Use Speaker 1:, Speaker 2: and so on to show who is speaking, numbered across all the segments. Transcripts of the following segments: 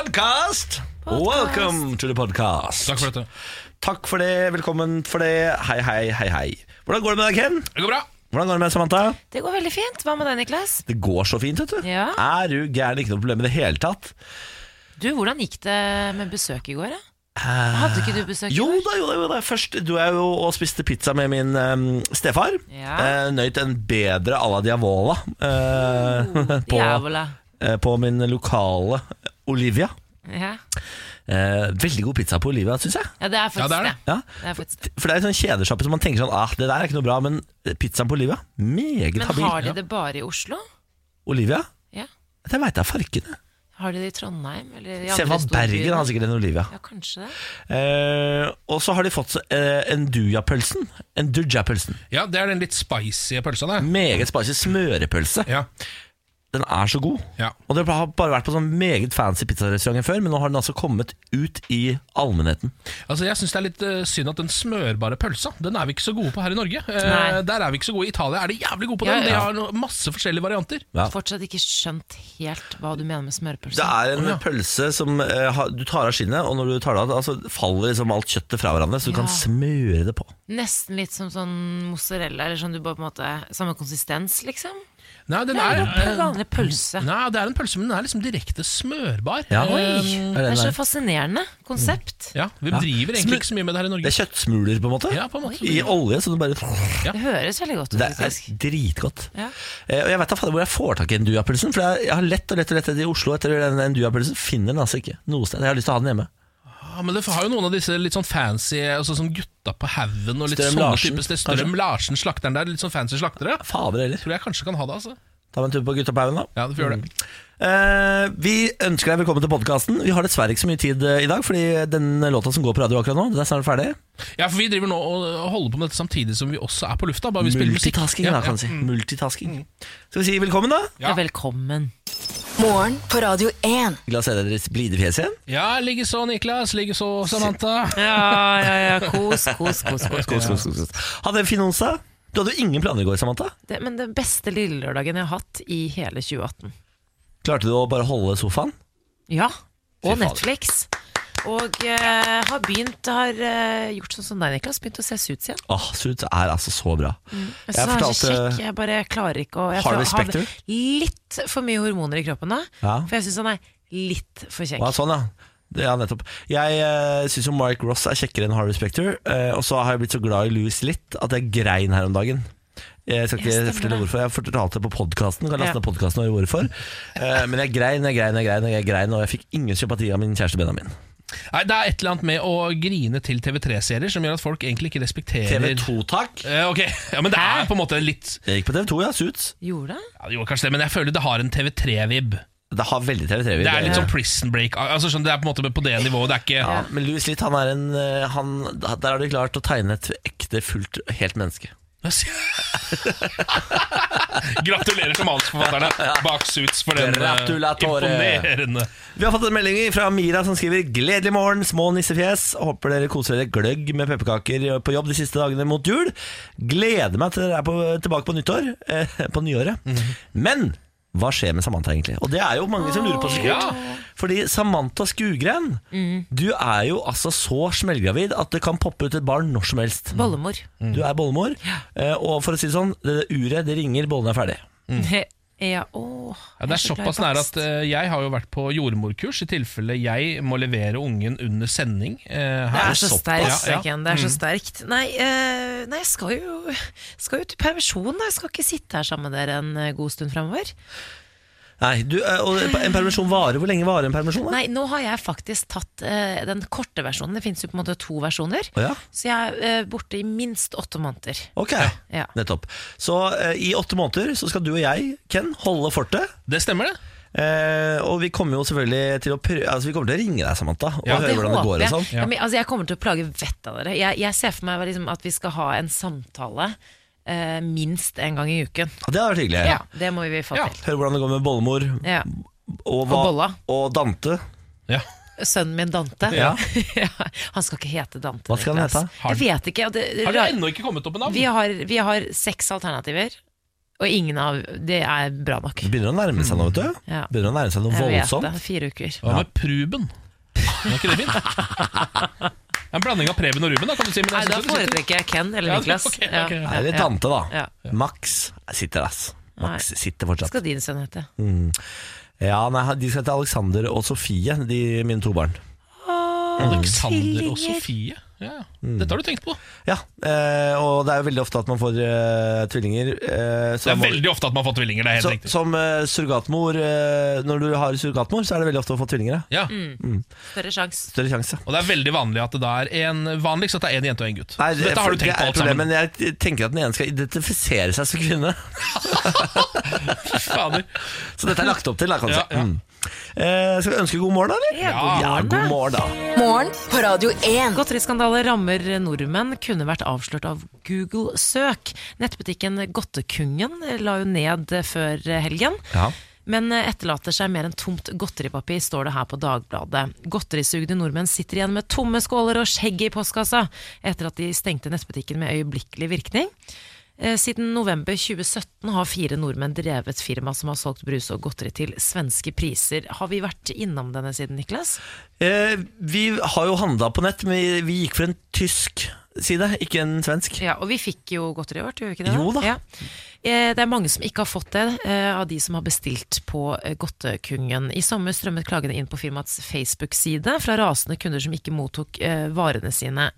Speaker 1: podcast. Welcome to the podcast.
Speaker 2: Takk for dette.
Speaker 1: Takk for det, velkommen for det. Hei, hei, hei, hei. Hvordan går det med deg, Ken?
Speaker 2: Det går bra.
Speaker 1: Hvordan går det med deg, Samantha?
Speaker 3: Det går veldig fint. Hva med deg, Niklas?
Speaker 1: Det går så fint, vet du.
Speaker 3: Ja.
Speaker 1: Er du gæren? Ikke noe problem i det hele tatt.
Speaker 3: Du, Hvordan gikk det med besøk i går? Da? Hadde ikke du besøk
Speaker 1: Jo
Speaker 3: i går?
Speaker 1: da, jo da, jo da. Først du er jo og spiste pizza med min em, stefar.
Speaker 3: Ja.
Speaker 1: Eh, nøyt en bedre à la diavola eh, på,
Speaker 3: Jævla.
Speaker 1: eh, på min lokale eh, Olivia.
Speaker 3: Ja.
Speaker 1: Eh, veldig god pizza på Olivia, syns jeg.
Speaker 3: ja, det er faktisk
Speaker 2: Ja, det er
Speaker 3: det.
Speaker 2: det.
Speaker 3: det.
Speaker 1: Ja.
Speaker 3: er faktisk det.
Speaker 1: For det er en sånn kjedesjappe som man tenker sånn ah, Det der er ikke noe bra, men pizzaen på Olivia meget
Speaker 3: Men
Speaker 1: habil.
Speaker 3: har de det bare i Oslo?
Speaker 1: Olivia?
Speaker 3: Ja.
Speaker 1: Det veit jeg farken.
Speaker 3: Har de det i Trondheim? Eller i
Speaker 1: Se
Speaker 3: andre
Speaker 1: hva Bergen har
Speaker 3: storbyene?
Speaker 1: sikkert en Olivia.
Speaker 3: Ja, kanskje det.
Speaker 1: Eh, og så har de fått eh, en dujapølsen. En dujapølsen.
Speaker 2: Ja, det er den litt spicy pølsa, det.
Speaker 1: Meget spicy smørepølse.
Speaker 2: Ja.
Speaker 1: Den er så god.
Speaker 2: Ja.
Speaker 1: Og det har bare vært på sånn meget fancy pizzarestauranter før, men nå har den altså kommet ut i allmennheten.
Speaker 2: Altså, jeg syns det er litt eh, synd at den smørbare pølsa, den er vi ikke så gode på her i Norge. Eh,
Speaker 3: Nei.
Speaker 2: der er vi ikke så gode. I Italia er de jævlig gode på
Speaker 3: Ja,
Speaker 2: den. De
Speaker 3: ja.
Speaker 2: har no- masse forskjellige varianter.
Speaker 1: Ja.
Speaker 3: Fortsatt ikke skjønt helt hva du mener med
Speaker 1: Det
Speaker 3: smørpølse.
Speaker 1: er en pølse som eh, har- du tar av skinnet, og når du tar det av, altså, faller liksom alt kjøttet fra hverandre, så du
Speaker 3: Ja.
Speaker 1: kan smøre det på.
Speaker 3: Nesten litt som sånn mozzarella, eller sånn du bare på en måte Samme konsistens, liksom.
Speaker 2: Nei, den
Speaker 3: Det er
Speaker 2: er,
Speaker 3: jo
Speaker 2: eh,
Speaker 3: vanlig pølse.
Speaker 2: nei, det er en pølse, men den er liksom direkte smørbar.
Speaker 1: Ja.
Speaker 2: Eh,
Speaker 3: Oi! Det
Speaker 1: den
Speaker 3: er
Speaker 1: der?
Speaker 3: så fascinerende konsept.
Speaker 2: ja vi
Speaker 1: Ja.
Speaker 2: driver
Speaker 1: Smør-
Speaker 2: egentlig ikke så mye med det her i
Speaker 1: Det
Speaker 2: Norge.
Speaker 1: er kjøttsmuler, på en måte.
Speaker 2: Ja, på en måte.
Speaker 1: I olje, så du bare
Speaker 3: Det høres veldig godt ut,
Speaker 1: Det er
Speaker 3: faktisk.
Speaker 1: dritgodt.
Speaker 3: Ja.
Speaker 1: Eh, og jeg veit da fader hvor jeg får tak i en duapølsen. For jeg, jeg har lett og lett og lett etter i Oslo etter den, den duapølsen. Finner den altså ikke noe sted. Jeg har lyst til å ha den hjemme.
Speaker 2: Ja, Ah, men det har jo noen av disse litt sånn fancy altså sånn gutta på haugen og litt
Speaker 1: Strøm
Speaker 2: sånne
Speaker 1: Larsen,
Speaker 2: typer steder. Strøm Larsen, slakteren der. Litt sånn fancy slaktere.
Speaker 1: Fader heller.
Speaker 2: Tror jeg kanskje kan ha det, altså.
Speaker 1: Ta meg en tur på guttapaugen, da.
Speaker 2: Ja, du får gjøre det.
Speaker 1: Eh, vi ønsker deg velkommen til podkasten. Vi har dessverre ikke så mye tid eh, i dag, fordi den låta som går på radio akkurat nå, den er snart ferdig.
Speaker 2: Ja, for vi driver nå og og holder på med dette samtidig som vi også er på lufta. Bare vi spiller musikk.
Speaker 1: Multitasking,
Speaker 2: Ja, Mm.
Speaker 1: da, kan
Speaker 2: ja.
Speaker 1: vi si. Multitasking. Skal vi si velkommen, da?
Speaker 2: Ja.
Speaker 3: Ja, velkommen.
Speaker 4: Morgen på Radio 1.
Speaker 1: La oss se deres blide fjes igjen.
Speaker 2: ja, likeså Niklas, likeså Samantha.
Speaker 3: Ja, ja, ja. Kos, kos, kos. kos, kos.
Speaker 1: Hadde en fin onsdag. Du hadde jo ingen planer i går, Samantha.
Speaker 3: Det, men den beste lille lørdagen jeg har hatt i hele 2018.
Speaker 1: Klarte du å bare holde sofaen?
Speaker 3: Ja, og
Speaker 1: fader.
Speaker 3: Netflix. Og eh, har begynt, har eh, gjort sånn som deg, Niklas, begynt å se Suits igjen.
Speaker 1: Åh, Suits er altså så bra.
Speaker 2: Mm.
Speaker 3: Jeg,
Speaker 1: Jeg
Speaker 3: synes den er
Speaker 2: eh,
Speaker 3: så
Speaker 1: fortalte-
Speaker 3: kjekk, jeg bare klarer ikke å jeg
Speaker 1: Harvey
Speaker 3: tror jeg har
Speaker 1: Specter?
Speaker 3: Litt for mye hormoner i kroppen da,
Speaker 1: Ja.
Speaker 3: for jeg syns han er litt for kjekk.
Speaker 1: Ja, sånn, ja. Det- Ja, nettopp. Jeg uh, syns jo Mark Ross er kjekkere enn Harvey Specter. eh, og så har jeg blitt så glad i Louis Litt at jeg grein her om dagen. Jeg skal ikke
Speaker 3: Ja, stemmer
Speaker 1: fortelle
Speaker 3: det.
Speaker 1: hvorfor. Jeg fortalte det på podkasten. Kan laste
Speaker 3: Ja.
Speaker 1: ned podcasten og høre hvorfor. Eh, men jeg grein, jeg grein, jeg grein, jeg grein, og jeg fikk ingen sympati av min kjæreste Benjamin.
Speaker 2: Nei, det er et eller annet med å grine til TV3-serier som gjør at folk egentlig ikke respekterer
Speaker 1: TV2, takk.
Speaker 2: Eh, ok, ja, men det er på en måte litt
Speaker 1: Jeg gikk på TV2, ja. Suits.
Speaker 3: Gjorde det?
Speaker 2: ja, Jo, kanskje det, men jeg føler det har en TV3-vib.
Speaker 1: Det har veldig TV3.
Speaker 2: Det er litt sånn Prison Break. Altså, skjønner, du, det er på en måte på det nivået. Det er ikke
Speaker 1: ja, Men Louis Litt, han er en eh, han, Der har de klart å tegne et ekte, fullt, helt menneske.
Speaker 2: Gratulerer til manusforfatterne bak Suits for den eh,
Speaker 1: Gratulatore.
Speaker 2: imponerende
Speaker 1: Vi har fått en melding fra Mira som skriver Gledelig morgen, små nissefjes Håper dere koser dere gløgg med pepperkaker på jobb de siste dagene mot jul Gleder meg til dere er på, tilbake på nyttår eh, På nyåret Men, hva skjer med Samantha egentlig? Og det er jo mange som lurer på sikkert
Speaker 2: Ja.
Speaker 1: Fordi Samantha Skugren Du er jo altså så smellgravid At det kan poppe ut et barn når som helst
Speaker 3: Bollemor.
Speaker 2: Mm,
Speaker 1: Du er bollemor eh, Og for å si det sånn, det uret, det ringer, bollen er ferdig
Speaker 3: Ja, å,
Speaker 2: mm, Ja,
Speaker 3: jeg
Speaker 2: det
Speaker 3: så glad i
Speaker 2: er såpass nære
Speaker 3: bakst.
Speaker 2: at eh, jeg har jo vært på jordmorkurs i tilfelle jeg må levere ungen under sending. eh,
Speaker 3: Det
Speaker 2: her.
Speaker 3: er så
Speaker 2: Såpass,
Speaker 3: sterkt,
Speaker 2: ja, ja.
Speaker 3: Ken. Det er så sterkt. Nei, eh, nei jeg skal jo, skal jo til permisjon. da. Jeg skal ikke sitte her sammen med dere en eh, god stund framover.
Speaker 1: Nei, du, eh, og en permisjon varer Hvor lenge varer en permisjon da?
Speaker 3: Nei, nå har jeg faktisk tatt eh, den korte versjonen. Det fins jo på en måte to versjoner.
Speaker 1: Å ja.
Speaker 3: Så jeg er eh, borte i minst åtte måneder.
Speaker 1: Ok,
Speaker 3: Ja.
Speaker 1: nettopp. Så eh, i åtte måneder så skal du og jeg, Ken, holde fortet.
Speaker 2: Det stemmer, det.
Speaker 1: Eh, og vi kommer jo selvfølgelig til å prøve Altså vi kommer til å ringe deg, Samantha, og
Speaker 2: Ja,
Speaker 1: høre hvordan det går. og
Speaker 3: jeg.
Speaker 1: sånn
Speaker 3: Ja, men, altså, jeg kommer til å plage vettet av dere. Jeg, jeg ser for meg liksom, at vi skal ha en samtale eh, minst en gang i uken.
Speaker 1: Ja, Det hadde vært hyggelig.
Speaker 3: Ja, Det må vi få
Speaker 2: Ja.
Speaker 3: til.
Speaker 1: Høre hvordan det går med bollemor
Speaker 3: Ja.
Speaker 1: og, hva-
Speaker 3: Og bolla.
Speaker 1: og Dante.
Speaker 2: Ja.
Speaker 3: Sønnen min Dante.
Speaker 1: Ja.
Speaker 3: Ja, han skal ikke hete Dante.
Speaker 1: Hva skal han
Speaker 3: Niklas.
Speaker 1: hete?
Speaker 2: Har-
Speaker 3: Jeg vet ikke. og Det,
Speaker 2: Har dere ennå ikke kommet opp med navn?
Speaker 3: vi, har, vi har seks alternativer, Og ingen av Det er bra nok.
Speaker 1: Det begynner å nærme seg nå, vet du.
Speaker 3: Ja.
Speaker 1: Begynner å nærme seg noe
Speaker 3: Jeg vet
Speaker 1: Mm. voldsomt.
Speaker 3: det. Fire uker.
Speaker 2: Hva med Pruben? Er ikke det fint? Det er en blanding av Preben og Ruben, da, kan du si. Men
Speaker 3: Nei,
Speaker 2: jeg
Speaker 3: da
Speaker 2: synes jo det sitter-
Speaker 3: foretrekker jeg Ken eller
Speaker 2: Ja,
Speaker 3: Niklas.
Speaker 2: ok, ok,
Speaker 3: Ja.
Speaker 1: Nei, Eller
Speaker 3: Ja.
Speaker 1: tante, da.
Speaker 3: Ja.
Speaker 1: Max sitter, ass. Max sitter fortsatt.
Speaker 3: Skal din sønn hete?
Speaker 1: Ja, nei, De skal til Alexander og Sofie, de mine to barn.
Speaker 2: Alexander og Sofie. Ja.
Speaker 1: Mm.
Speaker 2: Dette har du tenkt på.
Speaker 1: Ja, eh, Og det er jo veldig ofte at man får eh, tvillinger. Eh,
Speaker 2: Det
Speaker 1: som-
Speaker 2: er veldig ofte at man har fått tvillinger. Det er helt
Speaker 1: så,
Speaker 2: riktig.
Speaker 1: som eh, surrogatmor eh, Når du har surrogatmor, så er det veldig ofte å få tvillinger. Ja.
Speaker 2: Ja.
Speaker 3: Mm. Større sjanse.
Speaker 1: Større sjanse.
Speaker 2: Og det er veldig vanlig at det da er en vanligst at det er en jente og en gutt.
Speaker 1: Nei,
Speaker 2: så dette har du
Speaker 1: det
Speaker 2: tenkt
Speaker 1: er
Speaker 2: på alt
Speaker 1: problemet,
Speaker 2: sammen.
Speaker 1: Men jeg tenker at den ene skal identifisere seg som kvinne.
Speaker 2: Fader.
Speaker 1: Så dette er lagt opp til, da, kanskje.
Speaker 2: Ja, ja.
Speaker 1: Mm. Eh, skal vi ønske god morgen, da? eller?
Speaker 2: Ja,
Speaker 1: Ja, god morgen, da.
Speaker 4: Morgen på Radio 1.
Speaker 3: Godteriskandaler rammer nordmenn, kunne vært avslørt av Google-søk. Nettbutikken Godtekungen la jo ned før helgen.
Speaker 1: Ja.
Speaker 3: Men eh, etterlater seg mer enn tomt godteripapir, står det her på Dagbladet. Godterisugde nordmenn sitter igjen med tomme skåler og skjegget i postkassa etter at de stengte nettbutikken med øyeblikkelig virkning. Eh, Siden november 2017 har fire nordmenn drevet firma som har solgt brus og godteri til svenske priser. Har vi vært innom denne siden, Niklas?
Speaker 1: Eh, vi har jo handla på nett, men vi- vi gikk for en tysk side, ikke en svensk.
Speaker 3: Ja, og vi fikk jo godteri i år, gjorde vi ikke det?
Speaker 1: Jo da.
Speaker 3: Ja. Eh, Det er mange som ikke har fått det, eh, av de som har bestilt på eh, Godtekungen. I sommer strømmet klagene inn på firmaets Facebook-side fra rasende kunder som ikke mottok eh, varene sine.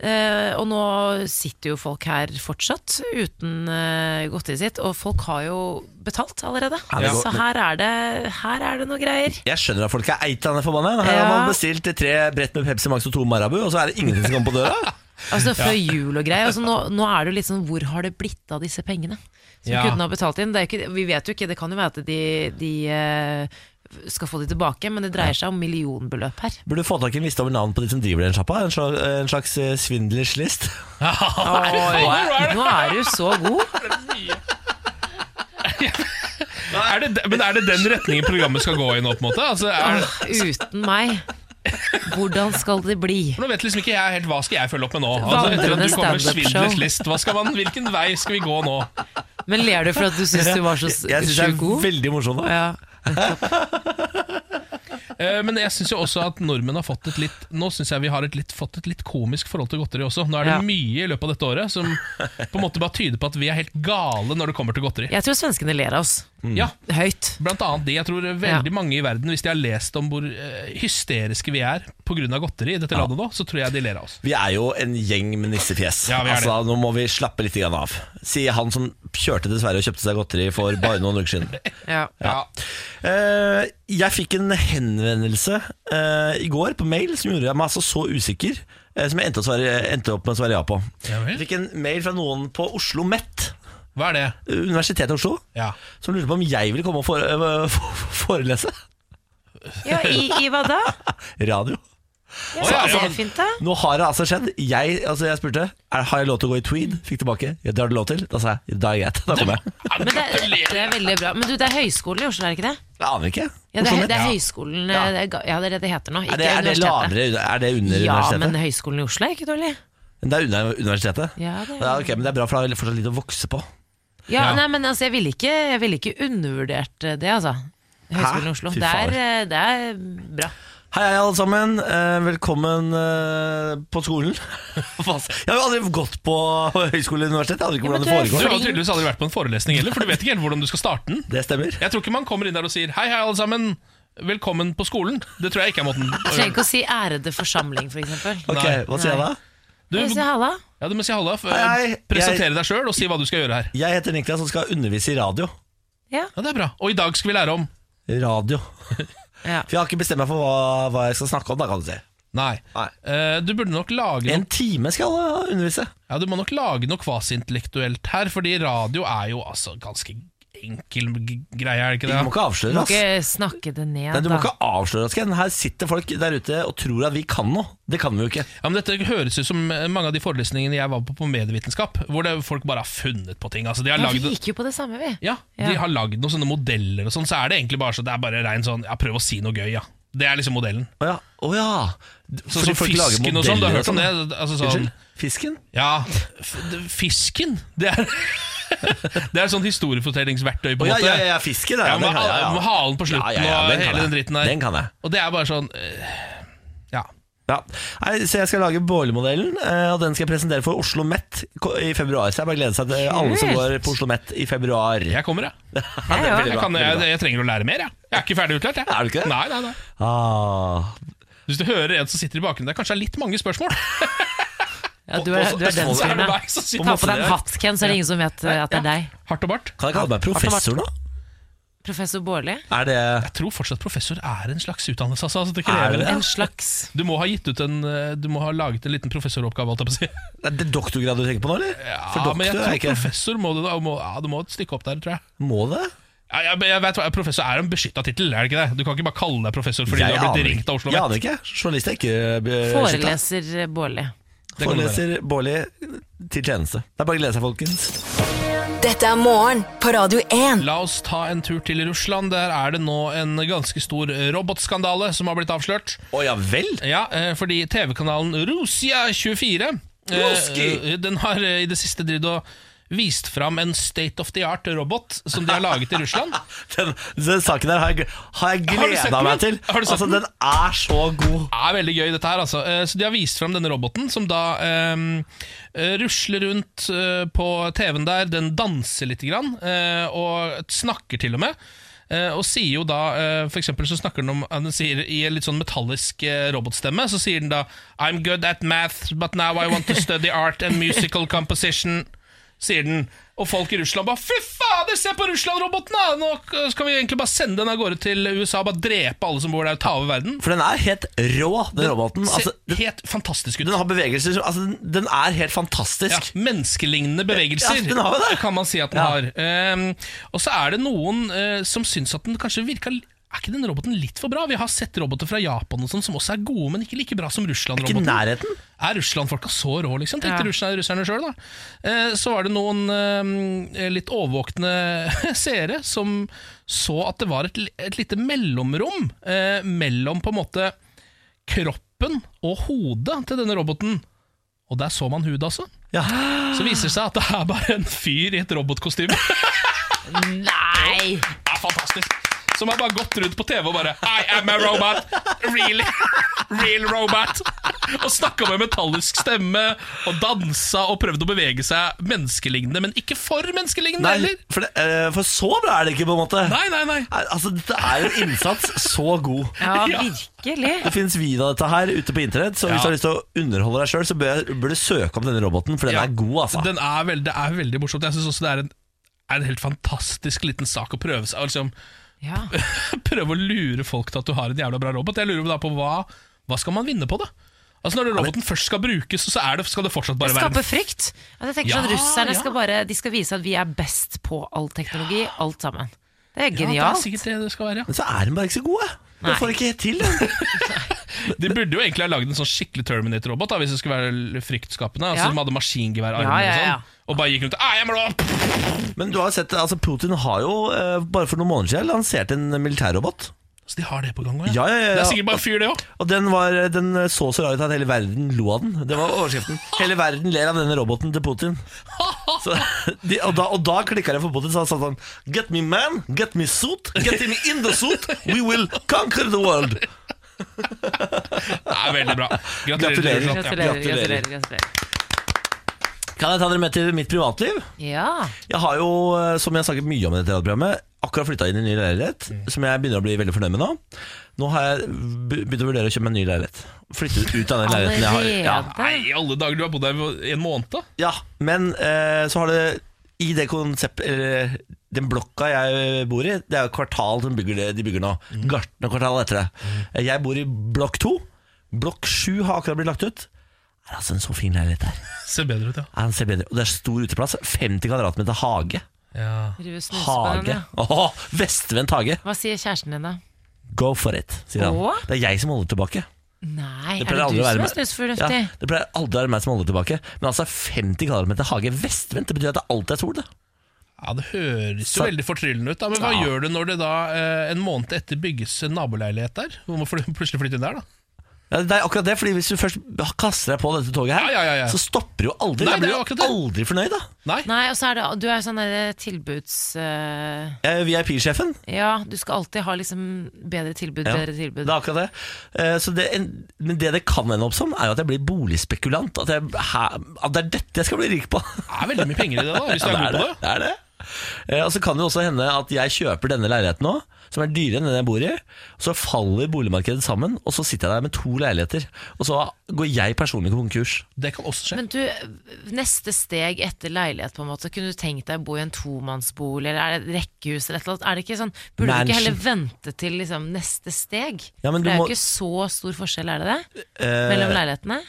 Speaker 3: Eh, og nå sitter jo folk her fortsatt uten eh, godteriet sitt, og folk har jo betalt allerede.
Speaker 1: Ja, det går-
Speaker 3: Så her er det, her er det noe greier.
Speaker 1: Jeg skjønner at folk er eitende forbanna. Her
Speaker 3: Ja.
Speaker 1: har man bestilt tre brett med Pepsi Max og to Marabu, og så er det ingenting som kommer på døra.
Speaker 3: Altså før jul og greier. Altså, nå, nå er det jo litt sånn Hvor har det blitt av disse pengene som
Speaker 2: Ja.
Speaker 3: kundene har betalt inn? Det er jo ikke, vi vet jo ikke, det kan jo være at de, de eh, skal få de tilbake, men det dreier seg om millionbeløp her.
Speaker 1: Burde få tak i en liste over navn på de som driver den sjappa. En slags, en slags eh, svindlers list.
Speaker 2: Oi.
Speaker 3: Nå er du så god.
Speaker 2: Er det, men er det den retningen programmet skal gå i nå, på en måte? Altså, er,
Speaker 3: Åh, uten meg. Hvordan skal det bli?
Speaker 2: for nå vet liksom ikke jeg helt hva skal jeg følge opp med nå. Altså, etter at
Speaker 3: Vandrende
Speaker 2: du kommer med
Speaker 3: stand-up-show.
Speaker 2: svindlers list, hva skal man, hvilken vei skal vi gå nå?
Speaker 3: Men ler du for at du syns du var så s-
Speaker 1: Jeg syns det er
Speaker 3: sjukt god?
Speaker 1: veldig morsomt. da.
Speaker 3: Ja.
Speaker 2: Eh, men jeg syns jo også at nordmenn har fått et litt Nå synes jeg vi har et litt, fått et litt komisk forhold til godteri også. Nå er det
Speaker 3: Ja.
Speaker 2: mye i løpet av dette året som på en måte bare tyder på at vi er helt gale når det kommer til godteri.
Speaker 3: Jeg tror svenskene ler av oss.
Speaker 2: Ja,
Speaker 3: Høyt.
Speaker 2: Blant annet de. Jeg tror veldig mange i verden, hvis de har lest om hvor eh, hysteriske vi er pga. godteri i dette landet nå, så tror jeg de ler av oss.
Speaker 1: Vi er jo en gjeng med nissefjes.
Speaker 2: Ja, vi er det.
Speaker 1: altså, nå må vi slappe litt grann av. Sier han som kjørte til Sverige og kjøpte seg godteri for bare noen uker siden.
Speaker 3: Ja.
Speaker 2: Ja.
Speaker 1: Eh, jeg fikk en henvendelse eh, i går på mail som gjorde meg altså så usikker, eh, som jeg endte, å svare, endte opp med å svare ja på.
Speaker 2: Ja vel.
Speaker 1: Jeg fikk en mail fra noen på Oslo Met, eh,
Speaker 2: Hva er det?
Speaker 1: Universitetet i Oslo,
Speaker 2: Ja.
Speaker 1: som lurte på om jeg ville komme og fore, eh, f- forelese.
Speaker 3: ja, i, i hva da?
Speaker 1: Radio.
Speaker 2: Å,
Speaker 3: Ja,
Speaker 2: ja,
Speaker 3: det
Speaker 2: ja.
Speaker 3: er fint, da.
Speaker 1: Nå har det altså skjedd. Jeg, altså jeg spurte er, har jeg lov til å gå i tweed. Fikk tilbake. Ja, det har du lov til. Da sa jeg da er det greit. Da kommer jeg.
Speaker 3: Men det, det er veldig bra. Men du, det er høyskolen i Oslo, er det ikke det?
Speaker 1: Jeg aner ikke.
Speaker 3: Ja, det,
Speaker 1: Oslo
Speaker 3: er,
Speaker 1: Met.
Speaker 3: det er
Speaker 2: Ja.
Speaker 3: høyskolen eh, det er, ga- Ja, det er det det heter nå. Ikke
Speaker 1: Er det, er det
Speaker 3: universitetet.
Speaker 1: lavere? Er det under
Speaker 3: Ja, men
Speaker 1: universitetet?
Speaker 3: høyskolen i Oslo er ikke dårlig.
Speaker 1: Men... Det er under universitetet?
Speaker 3: Ja, det er-
Speaker 1: ja, ok, men det er bra, for det er fortsatt litt å vokse på.
Speaker 3: Ja,
Speaker 2: Ja.
Speaker 3: Nei, men altså, jeg ville ikke, jeg ville ikke undervurdert eh, det, altså. Høgskolen i Oslo.
Speaker 1: Fy
Speaker 3: Det
Speaker 1: fader.
Speaker 3: er, eh, det er bra.
Speaker 1: Hei, hei alle sammen. Eh, velkommen eh, på skolen. Fast. jeg har jo aldri gått på høyskole eller universitet. Jeg aner ikke
Speaker 3: Ja, men
Speaker 1: hvordan det
Speaker 3: du er
Speaker 2: Du
Speaker 1: foregår.
Speaker 2: har jo tydeligvis aldri vært på en forelesning heller, for du vet ikke helt hvordan du skal starte den.
Speaker 1: Det stemmer.
Speaker 2: Jeg tror ikke man kommer inn der og sier 'hei, hei, alle sammen'. Velkommen på skolen. Det tror jeg ikke er måten å
Speaker 3: Trenger
Speaker 2: gjøre det.
Speaker 3: ikke å si ærede forsamling, for eksempel.
Speaker 1: Ok,
Speaker 2: Nei.
Speaker 1: Hva sier jeg da?
Speaker 2: Du,
Speaker 3: Jeg sier
Speaker 2: ja,
Speaker 3: halla.
Speaker 2: du må si halla. f- eh,
Speaker 1: Hei, hei.
Speaker 2: Presentere deg sjøl og si hva du skal gjøre her.
Speaker 1: Jeg heter Niklas og skal undervise i radio.
Speaker 3: Ja.
Speaker 2: Ja, det er bra. Og i dag skal vi lære om
Speaker 1: Radio.
Speaker 3: Ja.
Speaker 1: For jeg har ikke bestemt meg for hva, hva jeg skal snakke om, da, kan du si.
Speaker 2: Nei.
Speaker 1: Nei.
Speaker 2: Eh, du burde nok lage
Speaker 1: En time skal jeg undervise.
Speaker 2: Ja, du må nok lage noe kvasiintellektuelt her, fordi radio er jo altså ganske enkel g- greie, er det ikke
Speaker 1: Du
Speaker 2: det?
Speaker 1: må ikke
Speaker 3: Du
Speaker 1: avsløre
Speaker 3: må
Speaker 1: oss.
Speaker 3: ikke snakke det ned,
Speaker 1: Nei, du må
Speaker 3: da.
Speaker 1: ikke avsløre oss, Ken. Her sitter folk der ute og tror at vi kan noe. Det kan vi jo ikke.
Speaker 2: Ja, men Dette høres ut som eh, mange av de forelesningene jeg var på på medievitenskap, hvor det, folk bare har funnet på ting. Altså, de har
Speaker 3: Ja,
Speaker 2: lagd
Speaker 3: vi gikk jo på det samme, vi.
Speaker 2: ja,
Speaker 3: Ja.
Speaker 2: de har lagd noen sånne modeller og sånn, så er det egentlig bare så det er bare rein sånn ja, prøv å si noe gøy, ja. Det er liksom modellen.
Speaker 1: Å ja. Å ja.
Speaker 2: Sånn
Speaker 1: Fordi
Speaker 2: som
Speaker 1: folk lager
Speaker 2: fisken og sånn, du har
Speaker 1: modeller
Speaker 2: hørt om det? Altså sånn,
Speaker 1: Unnskyld? Fisken?
Speaker 2: ja, f d- Fisken? Det er Det er sånn historiefortellingsverktøy, på en
Speaker 1: ja,
Speaker 2: måte.
Speaker 1: ja, ja, fisken er
Speaker 2: Ja,
Speaker 1: den
Speaker 2: med,
Speaker 1: kan jeg, ja.
Speaker 2: med halen på slutten
Speaker 1: Ja, ja, ja,
Speaker 2: og
Speaker 1: den kan
Speaker 2: hele
Speaker 1: jeg.
Speaker 2: den dritten der.
Speaker 1: Den kan jeg.
Speaker 2: Og det er bare sånn eh, Ja.
Speaker 1: Ja. Nei, så jeg skal lage boilermodellen, eh, og den skal jeg presentere for Oslo Met ko- i februar. Så jeg bare gleder seg til eh, alle som
Speaker 3: Kult.
Speaker 1: går på Oslo Met i februar.
Speaker 2: Jeg kommer, jeg.
Speaker 1: Ja, det er
Speaker 3: Jeg
Speaker 1: veldig
Speaker 2: Jeg,
Speaker 1: bra,
Speaker 2: kan,
Speaker 1: veldig
Speaker 2: jeg,
Speaker 1: bra.
Speaker 2: jeg trenger å lære mer, jeg. Jeg er ikke ferdig utlært, jeg.
Speaker 1: Er du ikke det?
Speaker 2: Nei, nei, nei.
Speaker 1: Ah.
Speaker 2: Hvis du hører en som sitter i bakgrunnen der, kanskje det er litt mange spørsmål.
Speaker 3: Ja, du er, du er den
Speaker 2: Så er
Speaker 3: fyren,
Speaker 2: det
Speaker 3: ja.
Speaker 2: meg som sitter
Speaker 3: Ta på deg en hatt, Ken, så er det ingen som vet eh, at det er deg.
Speaker 2: Hardt og bart.
Speaker 1: Kan jeg kalle meg professor nå?
Speaker 3: Professor Baarli.
Speaker 1: Er det
Speaker 2: Jeg tror fortsatt professor er en slags utdannelse. Altså, altså det
Speaker 1: Er
Speaker 2: krever
Speaker 1: det
Speaker 2: det.
Speaker 3: En slags
Speaker 2: Du må ha gitt ut en eh, Du må ha laget en liten professoroppgave, holdt jeg på å si.
Speaker 1: er det doktorgrad du tenker på nå, eller? For
Speaker 2: Ja, men jeg
Speaker 1: doktor er
Speaker 2: tror
Speaker 1: ikke
Speaker 2: professor må du da må, ja, Du må et stykke opp der, tror jeg.
Speaker 1: Må det?
Speaker 2: Ja, jeg, jeg vet, hva- professor er jo en beskytta tittel, er det ikke det? Du kan ikke bare kalle deg professor fordi
Speaker 1: jeg
Speaker 2: du har blitt
Speaker 1: aner
Speaker 2: ringt av Oslo
Speaker 1: Jeg
Speaker 2: Met.
Speaker 1: aner ikke. Journalist er ikke eh, beskyttet.
Speaker 3: foreleser eh, Baarli.
Speaker 2: Det kan det
Speaker 1: Foreleser Bårli til tjeneste. Det er bare å glede seg, folkens.
Speaker 4: Dette er morgen på Radio 1.
Speaker 2: La oss ta en tur til Russland. Der er det nå en ganske stor eh, robotskandale som har blitt avslørt.
Speaker 1: Å ja vel?
Speaker 2: Ja, eh, fordi TV-kanalen Russia24 eh,
Speaker 1: Ruski!
Speaker 2: eh, Den har eh, i det siste drivet og vist fram en state of the art-robot som de har laget i Russland.
Speaker 1: Den, den saken der har jeg, gl- har jeg
Speaker 2: Har du sett
Speaker 1: gleda meg til.
Speaker 2: den? Har du sett
Speaker 1: Altså,
Speaker 2: den?
Speaker 1: den er så god.
Speaker 2: Det er veldig gøy, dette her. Altså. Eh, Så De har vist fram denne roboten, som da ehm, eh, rusler rundt eh, på TV-en der. Den danser litt, grann, eh, og snakker til og med. Eh, Og sier jo da, eh, for eksempel så snakker den om eh, den sier I en litt sånn metallisk eh, robotstemme Så sier den da I'm good at math, but now I want to study art and musical composition Sier den Og folk i Russland bare Fy fader, se på Russland-roboten da Nå eh, kan vi egentlig bare sende den av gårde til USA Bare drepe alle som bor der og ta over verden
Speaker 1: For den er helt rå, den roboten. Altså,
Speaker 2: ser helt fantastisk ut.
Speaker 1: den har bevegelser som altså, den, den er helt
Speaker 2: ja,
Speaker 1: fantastisk.
Speaker 2: menneskelignende bevegelser
Speaker 1: Ja, den har jo det.
Speaker 2: kan man si at den
Speaker 1: Ja.
Speaker 2: har. Ehm, og så er det noen eh, som syns at den kanskje virka Er ikke den roboten litt for bra? Vi har sett roboter fra Japan og sånn som også er gode, men ikke like bra som
Speaker 1: Ikke i
Speaker 2: Russland-roboten.
Speaker 1: nærheten.
Speaker 2: Er Russland-folka så rå, liksom? Tenkte
Speaker 3: Ja.
Speaker 2: russerne, russerne sjøl, da. Eh, Så var det noen eh, litt overvåkne seere som så at det var et, li- et lite mellomrom eh, mellom på en måte kroppen og hodet til denne roboten. Og der så man hudet, altså.
Speaker 1: Ja.
Speaker 2: Så viser det seg at det er bare en fyr i et robotkostyme. Det
Speaker 3: Nei!
Speaker 2: er fantastisk. Som har bare gått rundt på TV og bare I am a robot, really, real robot. Og snakka med metallisk stemme og dansa og prøvde å bevege seg menneskelignende, men ikke for menneskelignende
Speaker 1: Nei,
Speaker 2: heller.
Speaker 1: for, det, eh, for så bra er det ikke, på en måte.
Speaker 2: Nei, nei, nei.
Speaker 1: Nei, Altså, Dette er jo en innsats så god.
Speaker 3: Ja,
Speaker 2: Ja.
Speaker 3: virkelig.
Speaker 1: Det finnes video av dette her ute på internett, så hvis
Speaker 2: Ja.
Speaker 1: du har lyst til å underholde deg sjøl, så bør, bør du søke om denne roboten, for den
Speaker 2: Ja,
Speaker 1: er god, altså.
Speaker 2: Den er veldig, det er veldig morsomt. Jeg syns også det er en, er en helt fantastisk liten sak å prøve seg liksom,
Speaker 3: Ja.
Speaker 2: prøve å lure folk til at du har en jævla bra robot. Jeg lurer da på hva, hva skal man vinne på det? Altså Når roboten først skal brukes, så er det, skal det fortsatt bare være
Speaker 3: Skape frykt. Altså, jeg tenker
Speaker 2: Ja,
Speaker 3: sånn Russerne
Speaker 2: ja.
Speaker 3: skal bare De skal vise at vi er best på all teknologi, alt sammen. Det er
Speaker 2: Ja, det er
Speaker 3: genialt.
Speaker 2: sikkert det det skal være, ja.
Speaker 1: Men så er den bare ikke så god, jeg. Den
Speaker 3: Nei.
Speaker 1: får ikke helt til. Den.
Speaker 2: De burde jo egentlig ha lagd en sånn skikkelig Terminator-robot da, hvis det skulle være l- fryktskapende. Altså
Speaker 3: Ja.
Speaker 2: Som hadde maskingeværarmer
Speaker 3: Ja, ja, ja.
Speaker 2: og sånn. Og bare gikk rundt og, «Ah, jeg må nå!»
Speaker 1: Men du har jo sett, altså Putin har jo eh, bare for noen måneder siden lansert en militærrobot.
Speaker 2: Så Altså, de har det på gang også,
Speaker 1: Ja, ja, ja, ja.
Speaker 2: Det er sikkert bare fyr, det òg.
Speaker 1: Og den, var, eh, den så så rar ut at hele verden lo av den. Det var overskriften. Hele verden ler av denne roboten til Putin. Så, de, og da, og da klikka det for Putin, så han sa sånn Get me man, get me suit, get him in the suit, we will conquer the world.
Speaker 2: Det er veldig bra.
Speaker 1: Gratulerer.
Speaker 2: Gratulerer. Gratulerer.
Speaker 3: Gratulerer,
Speaker 1: Gratulerer.
Speaker 3: gratulerer, gratulerer.
Speaker 1: Kan jeg ta dere med til mitt privatliv?
Speaker 3: Ja.
Speaker 1: Jeg har jo, eh, som jeg har snakket mye om i dette radioprogrammet, akkurat flytta inn i en ny leilighet, som jeg begynner å bli veldig fornøyd med nå. Nå har jeg be- begynt å vurdere å kjøpe meg en ny leilighet. Flytte ut av den leiligheten jeg har. Ja,
Speaker 3: Allerede.
Speaker 2: Nei, i alle dager, du har bodd her i en måned, da.
Speaker 1: Ja, men eh, så har det i det konseptet Eller den blokka jeg bor i, det er jo kvartal de bygger, det- de bygger nå. Gartnerkvartalet heter det. Eh, Jeg bor i blokk to. Blokk sju har akkurat blitt lagt ut. Det er altså en så fin leilighet der.
Speaker 2: Ser bedre ut, ja.
Speaker 1: Ja, den ser bedre. Og det er stor uteplass. 50 kvadratmeter hage.
Speaker 2: ja.
Speaker 3: Driver og snuser på den,
Speaker 1: Hage.
Speaker 3: ja.
Speaker 1: Åh, Vestvendt hage.
Speaker 3: Hva sier kjæresten din, da?
Speaker 1: Go for it, sier han.
Speaker 3: Åh?
Speaker 1: Det er jeg som holder tilbake.
Speaker 3: Nei,
Speaker 1: Det
Speaker 3: er
Speaker 1: pleier
Speaker 3: det
Speaker 1: aldri
Speaker 3: du
Speaker 1: å være
Speaker 3: som
Speaker 1: meg.
Speaker 3: er snusfornuftig?
Speaker 1: Ja, det pleier aldri å være meg som holder tilbake. Men altså, 50 kvadratmeter hage vestvendt, det betyr at det alltid er sol, det.
Speaker 2: Ja, Det høres jo
Speaker 1: Så-
Speaker 2: veldig fortryllende ut, da. men hva
Speaker 1: Ja.
Speaker 2: gjør du når det da eh, en måned etter bygges en naboleilighet der? Hvor må du fly- plutselig flytte inn der, da?
Speaker 1: Ja, det er akkurat det, fordi Hvis du først kaster deg på dette toget, her
Speaker 2: Ja, ja, ja, ja.
Speaker 1: så stopper du jo aldri.
Speaker 2: Nei,
Speaker 1: jeg
Speaker 2: det er
Speaker 1: blir jo
Speaker 2: akkurat det.
Speaker 1: aldri fornøyd. da
Speaker 2: Nei.
Speaker 3: Nei, og så er det, du er sånn der tilbuds... eh,
Speaker 1: Eh, VIP-sjefen.
Speaker 3: ja, du skal alltid ha liksom bedre tilbud,
Speaker 1: Ja,
Speaker 3: bedre
Speaker 1: Det
Speaker 3: tilbud.
Speaker 1: er akkurat det. Eh, Så det en- men det det kan ende opp som, er jo at jeg blir boligspekulant. At, jeg, hæ- at det er dette jeg skal bli rik på.
Speaker 2: Det er veldig mye penger i det, da, hvis du
Speaker 1: Ja,
Speaker 2: er god
Speaker 1: det, er
Speaker 2: på det.
Speaker 1: det. det er det. Eh, Og så kan det jo også hende at jeg kjøper denne leiligheten nå, som er dyrere enn den jeg bor i. Så faller boligmarkedet sammen, og så sitter jeg der med to leiligheter. Og så går jeg personlig konkurs.
Speaker 2: Det kan også skje.
Speaker 3: Men du, neste steg etter leilighet, på en måte, kunne du tenkt deg å bo i en tomannsbolig eller er det et rekkehus eller et eller annet? Er det ikke sånn, burde du
Speaker 1: Mansion.
Speaker 3: ikke heller vente til liksom, neste steg?
Speaker 1: Ja, men
Speaker 3: For det er
Speaker 1: du
Speaker 3: jo
Speaker 1: må-
Speaker 3: ikke så stor forskjell, er det det?
Speaker 1: Eh,
Speaker 3: Mellom leilighetene?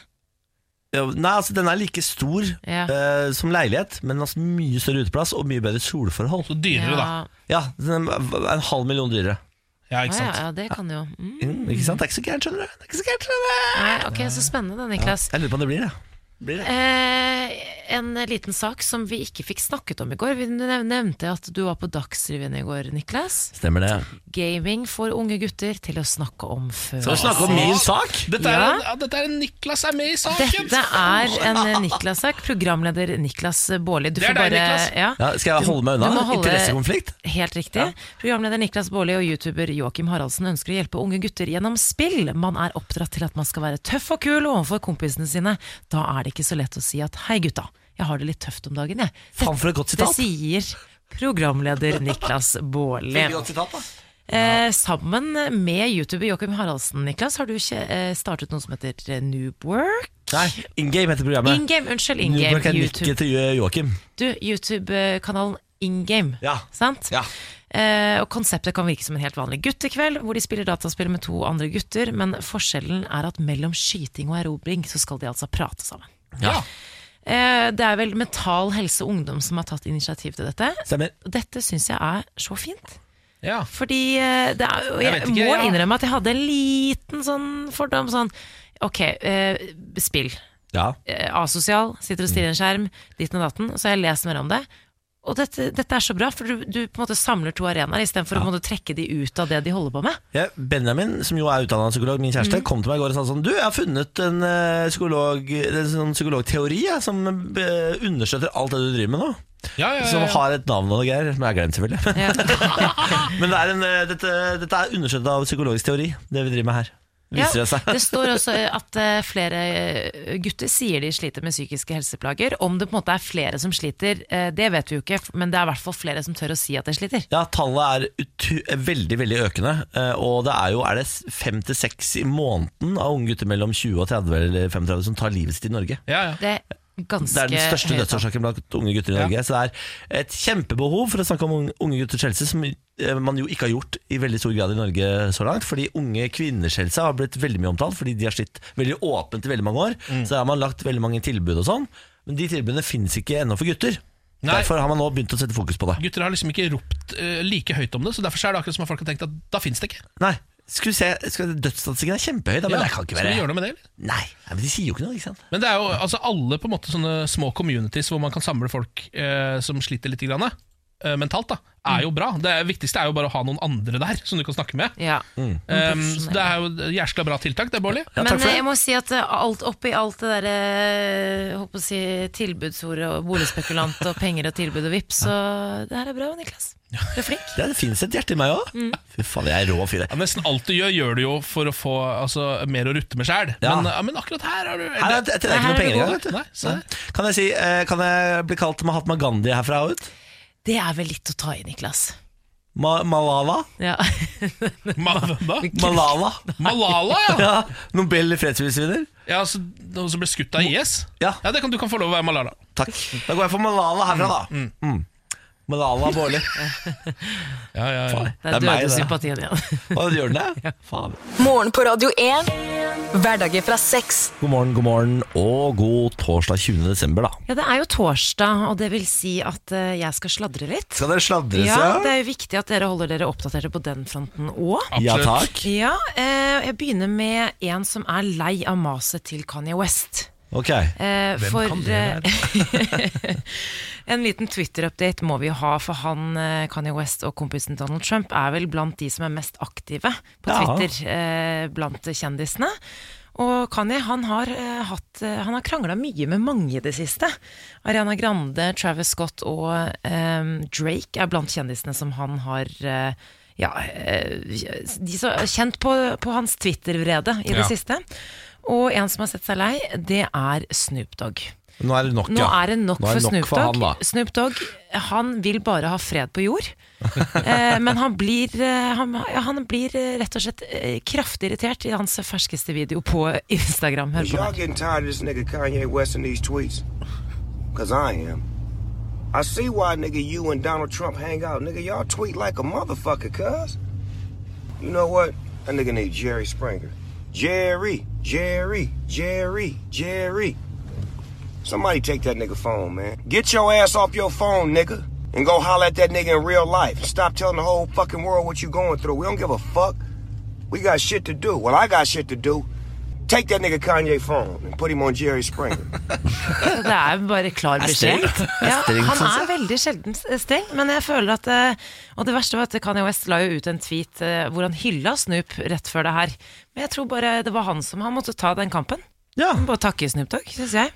Speaker 1: ja, Nei, altså Den er like stor
Speaker 3: Ja.
Speaker 1: eh, som leilighet, men altså mye større uteplass og mye bedre solforhold.
Speaker 2: Så dyrere, da.
Speaker 1: Ja, den er En halv million dyrere.
Speaker 2: Ja, ikke
Speaker 3: Ja, ja,
Speaker 2: sant.
Speaker 3: ja, det kan jo. Mm.
Speaker 1: Mm, ikke sant? Det er ikke så gærent, skjønner du. Det er ikke så gærent, skjønner du.
Speaker 3: Nei, ok, så spennende da, Niklas.
Speaker 1: Jeg lurer på om det blir det. Blir det.
Speaker 3: Eh, en liten sak som vi ikke fikk snakket om i går. Vi nev- nevnte at du var på Dagsrevyen i går, Niklas.
Speaker 1: Stemmer det.
Speaker 3: Gaming får unge gutter til å snakke om før.
Speaker 1: Skal vi snakke om min sak?
Speaker 2: Dette er,
Speaker 3: Ja.
Speaker 2: en, ja, dette er en Niklas er med i saken!
Speaker 3: Dette er en Niklas-sak. Programleder Niklas Baarli. Du
Speaker 2: Det
Speaker 3: får
Speaker 2: er
Speaker 3: bare
Speaker 2: deg, Niklas.
Speaker 3: Ja.
Speaker 1: Ja, skal jeg holde meg
Speaker 3: Du
Speaker 1: unna?
Speaker 3: må holde-
Speaker 1: Interessekonflikt?
Speaker 3: Helt riktig. Programleder Niklas Baarli og youtuber Joakim Haraldsen ønsker å hjelpe unge gutter gjennom spill. Man er oppdratt til at man skal være tøff og kul overfor kompisene sine. Da er det ikke så lett å si at 'hei, gutta, jeg har det litt tøft om dagen', jeg.
Speaker 1: Faen, for et godt
Speaker 3: Det
Speaker 1: sitat.
Speaker 3: sier programleder Niklas Baarli.
Speaker 1: Veldig godt sitat, da.
Speaker 3: Eh, sammen med youtuber Joakim Haraldsen, Niklas, har du ikke eh, startet noe som heter eh, Noob Work?
Speaker 1: Nei, Ingame heter programmet.
Speaker 3: Ingame, unnskyld.
Speaker 1: Ingame,
Speaker 3: Ingame.
Speaker 1: Nubrook er
Speaker 3: YouTube.
Speaker 1: nikket til Joakim.
Speaker 3: Du, YouTube-kanalen Ingame,
Speaker 1: Ja.
Speaker 3: sant?
Speaker 1: Ja.
Speaker 3: Eh, og Konseptet kan virke som en helt vanlig guttekveld, hvor de spiller dataspill med to andre gutter, men forskjellen er at mellom skyting og erobring så skal de altså prate sammen.
Speaker 2: Ja.
Speaker 3: Eh, det er vel Mental Helse Ungdom som har tatt initiativ til dette.
Speaker 1: Stemmer.
Speaker 3: Og dette syns jeg er så fint.
Speaker 2: Ja.
Speaker 3: Fordi eh, det er, og jeg,
Speaker 2: Jeg vet ikke,
Speaker 3: må
Speaker 2: ja.
Speaker 3: innrømme at jeg hadde en liten sånn fordom sånn Ok, eh, spill.
Speaker 1: Ja.
Speaker 3: Eh, asosial, sitter og stirrer i en skjerm, ditten og datten. Og så har jeg lest mer om det. Og dette, dette er så bra, for du, du på en måte samler to arenaer istedenfor å på en måte trekke de ut av det de holder på med.
Speaker 1: Ja, Benjamin, som jo er utdanna psykolog, min kjæreste, kom til meg i går og sa sånn Du, jeg har funnet en, eh, psykolog, en sånn psykologteori jeg, som eh, understøtter alt det du driver med nå.
Speaker 2: Ja, ja,
Speaker 1: Som
Speaker 2: ja, ja.
Speaker 1: har et navn og noe greier, som jeg har glemt, selvfølgelig. Men det er en, eh, dette, dette er understøttet av psykologisk teori, det vi driver med her. Viser det seg.
Speaker 3: det står også at eh, flere eh, gutter sier de sliter med psykiske helseplager. Om det på en måte er flere som sliter, eh, det vet vi jo ikke, f- men det er i hvert fall flere som tør å si at de sliter.
Speaker 1: Ja, tallet er utu veldig, veldig økende. eh, Og det er jo er det s- fem til seks i måneden av unge gutter mellom 20 og 30 eller 35 som tar livet sitt i Norge.
Speaker 2: ja, ja.
Speaker 3: Det er ganske
Speaker 1: Det er den største
Speaker 3: høyt tall.
Speaker 1: dødsårsaken blant unge gutter i Norge. Så det er et kjempebehov for å snakke om unge- unge gutters helse, som eh, man jo ikke har gjort i veldig stor grad i Norge så langt. Fordi unge kvinners helse har blitt veldig mye omtalt, fordi de har slitt veldig åpent i veldig mange år. Så har man lagt veldig mange tilbud og sånn. Men de tilbudene fins ikke ennå for gutter.
Speaker 2: Nei.
Speaker 1: Derfor har man nå begynt å sette fokus på det.
Speaker 2: Gutter har liksom ikke ropt eh, like høyt om det, så derfor så er det akkurat som at folk har tenkt at da fins det ikke.
Speaker 1: Nei, skal vi se, skal, Dødsstatistikken er kjempehøy, da, men
Speaker 2: Ja,
Speaker 1: det kan ikke
Speaker 2: Skal vi gjøre
Speaker 1: være
Speaker 2: noe med det, eller?
Speaker 1: Nei, nei, men De sier jo ikke noe, ikke sant?
Speaker 2: Men det er jo altså, alle på en måte sånne små communities hvor man kan samle folk eh, som sliter litt grann, eh, mentalt, da, er
Speaker 1: Mm.
Speaker 2: jo bra. Det viktigste er jo bare å ha noen andre der som du kan snakke med.
Speaker 3: Ja.
Speaker 1: Mm.
Speaker 2: Um, så det er jo et jæskla bra tiltak, det, Bårdli.
Speaker 1: Ja,
Speaker 3: Men
Speaker 1: takk for
Speaker 3: eh,
Speaker 1: det.
Speaker 3: jeg må si at eh, alt oppi alt det derre eh, håper å si, tilbudsordet og boligspekulant og penger og tilbud og vipp, så det her er bra, Niklas. Du er flink.
Speaker 1: Det, det fins et hjerte i meg òg.
Speaker 3: Mm.
Speaker 1: Fy faen, jeg er rå fyr. jeg.
Speaker 2: Ja, nesten alt du gjør, gjør du jo for å få altså, mer å rutte med sjæl.
Speaker 1: Ja.
Speaker 2: Men, ja, men akkurat her er du
Speaker 1: Her er det det er ikke
Speaker 3: Her
Speaker 1: noe
Speaker 3: er det
Speaker 1: penger
Speaker 3: god.
Speaker 1: engang. vet du.
Speaker 2: Nei, se
Speaker 1: Nei. Kan jeg si, eh, kan jeg bli kalt Mahatma Gandhi herfra og ut?
Speaker 3: Det er vel litt å ta i, Niklas.
Speaker 1: Ma Malala?
Speaker 3: Ja.
Speaker 2: Ma hva?
Speaker 1: Malala?
Speaker 2: Malala, ja!
Speaker 1: Ja, Nobel fredsprisvinner?
Speaker 2: ja altså, Noen som ble skutt av IS?
Speaker 1: Ja,
Speaker 2: Ja, det kan, Du kan få lov å være Malala.
Speaker 1: takk. Da går jeg for Malala herfra, da. Mm. Malala Baarli.
Speaker 2: Ja, ja, ja.
Speaker 3: Der
Speaker 1: Det er meg,
Speaker 3: døde
Speaker 1: det.
Speaker 3: sympatien igjen.
Speaker 1: Hva gjør den det? Faen.
Speaker 4: Morgen på Radio 1. Hverdager fra seks.
Speaker 1: God morgen, god morgen, og god torsdag 20. desember, da.
Speaker 3: Ja, det er jo torsdag, og det vil si at eh, jeg skal sladre litt.
Speaker 1: Skal dere sladres,
Speaker 3: Ja, det er jo viktig at dere holder dere oppdaterte på den fronten òg.
Speaker 1: Ja,
Speaker 2: Absolutt.
Speaker 1: takk.
Speaker 3: Ja, eh, jeg begynner med en som er lei av maset til Kanye West.
Speaker 1: Ok.
Speaker 3: Eh,
Speaker 2: Hvem
Speaker 3: for
Speaker 2: kan det
Speaker 3: eh, en liten Twitter-update må vi jo ha, for han eh, Kanye West og kompisen Donald Trump er vel blant de som er mest aktive på
Speaker 1: Ja.
Speaker 3: Twitter eh, blant kjendisene. Og Kanye han har, eh, hatt, eh, han har krangla mye med mange i det siste. Ariana Grande, Travis Scott og eh, Drake er blant kjendisene som han har eh, ja, eh, de som er kjent på, på hans Twitter-vrede i det
Speaker 2: Ja.
Speaker 3: siste. Og en som har sett seg lei, det er Snoop Dogg.
Speaker 1: Nå er det nok,
Speaker 3: Nå
Speaker 1: ja.
Speaker 3: er det nok
Speaker 1: Nå er det
Speaker 3: for
Speaker 1: nok
Speaker 3: Snoop
Speaker 1: for han,
Speaker 3: Dogg.
Speaker 1: da.
Speaker 3: Snoop Dogg han vil bare ha fred på jord. eh, men han blir, eh, han, ja, han blir eh, rett og slett eh, kraftig irritert i hans ferskeste video på Instagram. Hør på
Speaker 5: Y'all
Speaker 3: den.
Speaker 5: getting tired of this nigga Kanye West and these tweets? Cause I am. I see why nigga you and Donald Trump hang out. Nigga, y'all tweet like a motherfucker, cuz. You know what? That nigga named Jerry Springer. Jerry, Jerry, Jerry, Jerry. Somebody take that nigga phone, man. Get your ass off your phone, nigga. And go holler at that nigga in real life. Stop telling the whole fucking world what you going through. We don't give a fuck. We got shit to do. Well, I got shit to do. Take that nigga Kanye phone and put him on Jerry Springer.
Speaker 3: Det er bare klar
Speaker 1: Er
Speaker 3: beskjed.
Speaker 1: strengt. Er
Speaker 3: Ja,
Speaker 1: strengt,
Speaker 3: han
Speaker 1: synes
Speaker 3: er veldig sjelden s- eh, streng, men jeg føler at eh, Og det verste var at Kanye West la jo ut en tweet eh, hvor han hylla Snoop rett før det her. Men jeg tror bare det var han som han måtte ta den kampen.
Speaker 1: ja.
Speaker 3: Bare takke Snoop Dogg, syns jeg.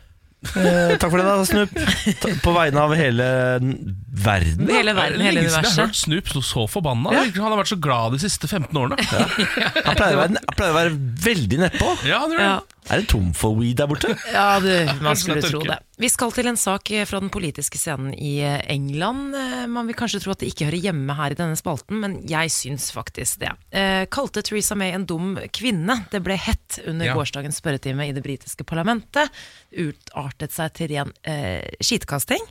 Speaker 1: Eh, takk for det, da, Snoop. Ta- På vegne av hele n- verden.
Speaker 3: Hele verden, hele
Speaker 2: Lenge siden Jeg har
Speaker 3: universet.
Speaker 2: hørt Snoop så- så forbanna. Det virker som Han har vært så glad de siste 15 årene.
Speaker 1: Han pleier å være, han pleier å være veldig nedpå.
Speaker 2: Ja, han gjør det.
Speaker 3: Ja.
Speaker 1: Er det tom for weed der borte?
Speaker 3: Ja, du, man
Speaker 2: Kanskje
Speaker 3: skulle
Speaker 2: det er
Speaker 3: tro
Speaker 2: tørke.
Speaker 3: det. Vi skal til en sak eh, fra den politiske scenen i eh, England. Eh, Man vil kanskje tro at det ikke hører hjemme her i denne spalten, men jeg syns faktisk det. Eh, Kalte Theresa May en dum kvinne? Det ble hett under
Speaker 2: Ja.
Speaker 3: gårsdagens spørretime i det britiske parlamentet. Utartet seg til ren eh, skitkasting.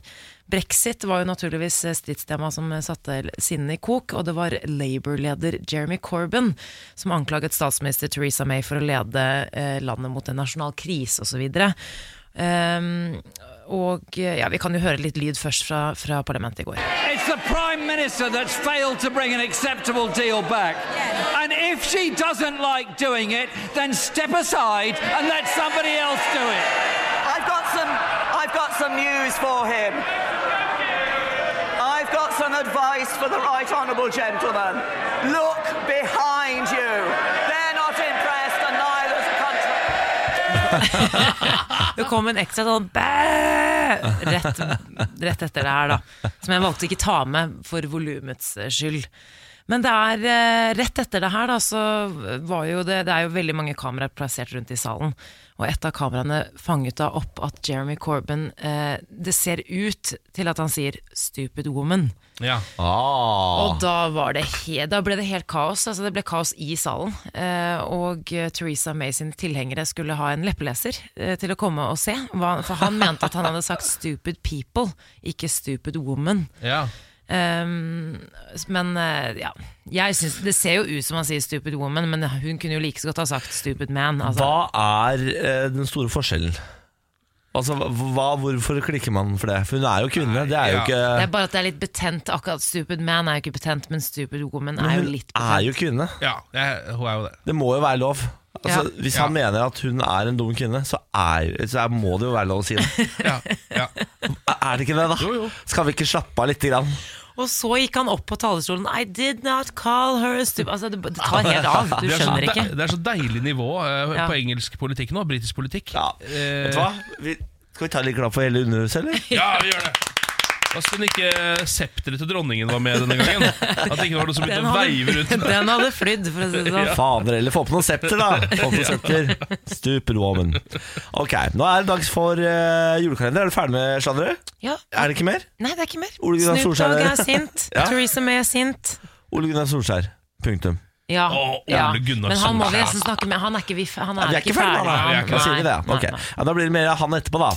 Speaker 3: Brexit var jo naturligvis eh, stridstema som eh, satte l- sinnene i kok, og det var Labour-leder Jeremy Corbyn som anklaget statsminister Theresa May for å lede eh, landet mot en nasjonal krise osv. Um, og eh, ja, vi kan jo høre litt lyd først fra, fra parlamentet i går.
Speaker 6: It's the Prime Minister that's failed to bring an acceptable deal back. And if she doesn't like doing it, then step aside and let somebody else do it.
Speaker 7: I've got some I've got some news for him. I've got some advice for the right honourable gentleman. Look behind you. They're not impressed and neither's the country.
Speaker 3: Det kom en ekstra sånn bæ rett, rett etter det her, da. Som jeg valgte ikke ta med for volumets skyld. Men det er eh, rett etter det her, da, så var jo det Det er jo veldig mange kameraer plassert rundt i salen. Og et av kameraene fanget da opp at Jeremy Corbyn eh, Det ser ut til at han sier 'stupid woman'.
Speaker 2: Ja.
Speaker 3: Og da, var det he da ble det helt kaos. Altså det ble kaos i salen. Eh, og eh, Theresa May sine tilhengere skulle ha en leppeleser eh, til å komme og se. Hva, for han mente at han hadde sagt 'stupid people', ikke 'stupid woman'.
Speaker 2: Ja.
Speaker 3: Ehm, men eh, ja jeg synes, Det ser jo ut som han sier 'stupid woman', men hun kunne jo like så godt ha sagt 'stupid man'. Altså.
Speaker 1: Hva er eh, den store forskjellen? Altså, hva, Hvorfor klikker man for det? For hun er jo kvinne. Det er jo
Speaker 2: ja.
Speaker 3: Det
Speaker 1: ikke
Speaker 3: er bare at det er litt betent. Akkurat 'stupid man' er jo ikke betent, men 'stupid woman' er jo
Speaker 1: Hun
Speaker 3: litt
Speaker 1: er
Speaker 3: betent.
Speaker 1: jo kvinne.
Speaker 2: ja jeg, hun er jo det.
Speaker 1: Det må jo være lov. Altså,
Speaker 3: Ja.
Speaker 1: Hvis
Speaker 2: Ja.
Speaker 1: han mener at hun er en dum kvinne, så, er, så er, må det jo være lov å si det.
Speaker 2: Ja, ja.
Speaker 1: Er det ikke det, da?
Speaker 2: Jo, jo.
Speaker 1: Skal vi ikke slappe av lite grann?
Speaker 3: Og så gikk han opp på talerstolen. I did not call her a stupid altså, det, det tar helt av. Du
Speaker 2: Det er, så
Speaker 3: skjønner ikke.
Speaker 2: de, det er så deilig nivå eh,
Speaker 3: Ja.
Speaker 2: på engelsk politikk nå. Britisk politikk.
Speaker 1: Ja.
Speaker 3: Eh.
Speaker 1: Vet du hva? Vi, skal vi ta litt klapp for hele underhuset, eller?
Speaker 2: Ja, vi gjør det! Og Synd ikke eh, septeret til dronningen var med denne gangen. At det ikke var noe som begynte å veive rundt.
Speaker 3: den hadde flydd, for å si det sånn.
Speaker 1: Fader, eller få på noen septer, da! Få på noen septer. Stupid woman. Ok, nå er det dags for eh, julekalender. Er du ferdig med sladderet?
Speaker 3: Ja.
Speaker 1: Er det ikke mer?
Speaker 3: Nei, det er ikke mer.
Speaker 1: Ole Gunnar
Speaker 3: Snoop
Speaker 1: Solskjær
Speaker 3: Dogg
Speaker 1: er-
Speaker 3: er sint.
Speaker 1: Ja.
Speaker 3: Theresa May er sint.
Speaker 1: Ole Gunnar Solskjær. Punktum.
Speaker 3: Ja.
Speaker 2: Å, Ole
Speaker 3: ja.
Speaker 2: Gunnar
Speaker 3: Men han må vi
Speaker 2: Solskjær.
Speaker 3: nesten snakke med. Han er ikke, vi, han
Speaker 1: Vi
Speaker 3: er
Speaker 1: er ikke ferdige, da.
Speaker 3: ferdig,
Speaker 1: Nei,
Speaker 2: ikke
Speaker 1: Da sier
Speaker 3: han.
Speaker 1: vi det.
Speaker 3: Nei,
Speaker 1: Ok.
Speaker 3: nei, nei.
Speaker 1: Ja, da blir det mer av han etterpå, da.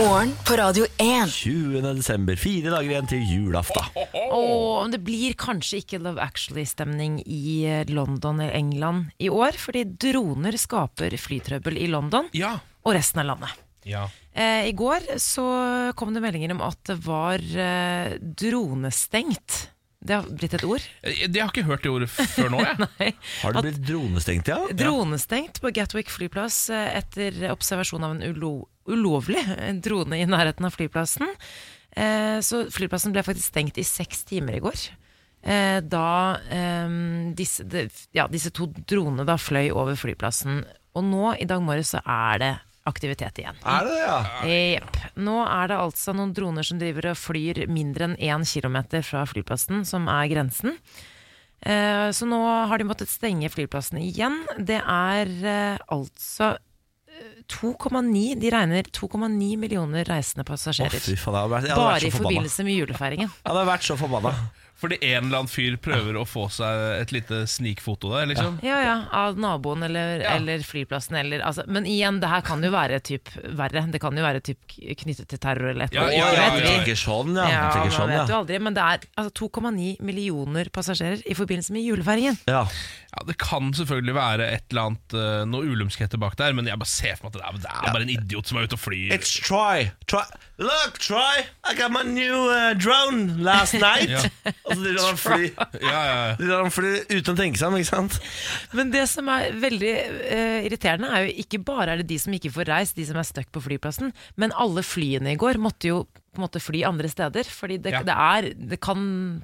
Speaker 4: Morgen på Radio 1.
Speaker 1: 20. desember. Fire dager igjen til julaften.
Speaker 3: Åh, men det blir kanskje ikke Love Actually-stemning i eh, London eller England i år, fordi droner skaper flytrøbbel i London
Speaker 2: Ja.
Speaker 3: og resten av landet.
Speaker 2: ja.
Speaker 3: Eh, I går så kom det meldinger om at det var eh, dronestengt Det har blitt et ord.
Speaker 2: Jeg, jeg har ikke hørt Eh, det ordet f- før nå, jeg.
Speaker 3: Nei.
Speaker 1: Har
Speaker 3: At-
Speaker 1: det blitt dronestengt, ja?
Speaker 3: Dronestengt på Gatwick flyplass eh, etter observasjon av en ulo ulovlig drone i nærheten av flyplassen. Eh, Så flyplassen ble faktisk stengt i seks timer i går. eh, Da eh, disse, de- ja, disse to dronene da fløy over flyplassen. Og nå i dag morges så er det aktivitet igjen.
Speaker 1: Er det det, ja?
Speaker 3: Jepp. Nå er det altså noen droner som driver og flyr mindre enn én kilometer fra flyplassen, som er grensen. Eh, Så nå har de måttet stenge flyplassen igjen. Det er eh, altså eh, 2,9 De regner 2,9 millioner reisende
Speaker 1: Å,
Speaker 3: passasjerer.
Speaker 1: fy faen, jeg hadde vært, jeg hadde
Speaker 3: bare
Speaker 1: vært
Speaker 3: i
Speaker 1: så forbanna.
Speaker 3: forbindelse med julefeiringen.
Speaker 1: Jeg hadde vært så forbanna.
Speaker 2: Fordi en eller annen fyr prøver å få seg et lite snikfoto der, liksom.
Speaker 3: Ja, ja, Av naboen eller, eller flyplassen eller altså, Men igjen, det her kan jo være typ verre. Det kan jo være typ knyttet til terror eller et
Speaker 2: Ja,
Speaker 3: eller
Speaker 2: ja,
Speaker 3: annet.
Speaker 1: Jeg
Speaker 3: vet
Speaker 2: ja,
Speaker 3: vi.
Speaker 2: ja, ja.
Speaker 1: tenker sånn, ja.
Speaker 3: Ja,
Speaker 1: Jeg
Speaker 3: man
Speaker 1: tenker sånn,
Speaker 3: vet jo
Speaker 1: ja.
Speaker 3: aldri, men det er altså, 2,9 millioner passasjerer i forbindelse med julefeiringen.
Speaker 1: ja.
Speaker 2: Ja, det kan selvfølgelig være et eller annet eh, noe ulumskheter bak der, men jeg bare ser for meg at det er, det er bare en idiot som er ute og flyr.
Speaker 1: It's Troy. Troy. Look, Troy, I got my new uh, drone last night.
Speaker 2: Ja.
Speaker 1: Og så driver han og flyr.
Speaker 2: Ja, ja, ja.
Speaker 1: Driver han og flyr uten å tenke seg om, ikke sant?
Speaker 3: Men det som er veldig eh, irriterende, er jo ikke bare er det de som ikke får reist, de som er stuck på flyplassen, men alle flyene i går måtte jo på en måte fly andre steder. Fordi det,
Speaker 2: Ja.
Speaker 3: det, er, det kan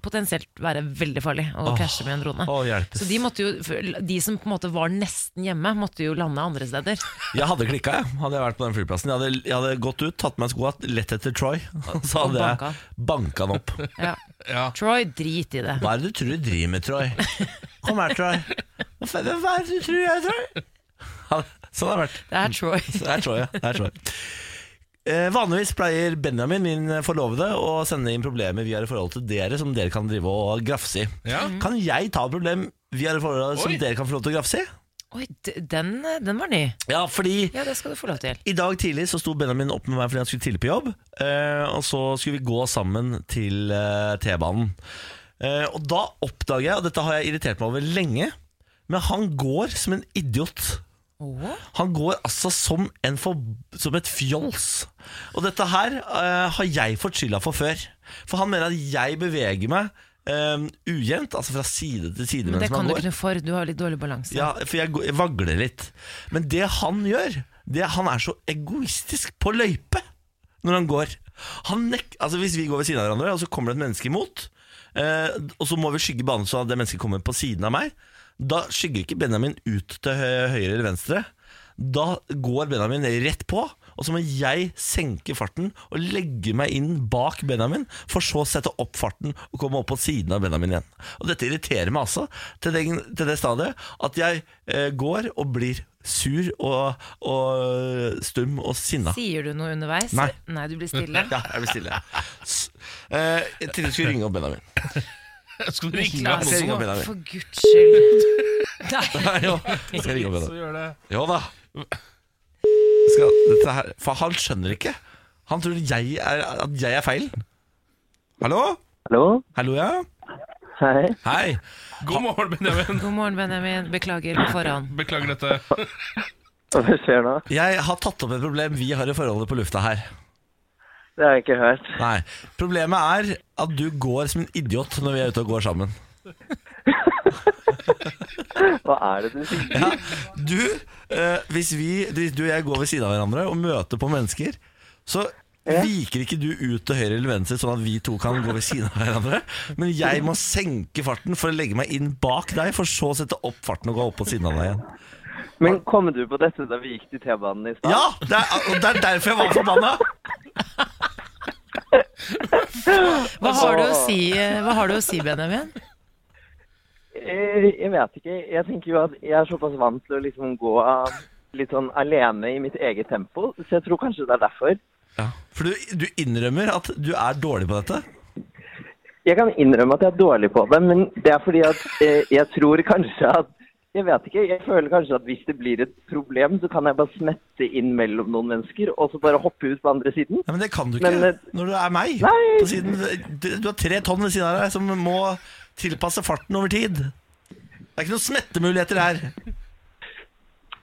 Speaker 3: potensielt være veldig farlig å krasje med en drone.
Speaker 1: Å, hjelpes.
Speaker 3: Så de, måtte jo, de som på en måte var nesten hjemme, måtte jo lande andre steder.
Speaker 1: Jeg hadde klikka, jeg. Hadde jeg vært på den flyplassen. Jeg hadde, jeg hadde gått ut, tatt meg skoa, lett etter Troy. Og så hadde
Speaker 3: banka.
Speaker 1: jeg banka han opp.
Speaker 3: Ja.
Speaker 2: Ja.
Speaker 3: Troy, drit i det.
Speaker 1: Hva er det du tror du driver med, Troy? Kom her, Troy. Hva faen- Hva er det du tror jeg er, Troy? Ja, Sånn har det vært.
Speaker 3: Det er Troy.
Speaker 1: Så Der tror jeg. Der tror jeg. Eh, vanligvis pleier Benjamin, min forlovede, å sende inn problemer vi har i forhold til dere, som dere kan drive og grafse i.
Speaker 2: Ja.
Speaker 1: Kan jeg ta et problem vi har i forhold til, som
Speaker 2: Oi.
Speaker 1: dere kan få lov til å grafse i?
Speaker 3: Oi, d- den, den var ny.
Speaker 1: Ja, fordi
Speaker 3: Ja, det skal du få lov til.
Speaker 1: i dag tidlig så sto Benjamin opp med meg fordi han skulle tidlig på jobb. eh, og så skulle vi gå sammen til eh, T-banen. Eh, og da oppdager jeg, og dette har jeg irritert meg over lenge, men han går som en idiot.
Speaker 3: Åh.
Speaker 1: Han går altså som, en for, som et fjols. Og dette her eh, har jeg fått skylda for før. For han mener at jeg beveger meg eh, ujevnt, altså fra side til side.
Speaker 3: Men det
Speaker 1: mens man
Speaker 3: kan du
Speaker 1: går.
Speaker 3: ikke noe for, du har litt dårlig balanse.
Speaker 1: Ja, for jeg, går- jeg vagler litt. Men det han gjør, det er- han er så egoistisk på løype når han går. Han nek altså Hvis vi går ved siden av hverandre, og så kommer det et menneske imot, eh, og så må vi skygge banen så det mennesket kommer på siden av meg, da skygger ikke Benjamin ut til hø høyre eller venstre. Da går Benjamin rett på, og så må jeg senke farten og legge meg inn bak Benjamin, for så å sette opp farten og komme opp på siden av Benjamin igjen. Og dette irriterer meg altså til, den, til det stadiet at jeg eh, går og blir sur og, og stum og sinna.
Speaker 3: Sier du noe underveis?
Speaker 1: Nei.
Speaker 3: du blir stille.
Speaker 1: Ja, jeg blir stille. S- Eh, til du skulle ringe opp Benjamin.
Speaker 2: Skal du ringe
Speaker 1: Jeg
Speaker 2: han
Speaker 1: skal
Speaker 2: også?
Speaker 1: ringe opp Benjamin.
Speaker 3: For guds skyld.
Speaker 1: Nei, jo, jeg skal ringe opp Benjamin.
Speaker 2: Så gjør det.
Speaker 1: Jo da. Skal, dette her, for han skjønner ikke. Han tror jeg er, at jeg er feil. Hallo?
Speaker 8: Hallo?
Speaker 1: Hallo, ja?
Speaker 8: Hei.
Speaker 1: Hei.
Speaker 2: God morgen, Benjamin.
Speaker 3: God morgen, Benjamin. Beklager på forhånd.
Speaker 2: Beklager dette.
Speaker 8: Hva skjer nå?
Speaker 1: Jeg har tatt opp et problem vi har i forholdet på lufta her.
Speaker 8: Det har jeg ikke hørt.
Speaker 1: Nei. Problemet er at du går som en idiot når vi er ute og går sammen.
Speaker 8: Hva er det du sier?
Speaker 1: Ja, du, eh, hvis vi, hvis du og jeg går ved siden av hverandre og møter på mennesker, så viker ikke du ut til høyre eller venstre sånn at vi to kan gå ved siden av hverandre. Men jeg må senke farten for å legge meg inn bak deg, for så å sette opp farten og gå opp på siden av deg igjen.
Speaker 8: Men kom du på dette da vi gikk til T-banen i stad?
Speaker 1: Ja, det er, og det er derfor jeg var forbanna!
Speaker 3: Hva har du å si, eh, hva har du å si Benjamin?
Speaker 8: Eh, Jeg vet ikke. Jeg tenker jo at jeg er såpass vant til å liksom gå eh, litt sånn alene i mitt eget tempo, så jeg tror kanskje det er derfor.
Speaker 1: For du, du innrømmer at du er dårlig på dette.
Speaker 8: Jeg kan innrømme at jeg er dårlig på det, men det er fordi at eh, jeg tror kanskje at jeg vet ikke, jeg føler kanskje at hvis det blir et problem, så kan jeg bare smette inn mellom noen mennesker, og så bare hoppe ut på andre siden.
Speaker 1: Nei, men det kan du ikke
Speaker 8: Men, eh,
Speaker 1: når du er meg.
Speaker 8: Nei.
Speaker 1: På siden, du, du har tre tonn ved siden av deg som må tilpasse farten over tid. Det er ikke noen smettemuligheter her.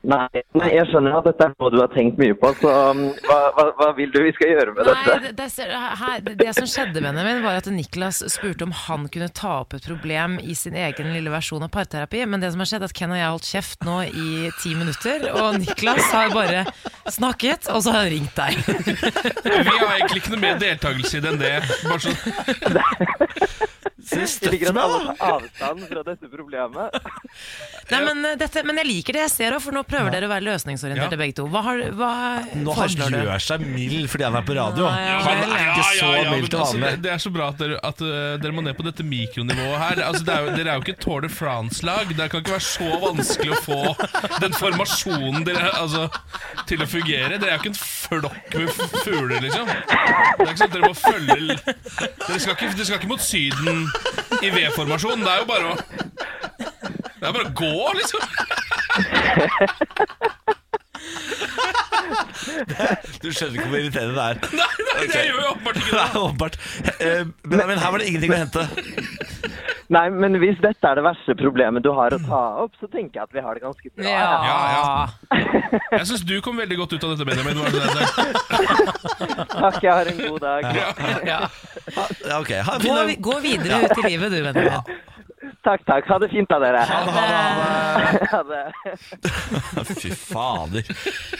Speaker 8: Nei, nei, jeg skjønner at dette er noe du har tenkt mye på, så um, hva, hva, hva vil du vi skal gjøre med
Speaker 3: Nei,
Speaker 8: dette?
Speaker 3: det, det, ser- her, det som skjedde med min var at Niklas spurte om han kunne ta opp et problem i sin egen lille versjon av parterapi, men det som har skjedd er at Ken og jeg har holdt kjeft nå i ti minutter, og Niklas har bare snakket, og så har han ringt deg.
Speaker 2: Vi har egentlig ikke noe mer deltakelse i det enn det. Bare så,
Speaker 8: Jeg liker
Speaker 1: Støtt
Speaker 8: at
Speaker 1: meg,
Speaker 8: alle
Speaker 1: da!
Speaker 8: tar avstand fra dette problemet.
Speaker 3: Nei, men, eh, dette, men jeg liker det jeg ser òg, for nå prøver dere å være løsningsorienterte
Speaker 2: Ja.
Speaker 3: begge to. Hva, har, hva
Speaker 1: Nå han
Speaker 3: foreslår du?
Speaker 1: gjør seg mild fordi han er på radio.
Speaker 3: Nei, ja,
Speaker 1: Han
Speaker 3: vel,
Speaker 1: er
Speaker 3: ja.
Speaker 1: ikke så
Speaker 2: men
Speaker 1: mild til
Speaker 2: altså,
Speaker 1: vanlig.
Speaker 2: det- det er så bra at dere, at eh, dere må ned på dette mikronivået her. Altså, det er jo, dere er jo ikke et Tour de France-lag. Det kan ikke være så vanskelig å få den formasjonen dere, altså, til å fungere. Dere er jo ikke en flokk med f- fugler, liksom. Det er ikke sånn at Dere må følge l- Dere skal ikke, dere skal ikke mot Syden i V-formasjon. Det er jo bare å Det er bare å gå, liksom.
Speaker 1: Du skjønner ikke hvor irriterende det er.
Speaker 2: Nei, nei, det gjør jo åpenbart ikke
Speaker 1: Det
Speaker 2: det.
Speaker 1: er åpenbart. Eh, Benjamin, her var det ingenting å hente.
Speaker 8: Nei, men hvis dette er det verste problemet du har å ta opp, så tenker jeg at vi har det ganske bra.
Speaker 3: Ja.
Speaker 2: Ja, ja. Jeg syns du kom veldig godt ut av dette, Benjamin. Var det det?
Speaker 8: Takk, jeg har en god dag.
Speaker 1: Ja, ok, ha en fin
Speaker 3: Gå,
Speaker 1: dag.
Speaker 3: vi- gå videre ut i livet, du, vennen min.
Speaker 8: Takk, takk. Ha det fint av dere. Ha det.
Speaker 1: Fy fader.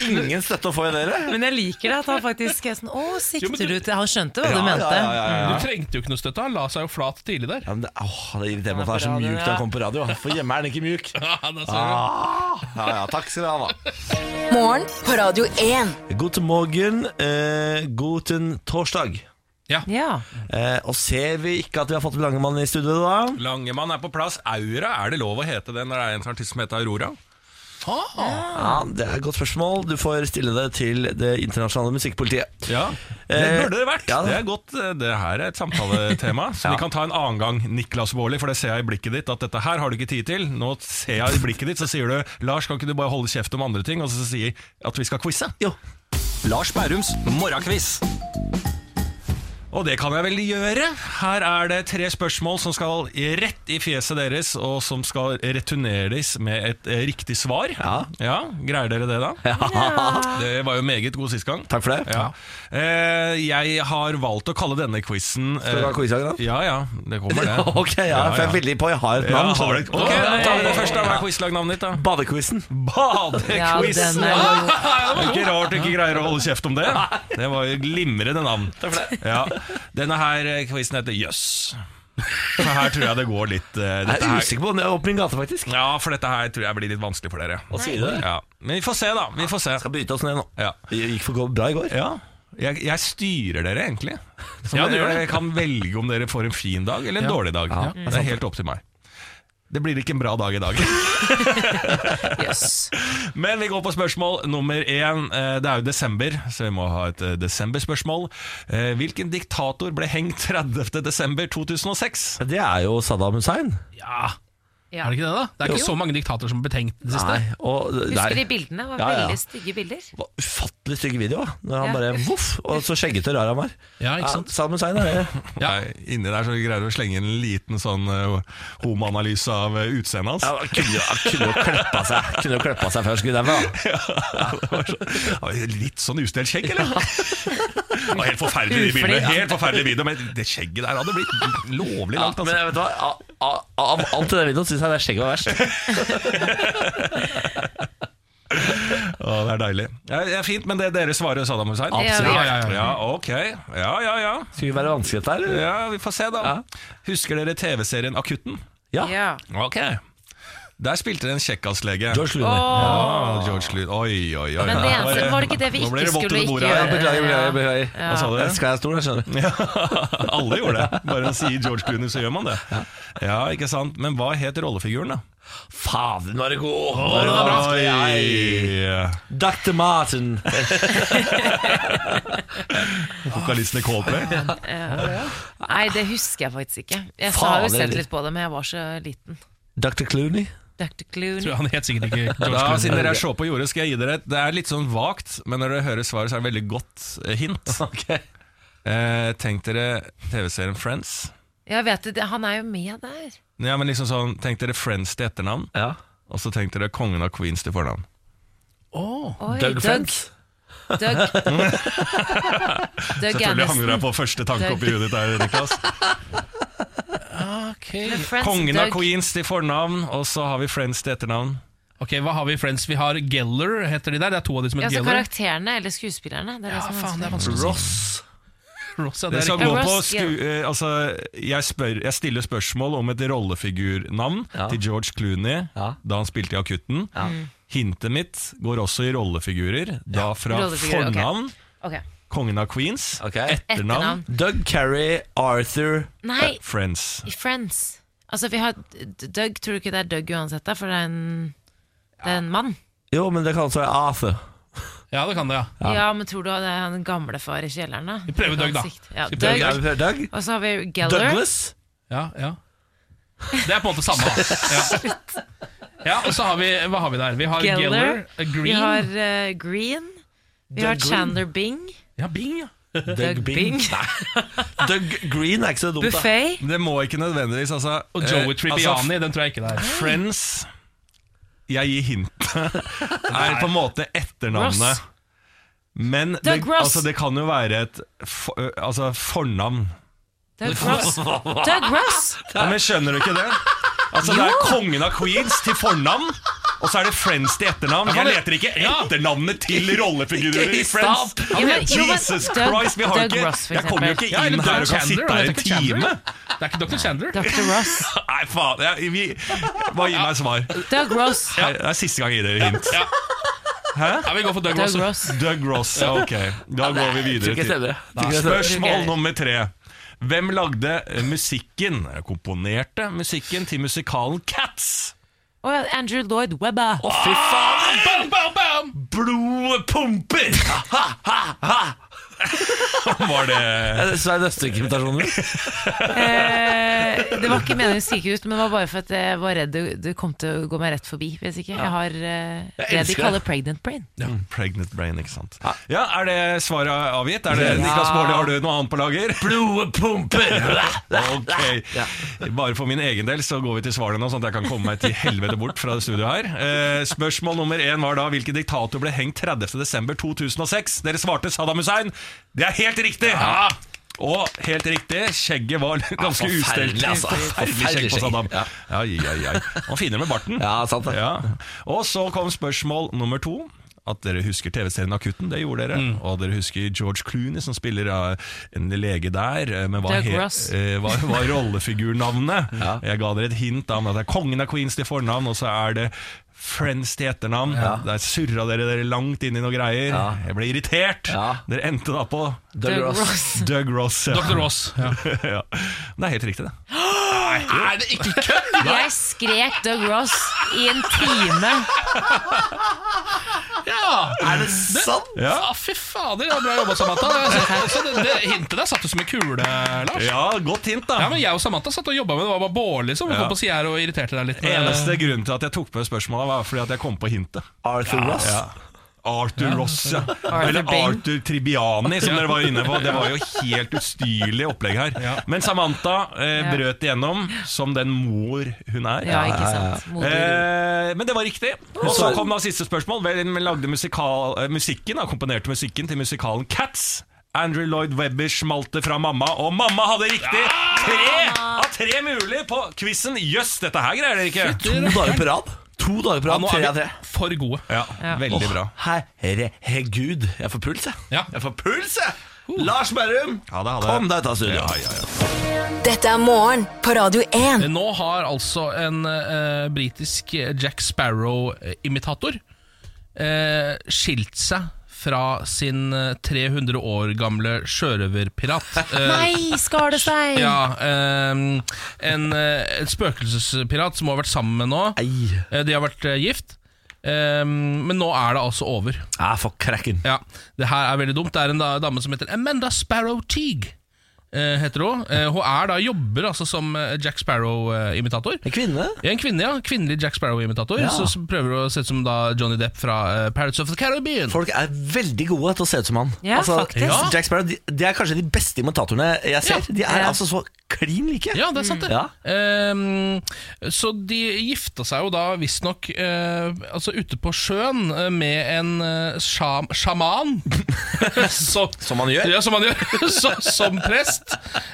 Speaker 1: Ingen støtte å få i dere.
Speaker 3: Men jeg liker det at han faktisk er sånn Å,
Speaker 2: men
Speaker 3: sikter
Speaker 2: du-
Speaker 3: du til Han skjønte hva du
Speaker 1: Ja,
Speaker 3: mente.
Speaker 1: ja, ja, ja, ja.
Speaker 2: Du trengte jo ikke noe støtte. Han la seg jo flat tidlig der.
Speaker 1: Ja, men det, åh, det irriterer meg at
Speaker 3: Han
Speaker 1: det
Speaker 3: er
Speaker 1: er så
Speaker 3: på radio,
Speaker 1: mjukt da
Speaker 3: ja.
Speaker 1: han kommer på radio. Hvorfor hjemme er han ikke mjuk?
Speaker 2: da ser du.
Speaker 1: Ah, ja, ja, takk skal du ha, da.
Speaker 4: Morgen på Radio 1.
Speaker 1: Guten morgen, eh, guten torsdag.
Speaker 3: Ja.
Speaker 1: Eh, og ser vi ikke at vi har fått Langemann i studio da?
Speaker 9: Langemann er på plass. Aura, er det lov å hete det når det er en sånn artist som heter Aurora?
Speaker 1: Ja, Det er et godt spørsmål. Du får stille det til det internasjonale musikkpolitiet.
Speaker 9: Ja, Det
Speaker 1: Eh,
Speaker 9: burde det vært.
Speaker 1: ja da.
Speaker 9: det er godt. eh, Det her er et samtaletema som vi kan ta en annen gang. Niklas Baarli, for det ser jeg i blikket ditt at dette her har du ikke tid til. Nå ser jeg i blikket ditt, så sier du 'Lars, kan ikke du bare holde kjeft om andre ting', og så sier jeg at vi skal quize?
Speaker 1: Jo.
Speaker 9: Lars Bærums morgenquiz. Og det kan jeg vel gjøre. Her er det tre spørsmål som skal rett i fjeset deres, og som skal returneres med et eh, riktig svar.
Speaker 1: Ja.
Speaker 9: Greier dere det, da? Det var jo meget god sist gang.
Speaker 1: Takk for det.
Speaker 9: Ja. Eh, jeg har valgt å kalle denne quizen eh,
Speaker 1: Skal du ha quizhagen, da?
Speaker 9: Ja ja, det kommer det.
Speaker 1: Ok, ja, for jeg er veldig på. Jeg har et
Speaker 9: ja,
Speaker 1: navn.
Speaker 9: har du,
Speaker 1: så-
Speaker 9: Ok, da tar vi det først. da. Hva er quizlagnavnet ditt, da?
Speaker 1: Badequizen.
Speaker 3: ja,
Speaker 9: Badequiz!
Speaker 2: Ah,
Speaker 3: den er jo
Speaker 9: Det er Ikke rart du ikke greier å holde kjeft om det. Det var jo glimrende navn. Ja. Denne her eh, quizen heter Jøss. For her tror jeg det går litt eh,
Speaker 1: Jeg
Speaker 9: dette
Speaker 1: er
Speaker 9: her,
Speaker 1: usikker på om det er opp min gate, faktisk.
Speaker 9: Ja, for dette her tror jeg blir litt vanskelig for dere.
Speaker 1: Hva sier du?
Speaker 9: Ja. Men vi får se, da. Vi får se.
Speaker 1: Skal bryte oss ned nå.
Speaker 9: Ja.
Speaker 1: Det gikk for bra i går.
Speaker 9: Ja, jeg, jeg styrer dere egentlig. Så
Speaker 2: Ja, du gjør
Speaker 9: dere
Speaker 2: det.
Speaker 9: kan velge om dere får en fin dag eller en dårlig dag. det er helt opp til meg. Det blir ikke en bra dag i dag.
Speaker 3: Jøss.
Speaker 9: Men vi går på spørsmål nummer én. Eh, Det er jo desember, så vi må ha et eh, desemberspørsmål. Eh, Hvilken diktator ble hengt 30. desember 2006?
Speaker 1: Det er jo Saddam Hussein.
Speaker 2: Ja,
Speaker 3: Ja.
Speaker 2: er det ikke det, da? Det er ikke så mange diktatorer som er betenkt det siste.
Speaker 1: Nei, og det
Speaker 3: Husker de
Speaker 1: der
Speaker 3: bildene? Det var
Speaker 1: Ja, ja.
Speaker 3: veldig stygge bilder.
Speaker 1: var ufattelig stygge video. da. Når han
Speaker 3: Ja.
Speaker 1: bare voff, og så skjeggete og rar han var.
Speaker 2: Ja, ikke sant?
Speaker 1: Saddam Hussein er det.
Speaker 2: Ja.
Speaker 9: Nei, Inni der så greier du å slenge inn en liten sånn eh, homoanalyse av eh, utseendet hans.
Speaker 1: Ja, han kunne jo- han kunne jo kleppa seg Kunne jo kleppa seg før han skulle derfra. da.
Speaker 9: Det var så- det var Litt sånn ustelt skjegg, eller? Det var helt forferdelig,
Speaker 3: Ufri,
Speaker 9: video,
Speaker 3: ja.
Speaker 9: helt forferdelig video, men det skjegget der hadde blitt lovlig
Speaker 1: Ja,
Speaker 9: langt.
Speaker 1: men
Speaker 9: Altså.
Speaker 1: vet du hva? Av, av, av alt i den videoen syns jeg det skjegget var verst.
Speaker 9: Å, det er deilig. Ja, det er fint, men det dere svarer Saddam Hussein?
Speaker 3: Ja, vi
Speaker 9: Ja,
Speaker 3: gjør
Speaker 9: ja, ja. ja, ok. Ja, ja, ja.
Speaker 1: Skulle være vanskelig dette her. eller?
Speaker 9: Ja, Vi får se, da. Husker dere TV-serien Akutten?
Speaker 1: Ja.
Speaker 3: Ja.
Speaker 9: Ok. Der spilte det en kjekkaslege.
Speaker 1: George Clooney.
Speaker 9: Ja, George Clooney. Oi, oi, oi.
Speaker 3: Men det
Speaker 9: Nå
Speaker 3: eneste, var det ikke det vi
Speaker 9: nå ble
Speaker 3: ikke
Speaker 9: vått
Speaker 3: skulle
Speaker 9: under
Speaker 3: ikke
Speaker 9: bordet
Speaker 1: Ja,
Speaker 9: her.
Speaker 3: gjøre?
Speaker 1: Beklager, beklager. beklager.
Speaker 9: Hva sa
Speaker 1: Jeg
Speaker 9: du?
Speaker 1: skal jeg er stor, jeg skjønner.
Speaker 9: Alle gjorde det. Bare en sier George Clooney, så gjør man det. Ja, ikke sant? Men hva het rollefiguren, da?
Speaker 1: Fader, nå er det god!
Speaker 9: Oi!
Speaker 1: Dr. Martin.
Speaker 9: Vokalisten i Coldplay.
Speaker 3: Nei, det husker jeg faktisk ikke. Jeg
Speaker 1: Fader.
Speaker 3: har jo sett litt på det, men jeg var så liten.
Speaker 1: Dr. Clooney.
Speaker 3: Dr.
Speaker 2: Tror
Speaker 3: Clooney.
Speaker 2: Han het sikkert ikke George
Speaker 9: Da, siden
Speaker 2: Clooney.
Speaker 9: dere er så på jordet, skal jeg gi dere et Det er litt sånn vagt, men når dere hører svaret, så er det et veldig godt eh, hint. Eh, tenk dere TV-serien Friends.
Speaker 3: Jeg vet det, han er jo med der.
Speaker 9: Ja, men liksom sånn, Tenk dere Friends til etternavn,
Speaker 1: Ja.
Speaker 9: og så tenk dere Kongen av Queens til fornavn.
Speaker 3: Oi,
Speaker 1: Doug Fence.
Speaker 3: Doug. Doug
Speaker 9: Selvfølgelig hang du
Speaker 3: Anderson.
Speaker 9: deg på første tanke oppi huet ditt der, Niklas.
Speaker 2: Ok.
Speaker 3: Friends,
Speaker 9: Kongen av
Speaker 3: Doug.
Speaker 9: Queens til fornavn, og så har vi Friends til etternavn.
Speaker 2: Ok, Hva har vi i Friends? Vi har Geller, heter de der. Det er to av de som
Speaker 3: Ja,
Speaker 2: heter
Speaker 3: så
Speaker 2: Geller.
Speaker 3: karakterene eller skuespillerne. Det er
Speaker 2: Ja,
Speaker 3: det som er
Speaker 2: faen, det er
Speaker 3: vanskelig.
Speaker 2: vanskelig å si.
Speaker 9: Ross.
Speaker 2: Ross, ja, det
Speaker 9: Det
Speaker 2: er
Speaker 9: skal
Speaker 2: riktig.
Speaker 9: gå
Speaker 3: Ja,
Speaker 9: på
Speaker 3: Ross,
Speaker 9: sku, eh, altså, jeg, spør, jeg stiller spørsmål om et rollefigurnavn
Speaker 1: Ja.
Speaker 9: til George Clooney
Speaker 1: Ja.
Speaker 9: da han spilte i Akutten.
Speaker 3: Mm.
Speaker 9: Hintet mitt går også i rollefigurer, da fra
Speaker 3: Rollefigurer, ok.
Speaker 9: fornavn,
Speaker 3: Ok.
Speaker 9: Kongen av Queens,
Speaker 1: Ok.
Speaker 9: etternavn, eh,
Speaker 3: Etternavn.
Speaker 1: Doug Carey, Arthur
Speaker 3: Nei,
Speaker 9: Friends.
Speaker 3: i Friends. Altså, vi har D- Doug, tror du ikke det er Doug uansett, da? For det er en, det er en mann.
Speaker 1: Jo, men det kan også være Arthur.
Speaker 2: Ja, det kan det, ja.
Speaker 3: Ja. men tror du det er han gamle far i kjelleren, da?
Speaker 2: Vi prøver Doug, da.
Speaker 3: Ja,
Speaker 2: Vi
Speaker 1: Doug,
Speaker 2: prøver
Speaker 1: er
Speaker 3: Doug.
Speaker 1: vi flere? Doug?
Speaker 3: Og så har vi Geller.
Speaker 1: Douglas?
Speaker 2: Ja, ja. Det er på en måte samme, da. Ja. ja, og så har vi Hva har vi der? Vi har
Speaker 3: Geller.
Speaker 2: Geller, eh,
Speaker 3: Vi
Speaker 2: Green
Speaker 3: har eh, Green. Vi
Speaker 1: Doug
Speaker 3: har
Speaker 1: Green.
Speaker 3: Chandler Bing.
Speaker 2: Ja, Bing, ja.
Speaker 3: Doug Bing.
Speaker 1: Doug Green er ikke så dumt, da.
Speaker 3: Buffet.
Speaker 9: Men Det må ikke nødvendigvis, altså.
Speaker 2: Og
Speaker 9: eh,
Speaker 2: Joey
Speaker 9: altså,
Speaker 2: Tribbiani, den tror jeg ikke det er.
Speaker 9: Friends Jeg gir hintet Er på en måte etternavnet
Speaker 3: Ross.
Speaker 9: Men det,
Speaker 3: Doug Ross.
Speaker 9: altså, det kan jo være et for, ø, altså, fornavn
Speaker 3: Doug Ross. Doug Ross.
Speaker 9: ja, Men skjønner du ikke det? Altså det er kongen av Queens til fornavn Og så er det Friends til etternavn Jeg leter ikke etternavnet til rollefigurer i Friends
Speaker 3: Ja, men- jo, men
Speaker 9: Jesus
Speaker 3: Doug-
Speaker 9: Christ vi har
Speaker 3: Doug
Speaker 9: ikke,
Speaker 3: Ross, for
Speaker 9: Jeg kommer jo
Speaker 3: eksempel.
Speaker 9: ikke
Speaker 2: Ja,
Speaker 9: inn
Speaker 2: eller Doug
Speaker 9: der og kan
Speaker 2: Chandler,
Speaker 9: sitte
Speaker 2: og
Speaker 9: her
Speaker 2: det
Speaker 9: en
Speaker 2: heter Chandler.
Speaker 9: time
Speaker 2: Det er ikke Dr. Chandler.
Speaker 3: Dr. Ross.
Speaker 9: Nei faen jeg, vi, Bare gi meg svar Det
Speaker 3: Doug Ross.
Speaker 9: er siste gang jeg gir dere hint
Speaker 2: Ja. Ja, vi går for Doug
Speaker 3: Doug
Speaker 2: Ross.
Speaker 3: Ross.
Speaker 9: Doug Ross, ja, ok. Da går vi
Speaker 1: Tror
Speaker 9: videre
Speaker 1: ikke jeg
Speaker 9: til
Speaker 1: stemmer. Tror ikke jeg stemmer.
Speaker 9: Spørsmål nummer tre. Hvem lagde musikken, komponerte musikken til musikalen Cats?
Speaker 3: Og Andrew Lloyd Webber.
Speaker 9: Fy faen,
Speaker 2: Bam, bam, bam!
Speaker 9: blodet pumper! Ha, ha, ha! Var det
Speaker 1: Eh, Er det Svein Østerrike-invitasjoner?
Speaker 3: Eh, det var ikke meningen å skrike ut, men det var bare for at jeg var redd det, det kom til å gå meg rett forbi. Hvis ikke. Jeg har eh, det de
Speaker 1: elsker
Speaker 3: kaller pregnant brain.
Speaker 9: Pregnant Brain, ikke sant. Ja, Er det svaret avgitt? Er det Niklas Baarli, har du noe annet på lager?
Speaker 1: Blodet pumper!
Speaker 9: Ok, Bare for min egen del så går vi til svarene nå, sånn at jeg kan komme meg til helvete bort fra det studioet her. Eh, spørsmål nummer én var da hvilken diktator ble hengt 30.12.2006? Dere svarte Saddam Hussein. Det er helt riktig! Og helt riktig, skjegget var ganske
Speaker 1: forferdelig,
Speaker 9: ustelt.
Speaker 1: altså.
Speaker 9: Forferdelig skjegg på
Speaker 1: Forferdelig
Speaker 9: Saddam.
Speaker 1: skjegg,
Speaker 9: Ai, ai, ai. Han finner med barten.
Speaker 1: Ja, sant det.
Speaker 9: Ja. Og så kom spørsmål nummer to. At dere husker TV-serien Akutten, det gjorde dere.
Speaker 1: Mm.
Speaker 9: Og dere husker George Clooney som spiller eh, en lege der. eh, Men hva,
Speaker 3: Doug
Speaker 9: he-
Speaker 3: Ross.
Speaker 9: eh, hva var rollefigurnavnet? Jeg ga dere et hint om at det er kongen av Queens til fornavn, og så er det Friends til etternavn. Der surra dere dere langt inn i noe greier. Jeg ble irritert.
Speaker 1: Ja.
Speaker 9: Dere endte da på
Speaker 1: Doug
Speaker 3: Doug
Speaker 1: Ross.
Speaker 3: Ross.
Speaker 9: Doug Ross. Ja.
Speaker 2: Dr. Ross. Ja.
Speaker 9: ja. Det er helt riktig, det.
Speaker 2: Er det ikke kødd?!
Speaker 3: Jeg skrek Doug Ross i en time.
Speaker 2: Ja!
Speaker 1: Er det sant?
Speaker 9: Ja.
Speaker 2: Ja, fy fader, det er bra jobba, Samantha. Altså, det, det hintet der satt du som en kule, Lars.
Speaker 9: ja, godt hint, da.
Speaker 2: Ja, men Jeg og Samantha satt og jobba med det. Det var bare Bårli som kom på sida her og irriterte deg litt. med-
Speaker 9: Eneste grunnen til at jeg tok med spørsmålet, var fordi at jeg kom på hintet.
Speaker 1: Arthur Ross?
Speaker 9: Arthur Ross, ja. Eller
Speaker 3: Bing.
Speaker 9: Arthur Tribiani, som dere var inne på. Det var jo helt ustyrlig opplegg her. Men Samantha eh,
Speaker 3: Ja.
Speaker 9: brøt igjennom som den mor hun er.
Speaker 3: Ja, ikke sant. Moder.
Speaker 9: Eh, men det var riktig. Og så kom da siste spørsmål. Hvem lagde musikal, eh, musikken, da, komponerte musikken til musikalen Cats? Andrew Lloyd Webber smalte fra mamma, og mamma hadde riktig! Tre av tre mulig på quizen! Jøss, dette her greier dere ikke!
Speaker 1: To dager på rad? To dager på
Speaker 2: Ja,
Speaker 1: rad,
Speaker 2: nå
Speaker 1: tre
Speaker 2: er
Speaker 1: av
Speaker 2: vi
Speaker 1: tre.
Speaker 2: for gode.
Speaker 9: Ja, veldig bra.
Speaker 1: Herregud, jeg får puls, jeg.
Speaker 2: Ja. Uh.
Speaker 1: Jeg får puls, jeg! Lars Berrum,
Speaker 9: Ja, det hadde-
Speaker 1: kom deg ut av studio.
Speaker 9: Ja, ja, ja.
Speaker 4: Dette er morgen på Radio 1.
Speaker 2: Nå har altså en eh, britisk Jack Sparrow-imitator eh, skilt seg fra sin eh, 300 år gamle sjørøverpirat. Eh,
Speaker 3: Nei, skar det seg!
Speaker 2: Ja, ehm, en, eh, en spøkelsespirat som hun har vært sammen med nå.
Speaker 1: Ei.
Speaker 2: Eh, De har vært eh, gift. Ehm, men nå er det altså over.
Speaker 1: Ja, for krakken.
Speaker 2: Ja, Det her er veldig dumt. Det er en da, dame som heter Amanda Sparrow Teague. eh, heter hun. Eh, hun er da jobber altså som eh, Jack Sparrow-imitator.
Speaker 1: En kvinne?
Speaker 2: En kvinne, ja. Kvinnelig Jack Sparrow-imitator.
Speaker 1: Ja.
Speaker 2: Så, som prøver å se ut som da Johnny Depp fra eh, Pirates of the Caribbean.
Speaker 1: Folk er veldig gode til å se ut som han. Altså,
Speaker 3: Ja, faktisk.
Speaker 2: Ja.
Speaker 1: Jack Sparrow de, de er kanskje de beste imitatorene jeg ser.
Speaker 2: Ja.
Speaker 1: De er
Speaker 3: Ja.
Speaker 1: altså så klin like.
Speaker 2: Ja, det er sant det.
Speaker 1: Ja.
Speaker 2: Ehm, så de gifta seg jo da visstnok uh, altså ute på sjøen eh, med en eh, sjam, sjaman. som,
Speaker 1: Som man gjør.
Speaker 2: Ja, som han gjør. som, som prest.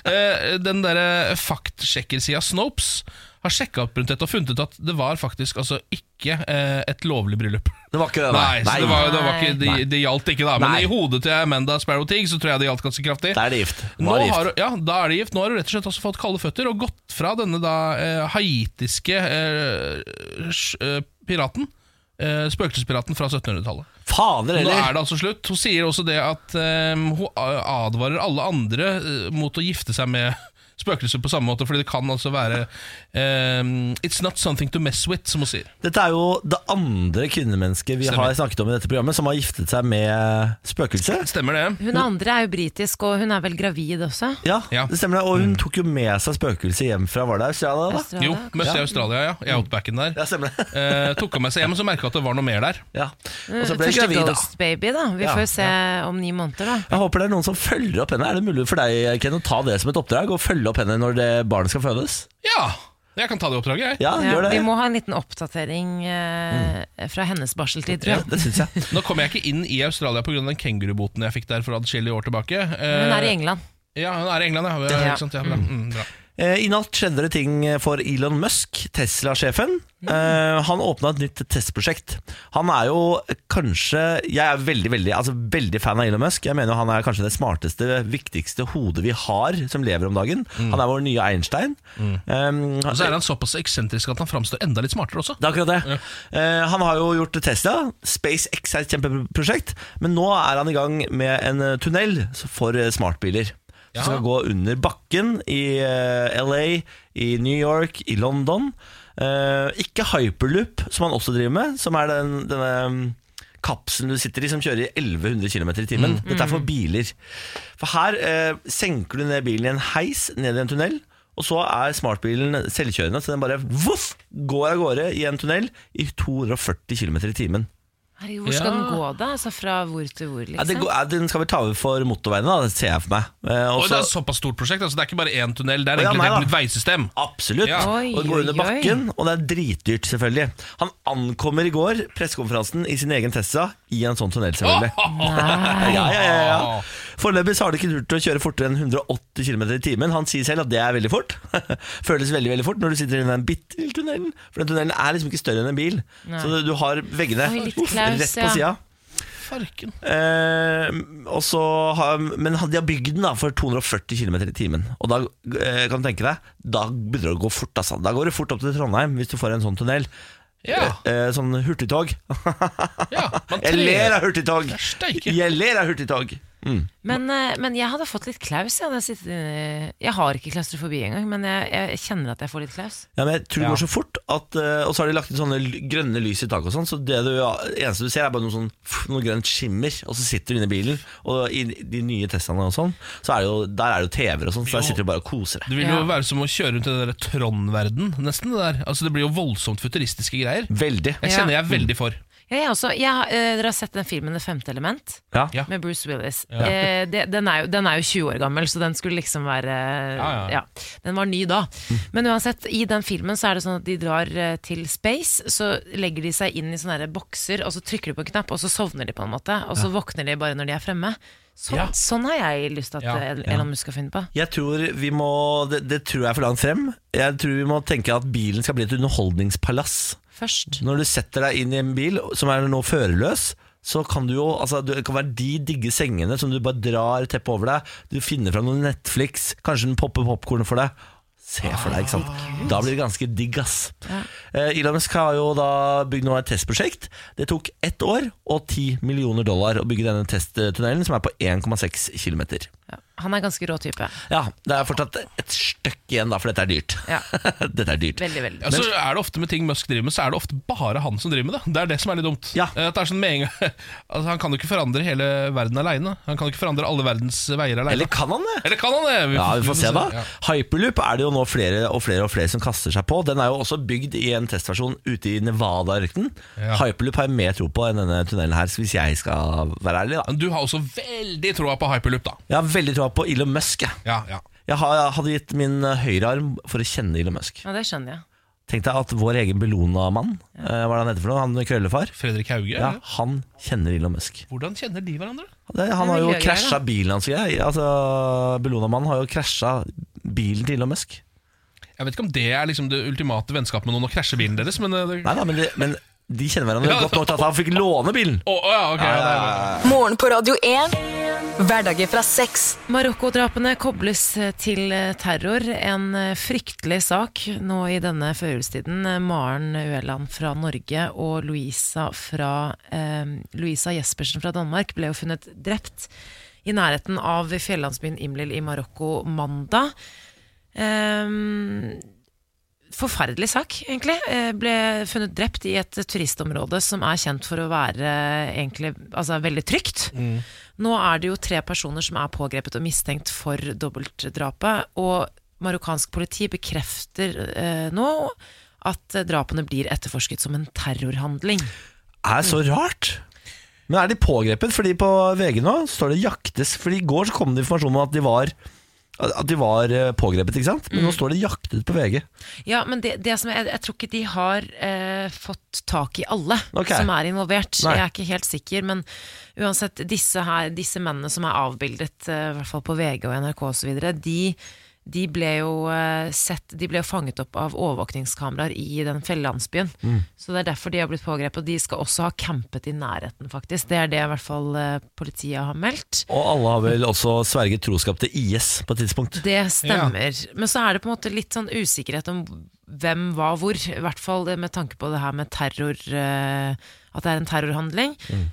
Speaker 2: Eh, den derre faktsjekkersida Snopes har sjekka opp rundt dette og funnet ut at det var faktisk altså ikke eh, et lovlig bryllup.
Speaker 1: Det var ikke det,
Speaker 2: Nei, så det, var, det, var ikke,
Speaker 1: Nei.
Speaker 2: det, det gjaldt ikke, da. Men
Speaker 1: Nei.
Speaker 2: i hodet til Amanda Sparrow Teague så tror jeg det gjaldt ganske kraftig.
Speaker 1: Da er det gift.
Speaker 2: Nå
Speaker 1: Var gift.
Speaker 2: har, hun- ja, da er det gift. Nå har hun rett og slett også fått kalde føtter og gått fra denne da eh, haitiske eh, sj- eh, piraten. Eh, spøkelsespiraten fra 1700-tallet.
Speaker 1: Fader
Speaker 2: Nå er
Speaker 1: heller.
Speaker 2: det altså slutt. Hun sier også det at eh, hun a- advarer alle andre eh, mot å gifte seg med spøkelser på samme måte, fordi det kan altså være eh, It's not something to mess with, som hun sier.
Speaker 1: Dette er jo det andre kvinnemennesket vi
Speaker 2: Stemmer.
Speaker 1: har snakket om i dette programmet, som har giftet seg med spøkelse.
Speaker 2: Stemmer det?
Speaker 3: Hun andre er jo britisk, og hun er vel gravid også?
Speaker 1: Ja,
Speaker 2: Ja.
Speaker 1: det stemmer det. Og hun tok jo med seg spøkelset hjem fra Var det Australia, da?
Speaker 3: Australia?
Speaker 2: Jo, møtte jeg i Australia, ja.
Speaker 1: Mm.
Speaker 2: I outbacken der.
Speaker 1: Ja, stemmer det.
Speaker 2: Eh, tok hun med seg hjem, og så merka jeg at det var noe mer der.
Speaker 1: Ja. Og så ble hun
Speaker 3: Første
Speaker 1: gravid, da.
Speaker 3: Ghost Baby, da. Vi
Speaker 1: Ja,
Speaker 3: får jo se om ni måneder, da.
Speaker 1: Jeg håper det er noen som følger opp henne. Er det mulig for deg Ken, å ta det som et oppdrag og følge opp henne når det barnet skal fødes?
Speaker 2: Ja, jeg kan ta det oppdraget, jeg.
Speaker 1: Ja,
Speaker 3: Ja,
Speaker 1: gjør det. Mm.
Speaker 3: vi må ha en liten oppdatering eh, fra hennes barseltid, tror
Speaker 1: Ja,
Speaker 3: jeg.
Speaker 1: det syns jeg.
Speaker 2: Nå kom jeg ikke inn i Australia pga. den kenguruboten jeg fikk der for adskillige år tilbake. Eh,
Speaker 3: Hun er i England.
Speaker 2: Ja, hun er i England, ja. ja.
Speaker 3: Ja.
Speaker 2: Ikke sant? ja bra. Mm, bra.
Speaker 1: Eh, I natt skjedde det ting for Elon Musk, Tesla-sjefen.
Speaker 2: Mm.
Speaker 1: Eh, han åpna et nytt testprosjekt. Han er jo kanskje Jeg er veldig veldig, altså veldig fan av Elon Musk. Jeg mener jo han er kanskje det smarteste, viktigste hodet vi har som lever om dagen. Han er vår nye Einstein. Eh,
Speaker 2: Mm. Og så er han såpass eksentrisk at han framstår enda litt smartere også.
Speaker 1: Det er akkurat det. Eh, han har jo gjort Tesla. SpaceX er et kjempeprosjekt. Men nå er han i gang med en eh, tunnel for eh, smartbiler. Som skal gå under bakken i eh, LA, i New York, i London. Eh, ikke hyperloop, som han også driver med, som er den, denne mm, kapselen du sitter i som kjører i 1100 km i timen.
Speaker 2: Mm.
Speaker 1: Dette er for biler. For her eh, senker du ned bilen i en heis ned i en tunnel, og så er smartbilen selvkjørende, så den bare voff, går av gårde i en tunnel i 240 km i timen.
Speaker 3: Herregud, hvor skal
Speaker 2: Ja.
Speaker 3: den gå, da? Altså fra hvor til hvor,
Speaker 1: Ja, det
Speaker 3: liksom?
Speaker 1: går, ja, den skal vi ta over for motorveiene, da, det ser jeg for meg. Eh,
Speaker 2: Og
Speaker 1: og
Speaker 2: det
Speaker 1: så-
Speaker 2: er et såpass stort prosjekt, altså det er ikke bare én tunnel, det er
Speaker 1: Å, ja,
Speaker 2: egentlig
Speaker 1: nei
Speaker 2: et helt
Speaker 1: da.
Speaker 2: nytt veisystem.
Speaker 1: Absolutt.
Speaker 2: Ja.
Speaker 3: Oi,
Speaker 1: og det går under
Speaker 3: oi, oi.
Speaker 1: bakken, og det er dritdyrt, selvfølgelig. Han ankommer i går pressekonferansen i sin egen Tesla i en sånn tunnel, selvfølgelig. ja, ja, ja, ja. Foreløpig så har de ikke turt å kjøre fortere enn 180 km i timen. Han sier selv at det er veldig fort. Føles veldig veldig fort når du sitter i den bitte lille tunnelen. For den tunnelen er liksom ikke større enn en bil. Så du- du har veggene
Speaker 3: Oi, litt
Speaker 1: uff,
Speaker 3: klaus,
Speaker 1: rett på
Speaker 3: ja.
Speaker 1: sida.
Speaker 2: Farken.
Speaker 1: Eh, og så har, men de har bygd den da for 240 km i timen. Og da eh, kan du tenke deg Da begynner det å gå fort. Altså. Da går det fort opp til Trondheim hvis du får en sånn tunnel.
Speaker 2: Ja,
Speaker 1: Eh, eh, sånn hurtigtog.
Speaker 2: ja. Man
Speaker 1: Jeg ler
Speaker 2: trer
Speaker 1: av hurtigtog!
Speaker 2: Steike.
Speaker 1: Jeg ler av hurtigtog!
Speaker 3: Men, eh, men jeg hadde fått litt klaus. Jeg, hadde sittet, inne- jeg har ikke klaustrofobi engang, men jeg, jeg kjenner at jeg får litt klaus.
Speaker 1: Ja, men jeg tror det går så fort at, eh, Og så har de lagt inn sånne l- grønne lys i taket og sånn Så det du, ja, eneste du ser er bare noe, sånn, pff, noe grønt skimmer Og så sitter du inne i bilen Og i de nye testene og sånn så er det jo, Der er det jo TV-er og sånn Så der sitter du bare og koser deg
Speaker 2: Det vil jo
Speaker 3: Ja.
Speaker 2: være som å kjøre rundt i den der Trond-verden, nesten. Det der Altså det blir jo voldsomt futuristiske greier.
Speaker 1: Veldig
Speaker 2: Jeg
Speaker 3: Ja.
Speaker 2: kjenner jeg er veldig for.
Speaker 3: Ja, jeg også, jeg, har- eh, dere har sett den filmen 'Det femte element'?
Speaker 1: Ja.
Speaker 2: Ja.
Speaker 3: Med Bruce Willis. Eh, det, den, er jo, den er jo 20 år gammel, så den skulle liksom være
Speaker 2: Ja, ja.
Speaker 3: ja, Den var ny da. Men uansett, i den filmen så er det sånn at de drar eh, til space, så legger de seg inn i sånne her bokser, og så trykker de på en knapp, og så sovner de på en måte. Og så våkner de bare når de er fremme. Sånn,
Speaker 2: Ja.
Speaker 3: sånn har jeg lyst til at
Speaker 2: Ja,
Speaker 3: eh, Elon Musk skal finne på.
Speaker 1: Jeg tror vi må det, det tror jeg er for langt frem Jeg tror vi må tenke at bilen skal bli et underholdningspalass
Speaker 3: Først.
Speaker 1: Når du setter deg inn i en bil Som er nå førerløs Så kan du jo altså, Det kan være de digge sengene Som du bare drar teppet over deg Du finner fram noen Netflix Kanskje den popper popcorn for deg Se for deg, ikke sant? Da blir det ganske digg, ass. Eh, Elon Musk har jo da bygd nå et testprosjekt. Det tok ett år og 10 millioner dollar å bygge denne testtunnelen, som er på 1,6 kilometer.
Speaker 3: Ja. Han er ganske rå type.
Speaker 1: Ja, det er fortsatt et støkk igjen da, for dette er dyrt.
Speaker 3: Ja.
Speaker 1: dette er dyrt.
Speaker 3: Veldig, veldig.
Speaker 2: Ja, så er det ofte med ting Musk driver med, så er det ofte bare han som driver med det. Det er det som er litt dumt.
Speaker 1: Ja.
Speaker 2: Eh, At det er sånn med en gang altså, Han kan jo ikke forandre hele verden aleine. Han kan jo ikke forandre alle verdens veier aleine.
Speaker 1: Eller kan han det?
Speaker 2: Eller kan han det?
Speaker 1: Ja, vi får se da.
Speaker 2: Ja.
Speaker 1: Hyperloop er det jo nå flere og flere og flere som kaster seg på. Den er jo også bygd i en testversjon ute i Nevada-ørkenen.
Speaker 2: Ja.
Speaker 1: Hyperloop har jeg mer tro på enn denne tunnelen her, hvis jeg skal være ærlig, da.
Speaker 2: Men du har også veldig troa på hyperloop, da.
Speaker 1: Jeg har veldig tro på Elon Musk, jeg.
Speaker 2: Ja, ja.
Speaker 1: Jeg ha- jeg hadde gitt min eh, høyrearm for å kjenne Elon Musk.
Speaker 3: Ja, det skjønner jeg.
Speaker 1: Tenk deg at vår egen Bellona-mann, eh, hva er det han heter for noe? Han krøllefar?
Speaker 2: Fredrik Hauge?
Speaker 1: Ja,
Speaker 2: eller?
Speaker 1: han kjenner Elon Musk.
Speaker 2: Hvordan kjenner de hverandre?
Speaker 1: Det, han har jo
Speaker 3: miljøgreier,
Speaker 1: krasja
Speaker 3: da.
Speaker 1: bilen hans. og greier. Altså, Bellona-mannen har jo krasja bilen til Elon Musk.
Speaker 2: Jeg vet ikke om det er liksom det ultimate vennskapet med noen å krasje bilen deres, men eh, det...
Speaker 1: Nei da, men, de- men de kjenner hverandre
Speaker 2: Ja.
Speaker 1: godt nok til at han fikk låne bilen.
Speaker 2: Å, å, ja, ok, ja, det er-
Speaker 4: Morgen på Radio 1. Hverdager fra seks.
Speaker 3: Marokko-drapene kobles til terror. En fryktelig sak nå i denne førjulstiden. Maren Ueland fra Norge og Louisa, fra, eh, Louisa Jespersen fra Danmark ble jo funnet drept i nærheten av fjellandsbyen Imlil i Marokko mandag. Eh, forferdelig sak, egentlig. Eh, Ble funnet drept i et turistområde som er kjent for å være eh, egentlig, altså, veldig trygt. Nå er det jo tre personer som er pågrepet og mistenkt for dobbeltdrapet, og marokkansk politi bekrefter eh, nå at eh, drapene blir etterforsket som en terrorhandling.
Speaker 1: er så rart. Men er de pågrepet? Fordi på VG nå står det 'jaktes'. Fordi i går så kom det informasjon om at de var at de var eh, pågrepet, ikke sant? Men nå står det 'jaktet' på VG.
Speaker 3: Ja, men det, det som jeg, jeg tror ikke de har eh, fått tak i alle
Speaker 1: Ok.
Speaker 3: som er involvert.
Speaker 1: Nei.
Speaker 3: Jeg er ikke helt sikker, men uansett, disse, her, disse mennene som er avbildet, eh, i hvert fall på VG og NRK osv., de, de ble jo eh, sett De ble jo fanget opp av overvåkningskameraer i den fjellandsbyen.
Speaker 1: Mm.
Speaker 3: Så det er derfor de har blitt pågrepet. Og de skal også ha campet i nærheten, faktisk. Det er det i hvert fall eh, politiet har meldt.
Speaker 1: Og alle har vel også sverget troskap til IS på et tidspunkt.
Speaker 3: Det stemmer. Men så er det på en måte litt sånn usikkerhet om hvem, hva, hvor. I hvert fall det med tanke på det her med terror eh, At det er en terrorhandling.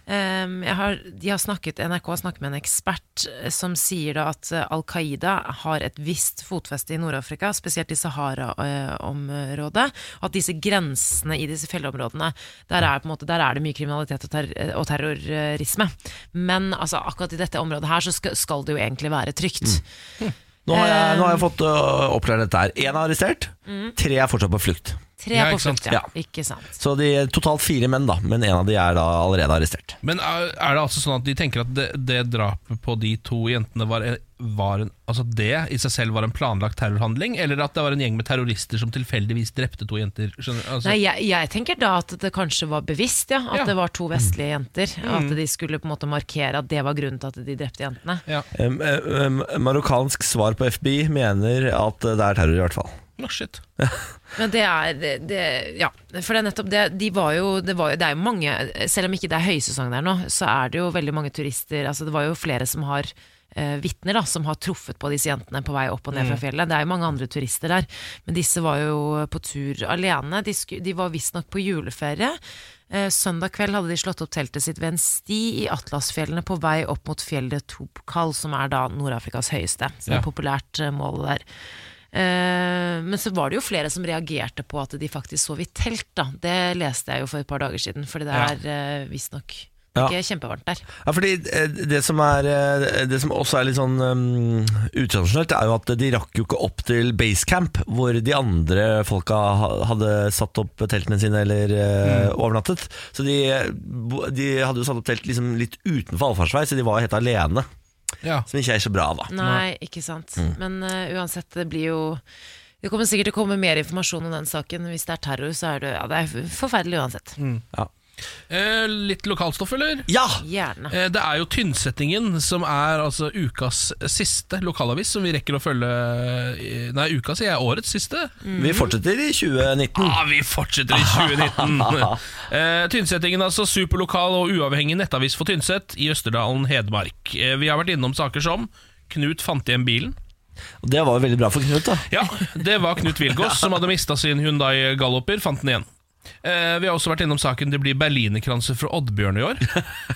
Speaker 3: Em, jeg har, de har snakket, NRK har snakket med en ekspert eh, som sier da at eh, Al Qaida har et visst fotfeste i Nord-Afrika, spesielt i Sahara-området. At disse grensene i disse fjellområdene Der er, på en måte, der er det mye kriminalitet og, ter og terrorisme. Men altså, akkurat i dette området her så skal, skal det jo egentlig være trygt.
Speaker 1: Nå har jeg, nå har jeg fått øh, oppklart dette her. Én er arrestert, tre er fortsatt på flukt.
Speaker 3: Tre
Speaker 2: Ja,
Speaker 3: på
Speaker 2: ikke sant?
Speaker 3: flukt, ja.
Speaker 1: Ja.
Speaker 3: Ikke sant.
Speaker 1: Så de, totalt fire menn, da. Men én av de er da allerede arrestert.
Speaker 2: Men er er det altså sånn at de tenker at det, det drapet på de to jentene var, var en, Altså det i seg selv var en planlagt terrorhandling, eller at det var en gjeng med terrorister som tilfeldigvis drepte to jenter? Skjønner, altså,
Speaker 3: Nei, jeg, jeg tenker da at det kanskje var bevisst, ja. At
Speaker 2: Ja.
Speaker 3: det var to vestlige jenter. At de skulle på en måte markere at det var grunnen til at de drepte jentene.
Speaker 2: ja.
Speaker 1: Um, um, marokkansk svar på FBI mener at det er terror, i hvert fall.
Speaker 2: Nå, shit.
Speaker 3: Men det er det, det- Ja. For det er nettopp det. De var jo, det, var jo, det er jo mange Selv om ikke det er høysesong der nå, så er det jo veldig mange turister altså Det var jo flere som har eh, vitner da, som har truffet på disse jentene på vei opp og ned fra fjellet. Det er jo mange andre turister der, men disse var jo på tur alene. De, sku, de var visstnok på juleferie. Eh, søndag kveld hadde de slått opp teltet sitt ved en sti i Atlasfjellene på vei opp mot fjellet Tobkal, som er da Nord-Afrikas høyeste. Så det er
Speaker 2: Ja.
Speaker 3: et populært eh, mål der. Eh, men så var det jo flere som reagerte på at de faktisk sov i telt. da Det leste jeg jo for et par dager siden, Fordi det er ja. visstnok
Speaker 1: Ja.
Speaker 3: ikke kjempevarmt der.
Speaker 1: Ja, fordi eh, det som, er, eh, det som også er litt sånn um, utradisjonelt, er jo at de rakk jo ikke opp til basecamp, hvor de andre folka ha- hadde satt opp teltene sine eller eh,
Speaker 2: Mm.
Speaker 1: overnattet. Så de, eh, bo- de hadde jo satt opp telt liksom litt utenfor allfartsvei, så de var helt alene.
Speaker 2: Ja.
Speaker 1: Som ikke er så bra, da.
Speaker 3: Nei, ikke sant.
Speaker 1: Mm.
Speaker 3: Men eh, uansett, det blir jo Det kommer sikkert til å komme mer informasjon om den saken. Hvis det er terror, så er det, ja, det er forferdelig uansett.
Speaker 1: Mm.
Speaker 2: Eh, litt lokalstoff, eller?
Speaker 1: Ja!
Speaker 3: Gjerne.
Speaker 2: Eh, Det er jo Tynnsettingen som er altså ukas siste lokalavis som vi rekker å følge i- Nei, ukas sier jeg, årets siste.
Speaker 1: Vi fortsetter i 2019.
Speaker 2: Ah, vi fortsetter i 2019! eh, Tynsettingen er altså superlokal og uavhengig nettavis for Tynset i Østerdalen, Hedmark. Eh, vi har vært innom saker som Knut fant igjen bilen.
Speaker 1: Og det var jo veldig bra for Knut, da.
Speaker 2: Ja, det var Knut Vilgås som hadde mista sin Hyundai Galloper, fant den igjen. Eh, vi har også vært innom saken det blir berlinerkranser fra Oddbjørn i år.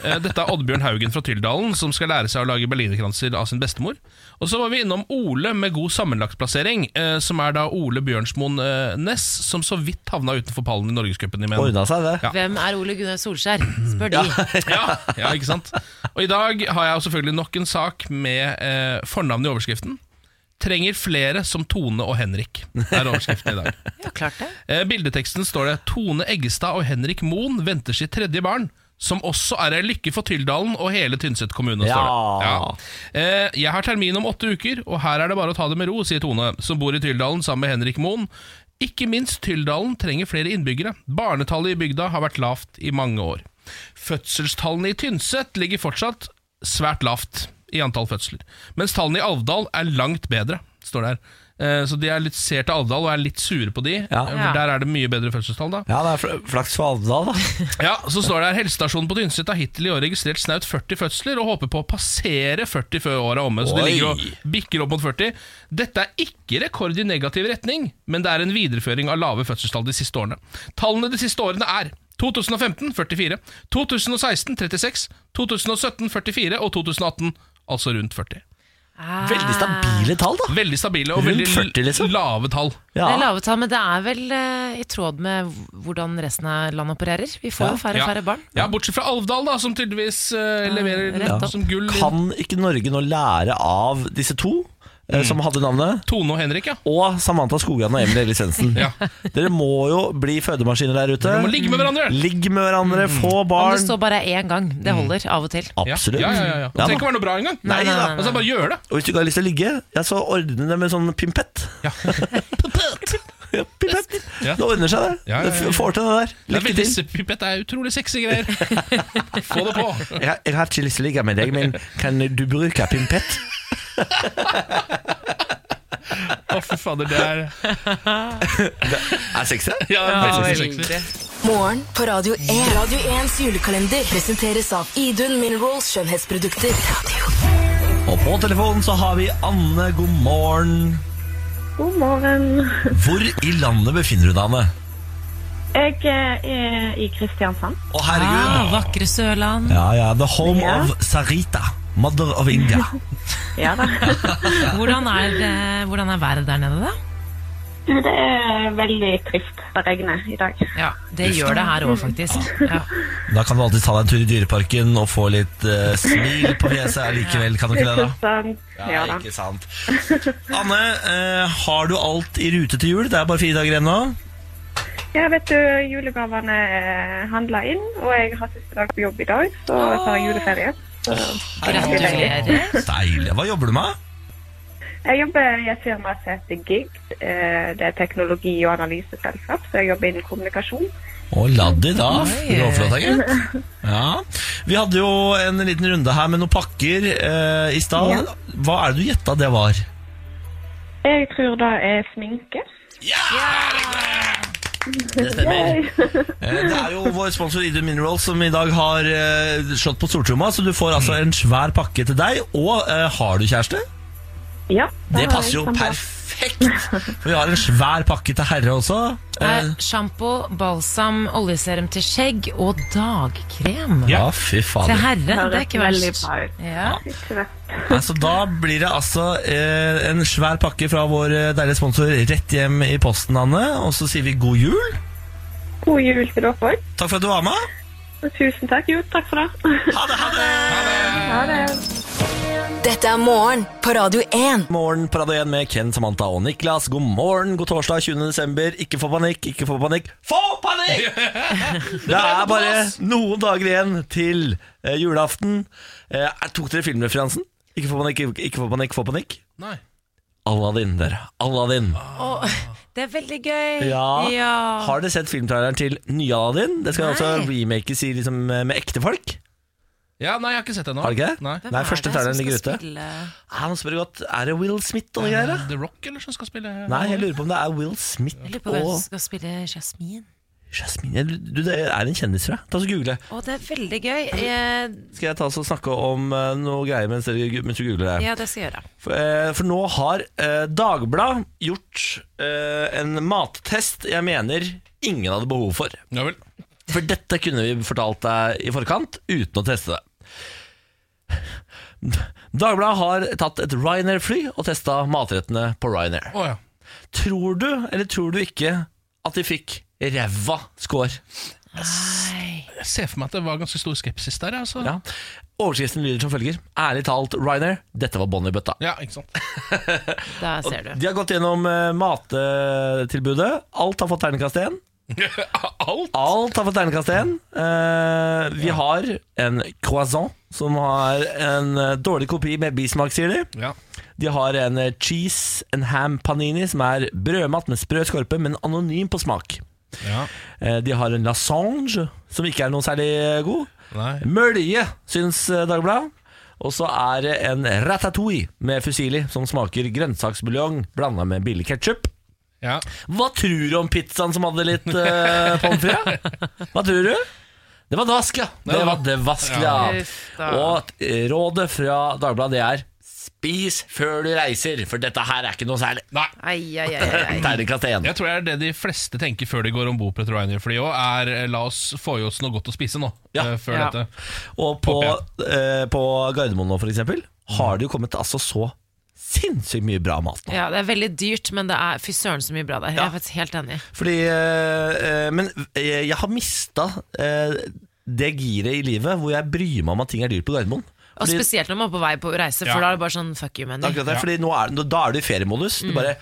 Speaker 2: Eh, dette er Oddbjørn Haugen fra Tyldalen som skal lære seg å lage berlinerkranser av sin bestemor. Og så var vi innom Ole med god sammenlagtplassering, eh, som er da Ole Bjørnsmoen eh, Næss, som så vidt havna utenfor pallen i Norgescupen i menn.
Speaker 1: Ordna seg, det.
Speaker 2: Ja.
Speaker 3: Hvem er Ole Gunnar Solskjær? Spør de.
Speaker 2: Ja, ja, ikke sant? Og i dag har jeg jo selvfølgelig nok en sak med eh, fornavn i overskriften. Trenger flere som Tone og Henrik, er overskriften i dag.
Speaker 3: Ja, klart det.
Speaker 2: Eh, bildeteksten står det Tone Eggestad og Henrik Moen venter sitt tredje barn. som også er ei lykke for Tyldalen og hele Tynset kommune.
Speaker 1: Ja.
Speaker 2: Står det. Eh, Jeg har termin om åtte uker, og her er det bare å ta det med ro, sier Tone, som bor i Tyldalen sammen med Henrik Moen. Ikke minst Tyldalen trenger flere innbyggere. Barnetallet i bygda har vært lavt i mange år. Fødselstallene i Tynset ligger fortsatt svært lavt i antall fødsler, mens tallene i Alvdal er langt bedre, står det her. Eh, Så de er litt ser til Alvdal og er litt sure på de,
Speaker 1: Ja.
Speaker 2: eh, for der er det mye bedre fødselstall da.
Speaker 1: Ja, det er fl- flaks for Alvdal, da.
Speaker 2: Ja, så står det her Helsestasjonen på Tynset har hittil i år registrert snaut 40 fødsler og håper på å passere 40 før året er omme. Så det
Speaker 1: Oi.
Speaker 2: ligger og bikker opp mot 40. Dette er ikke rekord i negativ retning, men det er en videreføring av lave fødselstall de siste årene. Tallene de siste årene er 2015 44, 2016 36, 2017 44 og 2018 altså rundt 40.
Speaker 1: Veldig
Speaker 3: Eh,
Speaker 1: stabile tall, da.
Speaker 2: Veldig stabile og
Speaker 1: Rundt
Speaker 2: veldig
Speaker 1: 40, liksom?
Speaker 2: lave tall.
Speaker 3: Det er
Speaker 1: Ja.
Speaker 3: lave tall, men det er vel eh, i tråd med hvordan resten av landet opererer. Vi får
Speaker 1: Ja.
Speaker 3: jo færre og færre barn.
Speaker 2: Ja, bortsett fra Alvdal, da, som tydeligvis eh, leverer
Speaker 3: rett opp.
Speaker 2: som gull.
Speaker 1: Kan ikke Norge nå lære av disse to,
Speaker 2: Mm.
Speaker 1: eh, som hadde navnet?
Speaker 2: Tone og Henrik, ja.
Speaker 1: Og Samantha Skogran og Emil Ellisensen.
Speaker 2: Ja.
Speaker 1: Dere må jo bli fødemaskiner der ute.
Speaker 2: Dere må ligge med hverandre. Mm.
Speaker 1: Ligg med hverandre, få
Speaker 3: Om det
Speaker 1: barn. Mm.
Speaker 3: står bare én gang. Det holder av og til.
Speaker 2: Ja,
Speaker 1: Absolutt.
Speaker 2: Ja, ja, ja, ja. Det
Speaker 1: Ja,
Speaker 2: trenger
Speaker 1: da.
Speaker 2: ikke være noe bra engang.
Speaker 1: Nei da.
Speaker 2: Altså, bare gjør det.
Speaker 1: Og hvis du ikke har lyst til å ligge, ja, så ordne det med sånn pimpett.
Speaker 2: Ja.
Speaker 1: Ja, pimpett.
Speaker 2: Ja.
Speaker 1: Det ordner seg, det.
Speaker 2: Ja, ja, ja.
Speaker 1: Du får til det der.
Speaker 2: Det er
Speaker 1: Lykke
Speaker 2: veldig
Speaker 1: til.
Speaker 2: pipett, det er utrolig sexy greier. Få det på.
Speaker 1: Jeg, har- jeg har ikke lyst til å ligge med deg, men kan du bruke pimpett?
Speaker 2: Å, fy fader, det er
Speaker 1: Er sexy?
Speaker 2: Ja, det er veldig sexy.
Speaker 4: Morgen på Radio 1. Radio 1s julekalender presenteres av Idun Minerals skjønnhetsprodukter. Radio.
Speaker 1: Og på telefonen så har vi Anne. God morgen.
Speaker 10: God morgen.
Speaker 1: Hvor i landet befinner du deg, Anne?
Speaker 10: Jeg eh, er i Kristiansand.
Speaker 1: Å,
Speaker 3: Ah,
Speaker 1: herregud.
Speaker 3: vakre Sørland.
Speaker 1: Ja, ja. The home
Speaker 10: Ja.
Speaker 1: of Sarita. Mother of India.
Speaker 10: Ja da.
Speaker 3: Hvordan er, eh, hvordan er været der nede, da?
Speaker 10: Du, Det er veldig trist. Det regner i dag.
Speaker 3: Ja, Det gjør det her òg, faktisk. Ja.
Speaker 1: Da kan du alltid ta deg en tur i dyreparken og få litt eh, smil på fjeset allikevel, kan du ikke det, da?
Speaker 10: Sånn, ja da.
Speaker 1: ikke sant. Anne, eh, har du alt i rute til jul? Det er bare fire dager igjen nå.
Speaker 10: Ja, vet du, julegavene er handla inn, og jeg har siste dag på jobb i dag, så jeg
Speaker 1: Ah.
Speaker 10: tar juleferie.
Speaker 3: Ah, Gratulerer.
Speaker 1: Deilig. Hva jobber du med?
Speaker 10: Jeg jobber i et firma som heter GIG. Eh, Det er teknologi- og analyseselskap, så jeg jobber innen kommunikasjon.
Speaker 1: Å, Laddi, da.
Speaker 3: Oi.
Speaker 1: Råflott, gitt. Ja. Vi hadde jo en liten runde her med noen pakker eh, i stad.
Speaker 10: Ja.
Speaker 1: Hva er det du gjetta det var?
Speaker 10: Jeg tror det er sminke.
Speaker 1: Det stemmer. Eh, Det er jo vår sponsor Idun Minerals som i dag har eh, slått på stortromma, så du får altså en svær pakke til deg. Og eh, har du kjæreste?
Speaker 10: Ja,
Speaker 1: Det
Speaker 10: har
Speaker 1: passer jo
Speaker 10: jeg samme.
Speaker 1: perfekt! For vi har en svær pakke til herre også. Eh,
Speaker 3: Eh, Sjampo, balsam, oljeserum til skjegg og dagkrem.
Speaker 1: ja, fy
Speaker 3: Til
Speaker 1: fader.
Speaker 3: herre, det er
Speaker 10: Høres
Speaker 3: ikke
Speaker 10: veldig
Speaker 3: verst.
Speaker 10: bra ut.
Speaker 3: Ja.
Speaker 10: Ikke verst.
Speaker 1: Altså, da blir det altså eh, en svær pakke fra vår eh, deilige sponsor rett hjem i posten, Anne. Og så sier vi god jul.
Speaker 10: God jul til dere òg.
Speaker 1: Takk for at du var med.
Speaker 10: Tusen takk. Jo, takk for det.
Speaker 1: Ha det! Ha det!
Speaker 10: Ha det.
Speaker 4: Dette er morgen på Radio 1.
Speaker 1: Morgen på Radio 1 med Ken, Samantha og Niklas. God morgen, god torsdag 20. desember. Ikke få panikk, ikke få panikk. Få panikk! Det er bare noen dager igjen til eh, julaften. Eh, er- tok dere filmreferansen? Ikke få panikk, ikke, ikke få panikk, få panikk.
Speaker 2: Nei.
Speaker 1: Aladdin, dere. Aladdin.
Speaker 3: Det er veldig gøy.
Speaker 1: Ja.
Speaker 3: Ja.
Speaker 1: Har dere sett filmtraileren til nye Aladdin? Det skal
Speaker 3: Nei.
Speaker 1: altså remakes i, liksom, med ekte folk.
Speaker 2: Ja, nei, jeg har ikke sett det ennå.
Speaker 1: Har dere ikke det?
Speaker 2: Nei.
Speaker 3: Hvem
Speaker 1: Nei,
Speaker 3: er
Speaker 1: første
Speaker 3: det som
Speaker 1: traileren ligger
Speaker 3: skal
Speaker 1: ute.
Speaker 3: spille?
Speaker 1: Ja, nå spør jeg godt, Er det Will Smith og noe greier? da?
Speaker 2: The Rock, eller, som skal spille
Speaker 1: Nei, jeg lurer på om det er Will
Speaker 3: Jeg
Speaker 1: Smith
Speaker 3: lurer på hvem som
Speaker 1: og
Speaker 3: skal spille Jasmin.
Speaker 1: Jasmine. Du, det er en kjendis, tror jeg. Ta så Google.
Speaker 3: Å, det er veldig gøy. Eh,
Speaker 1: skal jeg ta oss og snakke om eh, noe greier mens, dere, mens du googler det.
Speaker 3: ja, det skal jeg gjøre.
Speaker 1: For, eh, for nå har eh, Dagbladet gjort eh, en mattest jeg mener ingen hadde behov for.
Speaker 2: Ja vel.
Speaker 1: For dette kunne vi fortalt deg i forkant uten å teste det. Dagbladet har tatt et Ryanair-fly og testa matrettene på Ryanair.
Speaker 2: Å ja.
Speaker 1: Tror du, eller tror du ikke, at de fikk ræva score?
Speaker 2: Jeg ser for meg at det var ganske stor skepsis der. ja, Altså.
Speaker 1: Ja. Overskriften lyder som følger. Ærlig talt, Ryanair, dette var bånn i bøtta.
Speaker 2: Ja, ikke sant.
Speaker 3: Der ser du.
Speaker 1: De har gått gjennom eh, mattilbudet. Alt har fått terningkast 1.
Speaker 2: Alt?
Speaker 1: Alt har fått terningkast én. Eh, vi har en croissant som har en eh, dårlig kopi med bismak, sier de.
Speaker 2: Ja.
Speaker 1: De har en eh, cheese and ham panini, som er brødmat med sprø skorpe, men anonym på smak.
Speaker 2: ja.
Speaker 1: Eh, De har en lasange, som ikke er noe særlig eh, god.
Speaker 2: Nei.
Speaker 1: Mølje, syns eh, Dagbladet. Og så er det en ratatouille med fusilli, som smaker grønnsaksbuljong blanda med billig ketsjup.
Speaker 2: Ja.
Speaker 1: Hva tror du om pizzaen som hadde litt uh, pommes frites? Hva tror du? Det var dvask, ja. Det var dvask, ja.
Speaker 3: Uff da.
Speaker 1: Og eh, rådet fra Dagbladet det er spis før du reiser, for dette her er ikke noe særlig.
Speaker 2: Nei.
Speaker 3: Ai, ai, ai, ai.
Speaker 1: Terningkast én.
Speaker 2: Jeg tror det er det de fleste tenker før de går om bord på et Ryanair-fly òg, er eh, la oss få i oss noe godt å spise nå.
Speaker 1: Ja.
Speaker 2: eh, Før
Speaker 3: Ja.
Speaker 2: dette.
Speaker 1: Og på,
Speaker 2: Håper
Speaker 1: eh, på Gardermoen nå, for eksempel, har det jo kommet altså så sinnssykt mye bra mat nå.
Speaker 3: Ja, det er veldig dyrt, men det er fy søren så mye bra der. Jeg er faktisk helt enig.
Speaker 1: Fordi eh, eh, Men eh, jeg har mista eh, det giret i livet hvor jeg bryr meg om at ting er dyrt på Gardermoen.
Speaker 3: Og
Speaker 1: Fordi-
Speaker 3: spesielt når man er på vei på reise, for
Speaker 2: Ja.
Speaker 3: da er det bare sånn fuck you, menu.
Speaker 1: Akkurat det, fordi nå er, da er du i feriemodus. Du bare,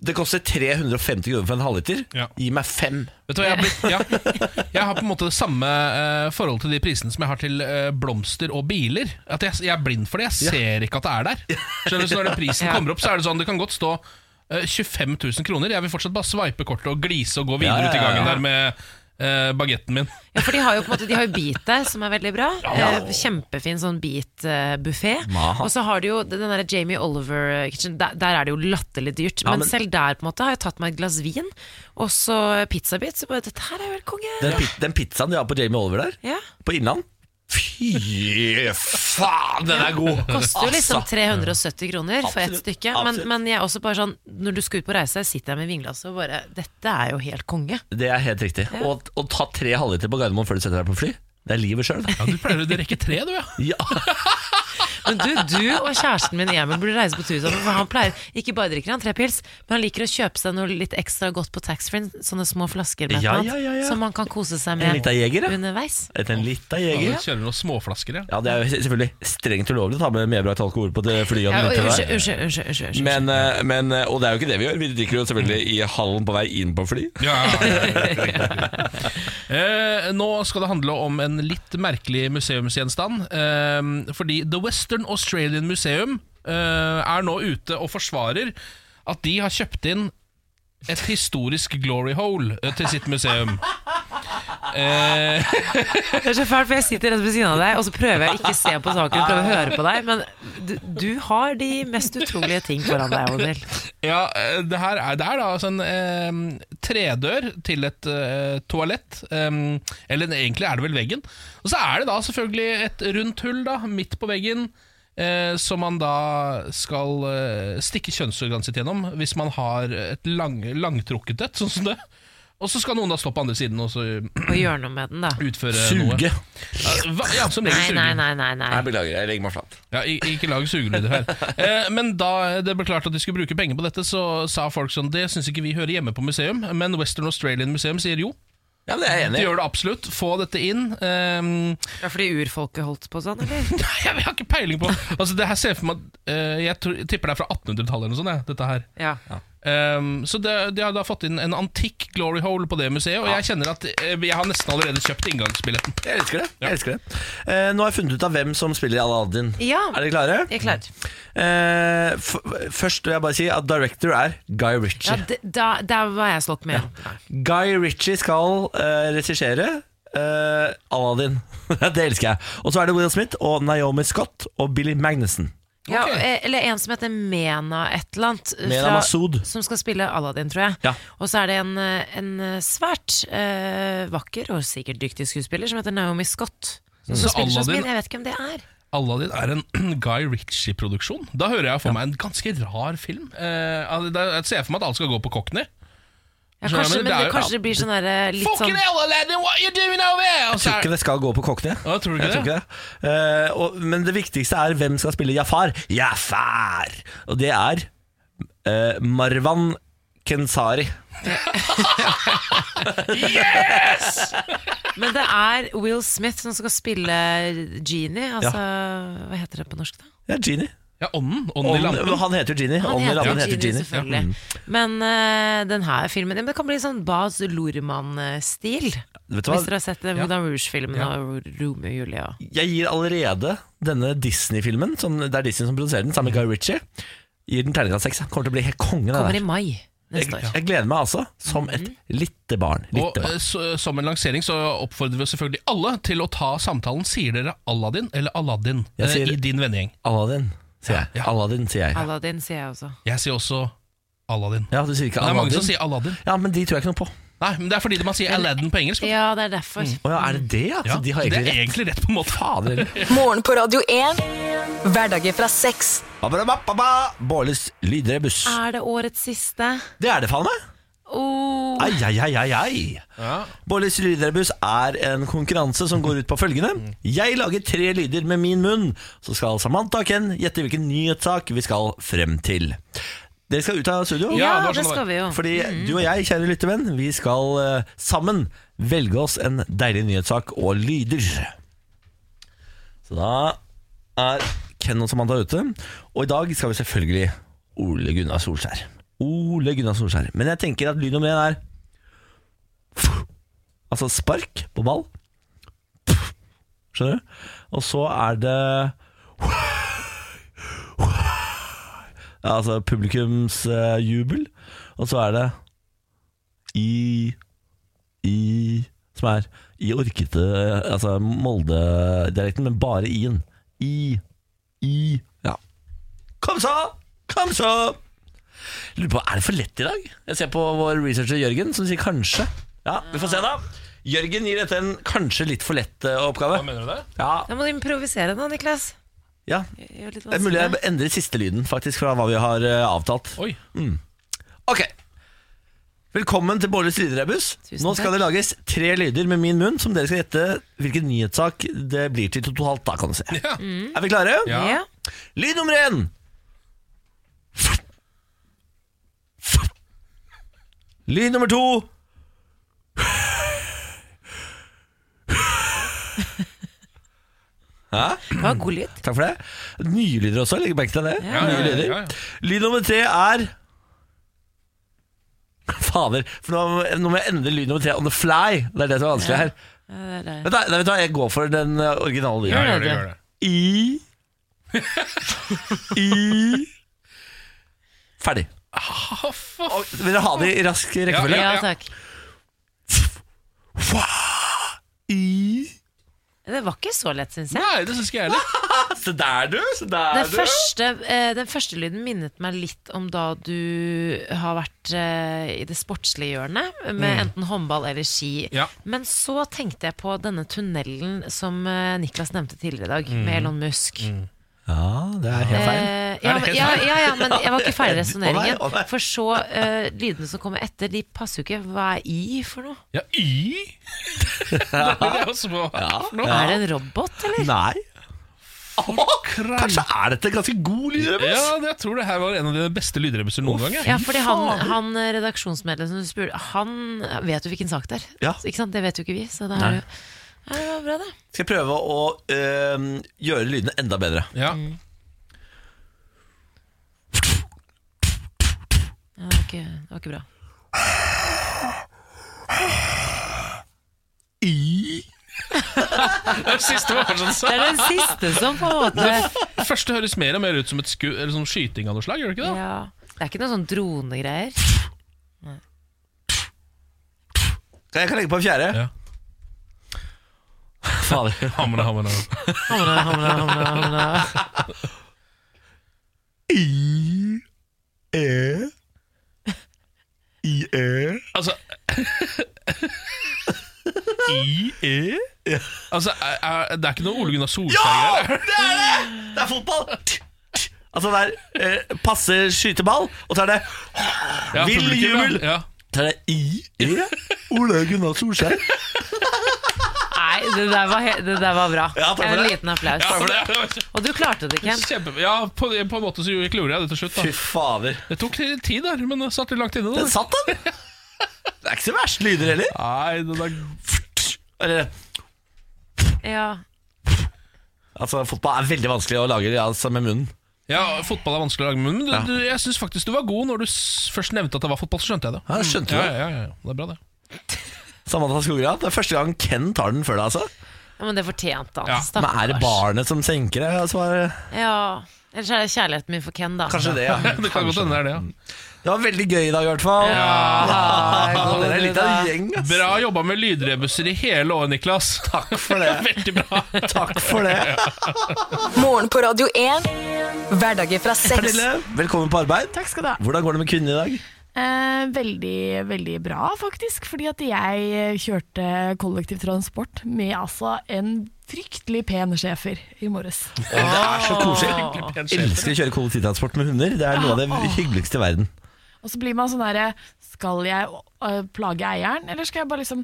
Speaker 1: det koster 350 kroner for en halvliter.
Speaker 2: Ja.
Speaker 1: Gi meg fem.
Speaker 2: Vet du hva, jeg har, blitt, ja, jeg har på en måte det samme eh, forhold til de prisene som jeg har til eh, blomster og biler. At jeg, jeg er blind for det. Jeg ser ikke at det er der. Skjønner du, så Når den prisen
Speaker 3: Ja.
Speaker 2: kommer opp, så er det sånn det kan godt stå eh, 25 000 kroner. Jeg vil fortsatt bare sveipe kortet og glise og gå videre
Speaker 1: Ja, ja,
Speaker 2: ut i
Speaker 1: ja,
Speaker 2: gangen
Speaker 1: ja.
Speaker 2: der med eh, bagetten min.
Speaker 3: Ja, for de har jo på en måte De har jo Beatet, som er veldig bra. Eh, Kjempefin sånn Beat-buffé.
Speaker 1: Maha.
Speaker 3: Og så har de jo den derre Jamie Oliver Kitchen, der, der er det jo latterlig dyrt.
Speaker 1: Ja,
Speaker 3: men,
Speaker 1: men-
Speaker 3: selv der på en måte har jeg tatt meg et glass vin, og så pizzabit. Så bare Dette her er jo helt konge.
Speaker 1: Den, pi- den pizzaen de har på Jamie Oliver der,
Speaker 3: Ja.
Speaker 1: på Innland Fy faen, den er god!
Speaker 3: Koster jo liksom
Speaker 1: Altså,
Speaker 3: 370 kroner for ett
Speaker 1: Absolutt,
Speaker 3: stykke. Men,
Speaker 1: absolutt.
Speaker 3: men jeg er også bare sånn når du skal ut på reise, sitter jeg med vinglasset og bare Dette er jo helt konge.
Speaker 1: det er helt riktig. Å å ta tre halvliter på Gardermoen før du setter deg på fly, det er livet sjøl.
Speaker 2: Ja, du pleier å rekke tre, du, ja.
Speaker 1: Ja.
Speaker 3: Men du, du og kjæresten min Emil burde reise på tur sammen. For han pleier, ikke bare drikker han tre pils, men han liker å kjøpe seg noe litt ekstra godt på taxfree. Sånne små flasker med et
Speaker 1: Ja,
Speaker 3: eller annet,
Speaker 1: ja, ja, ja.
Speaker 3: som man kan kose seg
Speaker 1: En
Speaker 3: med
Speaker 1: liten jeger, ja.
Speaker 3: underveis.
Speaker 1: Etter en lita
Speaker 2: Du
Speaker 1: jeger. ja.
Speaker 2: kjører noen småflasker, ja.
Speaker 1: Ja, Det er jo selvfølgelig strengt ulovlig å ta med medbrakt alkohol på det flyet. om
Speaker 3: Ja,
Speaker 1: du ikke er
Speaker 3: unnskyld,
Speaker 1: der.
Speaker 3: unnskyld, unnskyld, unnskyld, unnskyld.
Speaker 1: Men, eh, men, eh, og det er jo ikke det vi gjør. Vi drikker jo selvfølgelig i hallen på vei inn på fly.
Speaker 2: Ja, ja, ja, ja, ja, ja. Eh, nå skal det handle om en litt merkelig museumsgjenstand. Eh, fordi The Western Australian Museum eh, er nå ute og forsvarer at de har kjøpt inn et historisk glory hole eh, til sitt museum. Eh,
Speaker 3: Det er så fælt, for jeg sitter rett ved siden av deg, og så prøver jeg å ikke se på saken, prøver å høre på deg, men du, du har de mest utrolige ting foran deg, Odil.
Speaker 2: ja, eh, det her er, det er da altså en eh, tredør til et eh, toalett. eh, eller egentlig er det vel veggen. Og så er det da selvfølgelig et rundt hull da, midt på veggen. Eh, som man da skal eh, stikke kjønnsorganet sitt gjennom hvis man har et lang, langtrukket et, sånn som det. Og så skal noen da stå på andre siden og så eh,
Speaker 3: Og gjør noe med den, da.
Speaker 2: utføre noe.
Speaker 1: Suge.
Speaker 2: Eh, hva- Ja, som regel
Speaker 3: Nei,
Speaker 2: suge.
Speaker 3: nei, nei, nei. nei.
Speaker 1: Jeg beklager, jeg legger meg flat.
Speaker 2: Ja, i- ikke lag sugelyder her. Eh, men da det ble klart at de skulle bruke penger på dette, så sa folk sånn Det syns ikke vi hører hjemme på museum, men Western Australian Museum sier jo.
Speaker 1: Ja, men det er jeg
Speaker 2: De
Speaker 1: enig i.
Speaker 2: gjør det absolutt. Få dette inn. Eh,
Speaker 3: Ja, fordi urfolket holdt på sånn, eller?
Speaker 2: jeg, har ikke peiling på Altså, det her ser jeg for meg at eh, Jeg tror, tipper det er fra 1800-tallet eller noe sånt, jeg, dette her.
Speaker 3: Ja.
Speaker 2: Eh, så det, de har da fått inn en antikk glory hole på det museet, og jeg kjenner at eh, jeg har nesten allerede kjøpt inngangsbilletten.
Speaker 1: Jeg elsker det. Jeg elsker det. Eh, nå har jeg funnet ut av hvem som spiller i Aladdin.
Speaker 3: Ja.
Speaker 1: Er dere klare?
Speaker 3: Jeg er klar.
Speaker 1: Eh, f først vil jeg bare si at director er Guy
Speaker 3: Ja,
Speaker 1: Ritchie.
Speaker 3: d- da, der var jeg slått med.
Speaker 1: Guy Ritchie skal eh, regissere eh, Aladdin. det elsker jeg. Og så er det Will Smith og Naomi Scott og Billy Magnussen.
Speaker 3: Ja,
Speaker 2: Ok.
Speaker 3: eh, Eller en som heter Mena et eller annet. eh,
Speaker 1: Mena
Speaker 3: fra-
Speaker 1: Massoud.
Speaker 3: Som skal spille Aladdin, tror jeg.
Speaker 1: Ja.
Speaker 3: Og så er det en, eh, en svært eh, vakker og sikkert dyktig skuespiller som heter Naomi Scott. Som
Speaker 2: Så
Speaker 3: spiller Jasmin.
Speaker 2: Aladdin-
Speaker 3: Jeg vet ikke hvem det er.
Speaker 2: Aladdin er en Guy Ritchie-produksjon. Da hører jeg for meg en ganske rar film. Eh, al- da- jeg ser for meg at alle skal gå på Cockney.
Speaker 3: Ja,
Speaker 2: Skjønner
Speaker 3: kanskje,
Speaker 2: jeg,
Speaker 3: men
Speaker 2: men det er
Speaker 3: det,
Speaker 2: jo-
Speaker 3: kanskje det blir sånn derre litt
Speaker 2: Fucking
Speaker 3: sånn
Speaker 2: hell, Aladdin, what you doing over there? Og
Speaker 1: Jeg
Speaker 2: så
Speaker 1: tror
Speaker 2: er-
Speaker 1: ikke det skal gå på kokkene.
Speaker 2: Å, tror du ikke
Speaker 1: Jeg tror
Speaker 2: det?
Speaker 1: ikke det. Eh, og, men det viktigste er hvem skal spille Jafar. Jafar! Og det er eh, Marwan Kensari.
Speaker 3: Men det er Will Smith som skal spille Genie. Altså, hva heter det på norsk, da?
Speaker 1: Ja, Genie.
Speaker 2: Ja, Ånden. Ånden i
Speaker 1: Ånden-
Speaker 2: lampen.
Speaker 1: Han heter jo Genie.
Speaker 3: Han
Speaker 1: Ånden i
Speaker 3: heter
Speaker 1: lampen
Speaker 3: jo
Speaker 1: heter
Speaker 3: Genie,
Speaker 1: Genie. Ja.
Speaker 3: selvfølgelig. Men eh, den her filmen ja, men Det kan bli sånn Baz Lormann-stil.
Speaker 1: Vet du
Speaker 3: Hvis
Speaker 1: hva?
Speaker 3: dere har sett den Moulin Rouge-filmen
Speaker 2: Ja.
Speaker 3: og Romeo og Julie. og-
Speaker 1: Jeg gir allerede denne Disney-filmen, som- det er Disney som produserer den, sammen med Guy Ritchie, gir den terningkast seks. Kommer til å bli helt konge,
Speaker 3: Kommer
Speaker 1: det
Speaker 3: i Mhm.
Speaker 1: der.
Speaker 3: mai neste
Speaker 1: Jeg,
Speaker 3: år.
Speaker 1: jeg gleder meg altså som et lite barn.
Speaker 2: Og
Speaker 1: Lite
Speaker 2: eh,
Speaker 1: barn.
Speaker 2: så, Som en lansering så oppfordrer vi selvfølgelig alle til å ta samtalen. Sier dere Aladdin eller Aladdin
Speaker 1: Jeg
Speaker 2: eh,
Speaker 1: sier-
Speaker 2: i din vennegjeng?
Speaker 1: Aladdin, sier jeg.
Speaker 2: Ja.
Speaker 1: Aladdin, sier jeg.
Speaker 3: Aladdin, sier jeg også.
Speaker 2: Jeg sier også Aladdin.
Speaker 1: Ja, du sier ikke
Speaker 2: Det er mange
Speaker 1: Aladdin?
Speaker 2: som sier Aladdin.
Speaker 1: Ja, men de tror jeg ikke noe på.
Speaker 2: Nei, men Det er fordi man sier Aladdin på engelsk.
Speaker 3: Ja, det er derfor.
Speaker 1: Å ja, er det det? Ja?
Speaker 2: Ja,
Speaker 1: Så de har
Speaker 2: det
Speaker 1: egentlig
Speaker 2: er
Speaker 1: rett.
Speaker 2: egentlig rett på en måte.
Speaker 1: Fader heller.
Speaker 4: Morgen på Radio 1. Hverdager fra seks.
Speaker 1: Abba-dabba-babba, Bårlis lydrebuss.
Speaker 3: Er det årets siste?
Speaker 1: Det er det faen meg!
Speaker 3: Oh.
Speaker 1: Ai, ai, ai, ai, ai.
Speaker 2: Ja.
Speaker 1: Bårlis lydrebuss er en konkurranse som går ut på følgende. Jeg lager tre lyder med min munn, så skal Samantha og Ken gjette hvilken nyhetssak vi skal frem til. Dere skal ut av studio.
Speaker 2: Ja,
Speaker 3: Ja,
Speaker 2: det var
Speaker 3: det
Speaker 2: sånn det
Speaker 3: skal vi jo.
Speaker 1: Fordi du og jeg, kjære lyttervenn, vi skal eh, sammen velge oss en deilig nyhetssak og lyder. Så da er Ken og Samantha ute, og i dag skal vi selvfølgelig Ole Gunnar Solskjær. Ole Gunnar Solskjær. Men jeg tenker at lyd nummer én er Altså spark på ball. Skjønner du? Og så er det Altså publikums eh, jubel. Og så er det i i Som er i orkete Altså Molde-dialekten, men bare i-en. I. I. Ja. Kom så! Kom så! Lurer på, Er det for lett i dag? Jeg ser på vår researcher Jørgen, som sier kanskje. Ja, Vi får se, da. Jørgen gir dette en kanskje litt for lett eh, oppgave.
Speaker 2: Mener du det?
Speaker 1: Ja,
Speaker 3: Da må du improvisere nå, Niklas.
Speaker 1: ja.
Speaker 3: Gjør litt
Speaker 1: Det er mulig jeg
Speaker 3: vanskelig.
Speaker 1: endrer siste lyden faktisk fra hva vi har eh, avtalt.
Speaker 2: Oi.
Speaker 1: Ok Velkommen til Bårlis lydrebuss.
Speaker 3: Tusen
Speaker 1: Nå skal
Speaker 3: takk.
Speaker 1: det lages tre lyder med min munn, som dere skal gjette hvilken nyhetssak det blir til totalt. da kan du se
Speaker 2: Ja.
Speaker 1: Er vi klare?
Speaker 2: Ja.
Speaker 3: Ja.
Speaker 1: Lyd nummer én! Lyd nummer to. Hæ?
Speaker 3: Det var god lyd.
Speaker 1: Takk for det. Nye lyder også. Legger merke til det.
Speaker 2: Ja, ja,
Speaker 1: Nye
Speaker 2: ja,
Speaker 1: lyder.
Speaker 2: ja, ja.
Speaker 1: Lyd nummer tre er Fader, for nå, nå må jeg endre lyd nummer tre on the fly. Det er det som er vanskelig her.
Speaker 3: Ja, det er det.
Speaker 1: Vet du, hva, nei, vet du hva, Jeg går for den eh, originale lyden.
Speaker 2: Ja, gjør det, gjør det.
Speaker 1: I I Ferdig.
Speaker 2: Ah, for
Speaker 1: Og, vil dere ha det i rask rekkefølge?
Speaker 3: Ja, takk.
Speaker 1: I
Speaker 3: Det var ikke så lett, syns jeg.
Speaker 2: Nei, det syns ikke jeg heller.
Speaker 1: Se der, du. Se der,
Speaker 3: Den første, eh, den første lyden minnet meg litt om da du har vært eh, i det sportslige hjørnet, med
Speaker 1: Mm.
Speaker 3: enten håndball eller ski.
Speaker 2: Ja.
Speaker 3: Men så tenkte jeg på denne tunnelen som eh, Niklas nevnte tidligere i dag, med Elon Musk.
Speaker 1: Mm. Ja, det er helt feil.
Speaker 3: Eh, ja,
Speaker 2: det helt
Speaker 3: ja, ja, ja, men jeg var ikke ferdig
Speaker 1: Å nei, å nei.
Speaker 3: i resonneringen. For så eh, lydene som kommer etter, de passer jo ikke. Hva er I for noe?
Speaker 2: Ja, y. det er jo så vakkert nå.
Speaker 3: Er det en robot, eller?
Speaker 1: Nei. Åh, kanskje er dette ganske god lydøvelse?
Speaker 2: Ja, jeg tror det her var en av de beste lydrebusser noen gang. jeg.
Speaker 3: Ja, fordi han, han eh, redaksjonsmedlemmet som du spurte, han vet jo hvilken sak det er.
Speaker 1: Ja.
Speaker 3: Så, Ikke sant? Det vet jo ikke vi. Så det er jo ja, det var bra, det.
Speaker 1: Skal jeg prøve å øhm, gjøre lydene enda bedre?
Speaker 2: Ja.
Speaker 3: Ja, det, var ikke, det var ikke bra.
Speaker 2: Det siste var kanskje
Speaker 3: Det
Speaker 2: sånn.
Speaker 3: er den siste som på en måte
Speaker 2: Det første høres mer og mer ut som et sku, eller sånn skyting av noe slag, gjør det ikke det?
Speaker 3: ja. Det er ikke noen sånn dronegreier.
Speaker 1: Jeg kan legge på en fjerde.
Speaker 2: Ja.
Speaker 1: Fader.
Speaker 2: Hamre, hamre.
Speaker 3: Hamre, hamre, hamre, hamre.
Speaker 1: E.
Speaker 2: Altså I-E? E? Altså, er, er, det er ikke noe Ole Gunnar
Speaker 1: Ja!
Speaker 2: Solskjær-greier?
Speaker 1: Det er det! Det er fotball! Altså det er eh, passe skyteball, og så er det
Speaker 2: Ja,
Speaker 1: Vill
Speaker 2: publikum,
Speaker 1: jubel! E.
Speaker 2: Ja.
Speaker 1: Så er det I-E. Ole Gunnar Solskjær.
Speaker 3: Nei, det der var, he- det der var bra.
Speaker 1: Ja, takk for
Speaker 3: en
Speaker 1: det.
Speaker 3: liten applaus.
Speaker 2: Ja, for det, det var
Speaker 3: Og du klarte det, Ken.
Speaker 2: kjempe, ja på, på en måte så klorde jeg det til slutt.
Speaker 1: Fy
Speaker 2: da
Speaker 1: fader.
Speaker 2: Det tok litt tid der, men jeg satt litt langt inne.
Speaker 1: Den
Speaker 2: Da.
Speaker 1: satt, den. Det er ikke så verst lyder heller.
Speaker 2: Nei, det der,
Speaker 1: Eller,
Speaker 3: Ja.
Speaker 1: altså Fotball er veldig vanskelig å lage altså, med munnen.
Speaker 2: Ja, fotball er vanskelig å lage, men du, du, jeg syns faktisk du var god når du s først nevnte at det var fotball. Så skjønte jeg det.
Speaker 1: Mm, Ja, skjønte du
Speaker 2: ja,
Speaker 1: det?
Speaker 2: ja, ja, ja. Det er bra, det.
Speaker 1: Samantha Skogran, det er første gang Ken tar den før deg, altså.
Speaker 3: Ja, men det fortjente han.
Speaker 2: Ja,
Speaker 1: Men er det
Speaker 3: Stakkars.
Speaker 1: barnet som senker det? Altså, er-
Speaker 3: Ja, Ellers er det kjærligheten min for Ken, da.
Speaker 1: kanskje det, ja.
Speaker 2: Det kan godt hende det er det, ja.
Speaker 1: Det var veldig gøy i dag, i hvert fall. Ja, Dere er litt av en gjeng, ass.
Speaker 2: Bra jobba med lydrebuser i hele år, Niklas. Takk
Speaker 1: for det.
Speaker 2: Veldig bra.
Speaker 1: Takk for det.
Speaker 4: Morgen på Radio 1. Hverdager fra seks.
Speaker 1: Pernille, velkommen på arbeid.
Speaker 11: Takk skal du ha.
Speaker 1: Hvordan går det med kvinnene i dag?
Speaker 11: Eh, veldig, veldig bra, faktisk. Fordi at jeg kjørte kollektivtransport med altså en fryktelig pen schæfer i morges.
Speaker 1: Det er så koselig. Elsker å kjøre kollektivtransport med hunder. Det er noe av det hyggeligste i verden.
Speaker 11: Og så blir man sånn herre Skal jeg øh, plage eieren, eller skal jeg bare liksom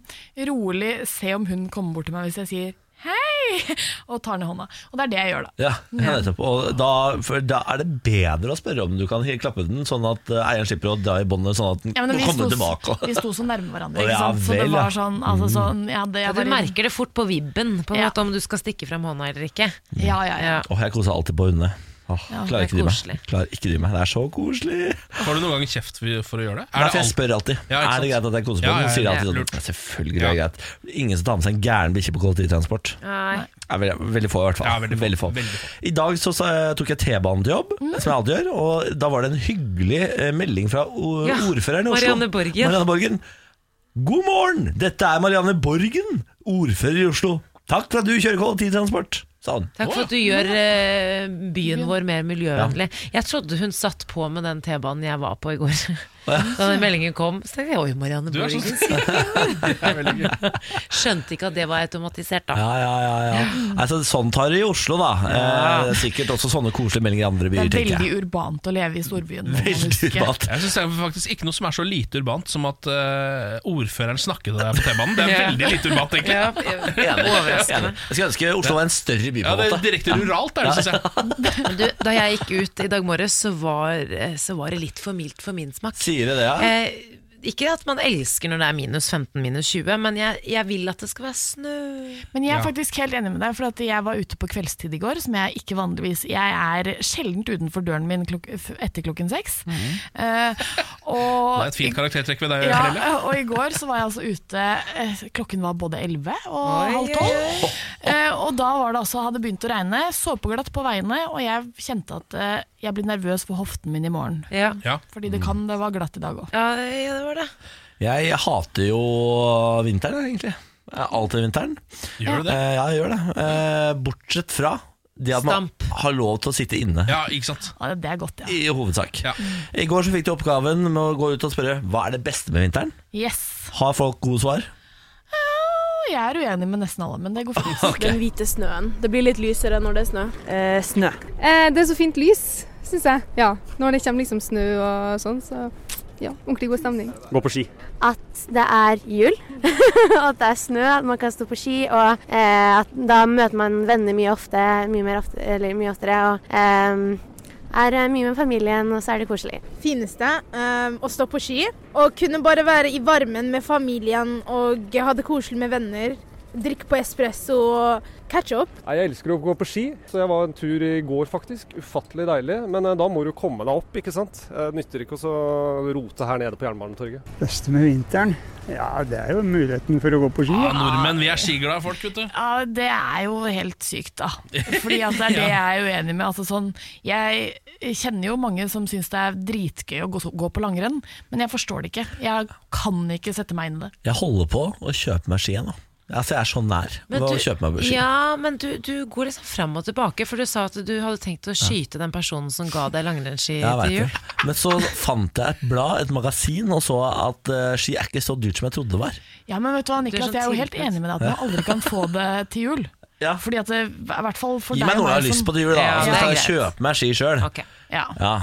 Speaker 11: rolig se om hun kommer bort til meg hvis jeg sier hei, og tar ned hånda. Og det er det jeg gjør, da.
Speaker 1: Ja, ja nettopp. Og da, for da er det bedre å spørre om du kan he- klappe den, sånn at eh, eieren slipper å dra i båndet, sånn at den
Speaker 11: Ja, men vi,
Speaker 1: kommer tilbake.
Speaker 11: sto,
Speaker 1: og-
Speaker 11: vi sto så nærme hverandre,
Speaker 1: Å,
Speaker 11: ikke
Speaker 1: ja
Speaker 11: sant. Så det
Speaker 1: vel, ja.
Speaker 11: var sånn, altså, sånn ja, det,
Speaker 3: Ja,
Speaker 11: jeg
Speaker 3: du
Speaker 11: var i-
Speaker 3: merker det fort på vibben på en
Speaker 11: Ja.
Speaker 3: måte om du skal stikke frem hånda eller ikke.
Speaker 11: Ja, ja, ja.
Speaker 3: Ja.
Speaker 1: Åh, jeg koser alltid på hundene. Åh,
Speaker 11: Ja,
Speaker 1: klarer
Speaker 3: det er
Speaker 1: ikke dy meg.
Speaker 3: koselig.
Speaker 1: Klarer ikke dy meg. Det er så koselig.
Speaker 2: Får du noen gang kjeft for å gjøre det?
Speaker 1: Nei, for
Speaker 2: Er det
Speaker 1: jeg
Speaker 2: alt?
Speaker 1: spør alltid.
Speaker 2: Ja, ikke
Speaker 1: er det
Speaker 2: sant?
Speaker 1: greit at jeg koser på
Speaker 2: Ja,
Speaker 1: den?
Speaker 2: ja,
Speaker 1: Så sier
Speaker 2: ja.
Speaker 1: jeg alltid
Speaker 2: Lurt.
Speaker 1: sånn. Ja, selvfølgelig er det greit. Ingen som tar med seg en gæren bikkje på kollektivtransport.
Speaker 3: Nei.
Speaker 1: Er veldig, veldig få, i hvert fall.
Speaker 2: Ja, veldig få. Mm. Veldig
Speaker 1: I dag så, sa- tok jeg T-banen til jobb, som jeg alltid gjør. Og da var det en hyggelig eh, melding fra o-
Speaker 3: Ja,
Speaker 1: ordføreren i Oslo.
Speaker 3: Marianne Borgen.
Speaker 1: Marianne Borgen. God morgen! Dette er Marianne Borgen, ordfører i Oslo. Takk for at du kjører kollektivtransport, sa han.
Speaker 3: Takk for at du gjør eh, byen vår mer miljøvennlig. Jeg trodde hun satt på med den T-banen jeg var på i går. Da den meldingen kom, så tenkte jeg oi, Marianne
Speaker 2: Du er så-
Speaker 3: Borgen.
Speaker 2: Det er veldig gøy.
Speaker 3: Skjønte ikke at det var automatisert, da.
Speaker 1: Ja, ja, ja, ja. Altså, sånn tar det i Oslo, da. Eh, sikkert også sånne koselige meldinger i andre
Speaker 11: Det
Speaker 1: byer,
Speaker 11: er
Speaker 1: tenker
Speaker 11: veldig
Speaker 1: jeg.
Speaker 11: urbant å leve i storbyen. må man
Speaker 1: Veldig
Speaker 11: huske.
Speaker 1: urbant.
Speaker 2: Jeg synes det er faktisk ikke noe som er så lite urbant som at eh, ordføreren snakker til deg på T-banen. Det er
Speaker 3: Ja.
Speaker 2: veldig lite urbant, egentlig.
Speaker 3: Ja,
Speaker 2: Ja,
Speaker 3: overraskende.
Speaker 1: Jeg skulle ønske Oslo var en større by, på en
Speaker 2: det er
Speaker 1: måte.
Speaker 2: direkte ruralt, er det, synes jeg.
Speaker 3: Men du, da jeg gikk ut i dag morges, så var, eh, så var det litt for mildt for min smak.
Speaker 1: Sier det det, ja?
Speaker 3: Eh, ikke at man elsker når det er minus 15, minus 20, men jeg, jeg vil at det skal være snø.
Speaker 11: Men jeg er faktisk helt enig med deg, for at jeg var ute på kveldstid i går, som jeg ikke vanligvis Jeg er sjelden utenfor døren min klok f- etter klokken seks.
Speaker 4: Mm.
Speaker 11: Eh, og,
Speaker 2: Det er et fint karaktertrekk ved deg,
Speaker 11: ja,
Speaker 2: Pernille.
Speaker 11: og i går så var jeg altså ute eh, Klokken var både 11 og halv tolv. Eh, og da var det altså, hadde begynt å regne, såpeglatt på veiene, og jeg kjente at eh, jeg blir nervøs for hoften min i morgen.
Speaker 3: Ja,
Speaker 2: Ja.
Speaker 11: Fordi det kan det var glatt i dag òg.
Speaker 3: ja det var det.
Speaker 1: Jeg hater jo vinteren, egentlig. Jeg er Alltid vinteren.
Speaker 2: Gjør du det?
Speaker 1: Eh, ja, jeg gjør det. Eh, bortsett fra det at man
Speaker 3: Stamp.
Speaker 1: har lov til å sitte inne.
Speaker 2: Ja, ikke sant.
Speaker 11: Ja, det er godt, ja.
Speaker 1: I hovedsak.
Speaker 2: Ja.
Speaker 1: I går så fikk du oppgaven med å gå ut og spørre hva er det beste med vinteren.
Speaker 11: Yes.
Speaker 1: Har folk gode svar?
Speaker 11: Og jeg er uenig med nesten alle, men det går fint.
Speaker 12: Den hvite snøen. Det blir litt lysere når det er snø.
Speaker 7: snø.
Speaker 12: Eh, det er så fint lys, syns jeg. Ja, når det kommer liksom snø og sånn, så ja, ordentlig god stemning.
Speaker 13: Gå på ski.
Speaker 12: At det er jul, at det er snø, at man kan stå på ski, og eh, at da møter man venner mye ofte, mye mer ofte, eller mye oftere, og eh, er eh, mye med familien, og så er det koselig. Fineste ehm, å stå på ski, og kunne bare være i varmen med familien og ha det koselig med venner. Drikke på espresso og catch up.
Speaker 13: Nei, Jeg elsker å gå på ski, så jeg var en tur i går faktisk. Ufattelig deilig. Men eh, da må du komme deg opp, ikke sant. Eh, Nytter ikke også å rote her nede på Jernbanetorget.
Speaker 7: Beste med vinteren? Ja, det er jo muligheten for å gå på ski.
Speaker 2: Ja, nordmenn, vi er skiglade folk, vet du.
Speaker 11: Ja, det er jo helt sykt, da. Fordi at det er det jeg er uenig med. Altså, sånn, jeg kjenner jo mange som syns det er dritgøy å gå, gå på langrenn, men jeg forstår det ikke. Jeg kan ikke sette meg inn i det.
Speaker 1: Jeg holder på å kjøpe meg ski nå. Altså, jeg er så nær
Speaker 3: Men
Speaker 1: å
Speaker 3: du-
Speaker 1: kjøpe meg ski.
Speaker 3: Ja, men du, du går liksom fram og tilbake, for du sa at du hadde tenkt å skyte den personen som ga deg langrennsski
Speaker 1: Jeg
Speaker 3: til
Speaker 1: vet
Speaker 3: jul.
Speaker 1: det. Men så fant jeg et blad, et magasin, og så at eh, ski er ikke så dyrt som jeg trodde det var.
Speaker 11: Ja, men vet du hva, Niklas,
Speaker 3: sånn
Speaker 11: jeg er jo helt
Speaker 3: tilfreds.
Speaker 11: enig med deg at man aldri kan få det til jul.
Speaker 1: Ja.
Speaker 11: Fordi at det, I hvert fall for
Speaker 1: Gi
Speaker 11: deg sånn-
Speaker 1: meg noe jeg har lyst på til jul, da.
Speaker 3: Ja,
Speaker 1: så
Speaker 3: det
Speaker 1: skal
Speaker 3: er
Speaker 1: jeg kjøpe meg ski sjøl.
Speaker 3: Ok.
Speaker 11: Ja,
Speaker 1: Ja.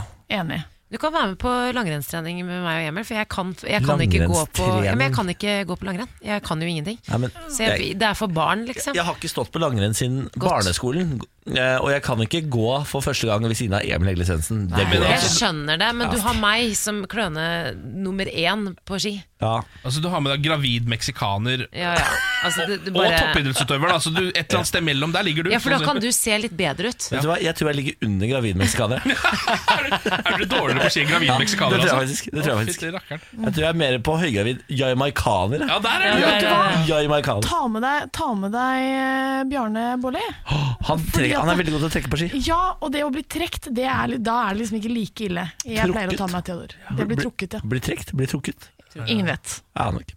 Speaker 11: enig.
Speaker 3: Du kan være med på langrennstrening med meg og Emil, for jeg kan, jeg kan, ikke, gå på, ja, men jeg kan ikke gå på langrenn. Jeg kan jo ingenting.
Speaker 1: Nei, men,
Speaker 3: Så jeg, det er for barn, liksom.
Speaker 1: Jeg har ikke stått på langrenn siden barneskolen. Eh, Og jeg kan ikke gå for første gang ved siden av Emil Hegle Svendsen. Det går
Speaker 3: Jeg
Speaker 1: altså.
Speaker 3: skjønner det, men
Speaker 1: Ja.
Speaker 3: du har meg som kløne nummer én på ski.
Speaker 2: Altså Du har med deg gravid meksikaner
Speaker 3: Ja, ja. Altså, det, det
Speaker 2: og
Speaker 3: bare...
Speaker 2: toppidrettsutøver. da. Så du, et eller annet sted mellom der ligger du.
Speaker 3: Ja, for da kan du se litt bedre ut.
Speaker 1: Vet du hva, Jeg tror jeg ligger under gravid meksikaner.
Speaker 2: Er du dårligere på å si gravid
Speaker 1: Ja,
Speaker 2: meksikaner?
Speaker 1: det tror jeg
Speaker 2: altså?
Speaker 1: faktisk, det tror jeg
Speaker 2: Å,
Speaker 1: faktisk.
Speaker 2: fytti rakkeren.
Speaker 1: Jeg tror jeg er mer på høygravid jamaikaner.
Speaker 2: Ja, der
Speaker 11: er du. Ja, vet du hva?
Speaker 1: Jamaikaner.
Speaker 11: Ta med deg, ta med deg eh, Bjarne Bårli.
Speaker 1: Han, trekker, han er veldig god til å trekke på ski.
Speaker 11: Ja, og det å bli trukket, det er, litt- da er det liksom ikke like ille. Jeg pleier å ta med meg Theodor. Det blir trukket, ja.
Speaker 1: Blir trukket, blir trukket.
Speaker 11: Ingen vet.
Speaker 1: Ja, nok.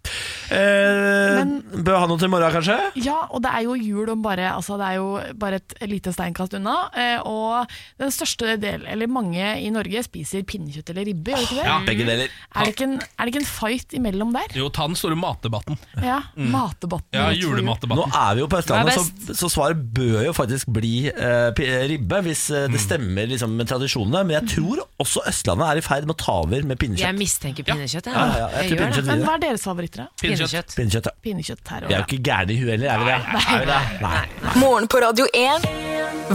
Speaker 1: Eh, bør ha noe til i morgen, kanskje?
Speaker 11: Ja, og det er jo jul om bare, altså det er jo bare et lite steinkast unna. eh, Og den største del, eller mange i Norge, spiser pinnekjøtt eller ribbe, gjør de ikke det?
Speaker 2: Ja, begge deler.
Speaker 11: Er det ikke en, er det ikke en fight imellom der?
Speaker 2: Jo, ta den store matdebatten.
Speaker 11: Ja,
Speaker 2: Mm.
Speaker 11: matdebatten.
Speaker 2: Ja,
Speaker 11: rett før jul.
Speaker 1: Nå er vi jo på
Speaker 11: Hva
Speaker 1: Østlandet,
Speaker 11: er
Speaker 1: så, så svaret bør jo faktisk bli eh, pi- eh, ribbe, hvis eh, det stemmer liksom, med tradisjonene. Men jeg tror også Østlandet er i ferd med å ta over med
Speaker 3: Jeg
Speaker 1: pinnekjøtt.
Speaker 3: mistenker pinnekjøtt.
Speaker 1: Ja, ja, ja, jeg tror
Speaker 3: gjør
Speaker 1: pinnekjøtt
Speaker 11: Men
Speaker 1: vinner.
Speaker 11: hva er deres favoritter, da?
Speaker 1: Pinnekjøtt. Pinnekjøtt, ja.
Speaker 11: Pinnekjøtt her
Speaker 1: Vi er jo
Speaker 11: og
Speaker 1: ikke gærne i huet heller, er vi det?
Speaker 11: Nei,
Speaker 1: Er vi det? Nei.
Speaker 4: Morgen på Radio 1.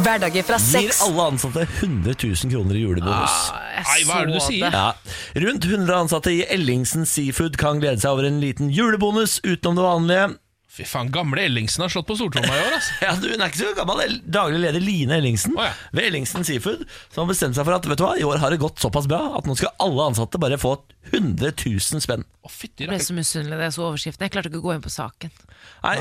Speaker 4: Hverdager fra
Speaker 1: Gir
Speaker 4: seks.
Speaker 1: alle ansatte 100 000 kroner i julebonus.
Speaker 3: Ah.
Speaker 2: jeg Nei, hva er det du så sier? det.
Speaker 1: Ja. Rundt 100 ansatte i Ellingsen Seafood kan glede seg over en liten julebonus utenom det vanlige.
Speaker 2: Fy faen, gamle Ellingsen har slått på stortromma i år, altså.
Speaker 1: Ja, du, Hun er ikke så gammel. det er Daglig leder Line Ellingsen ved Ellingsen Seafood som har bestemt seg for at vet du hva, i år har det gått såpass bra at nå skal alle ansatte bare få 100 000 spenn.
Speaker 3: Jeg ble så misunnelig da jeg så overskriften. Jeg klarte ikke å gå inn på saken.
Speaker 1: Nei.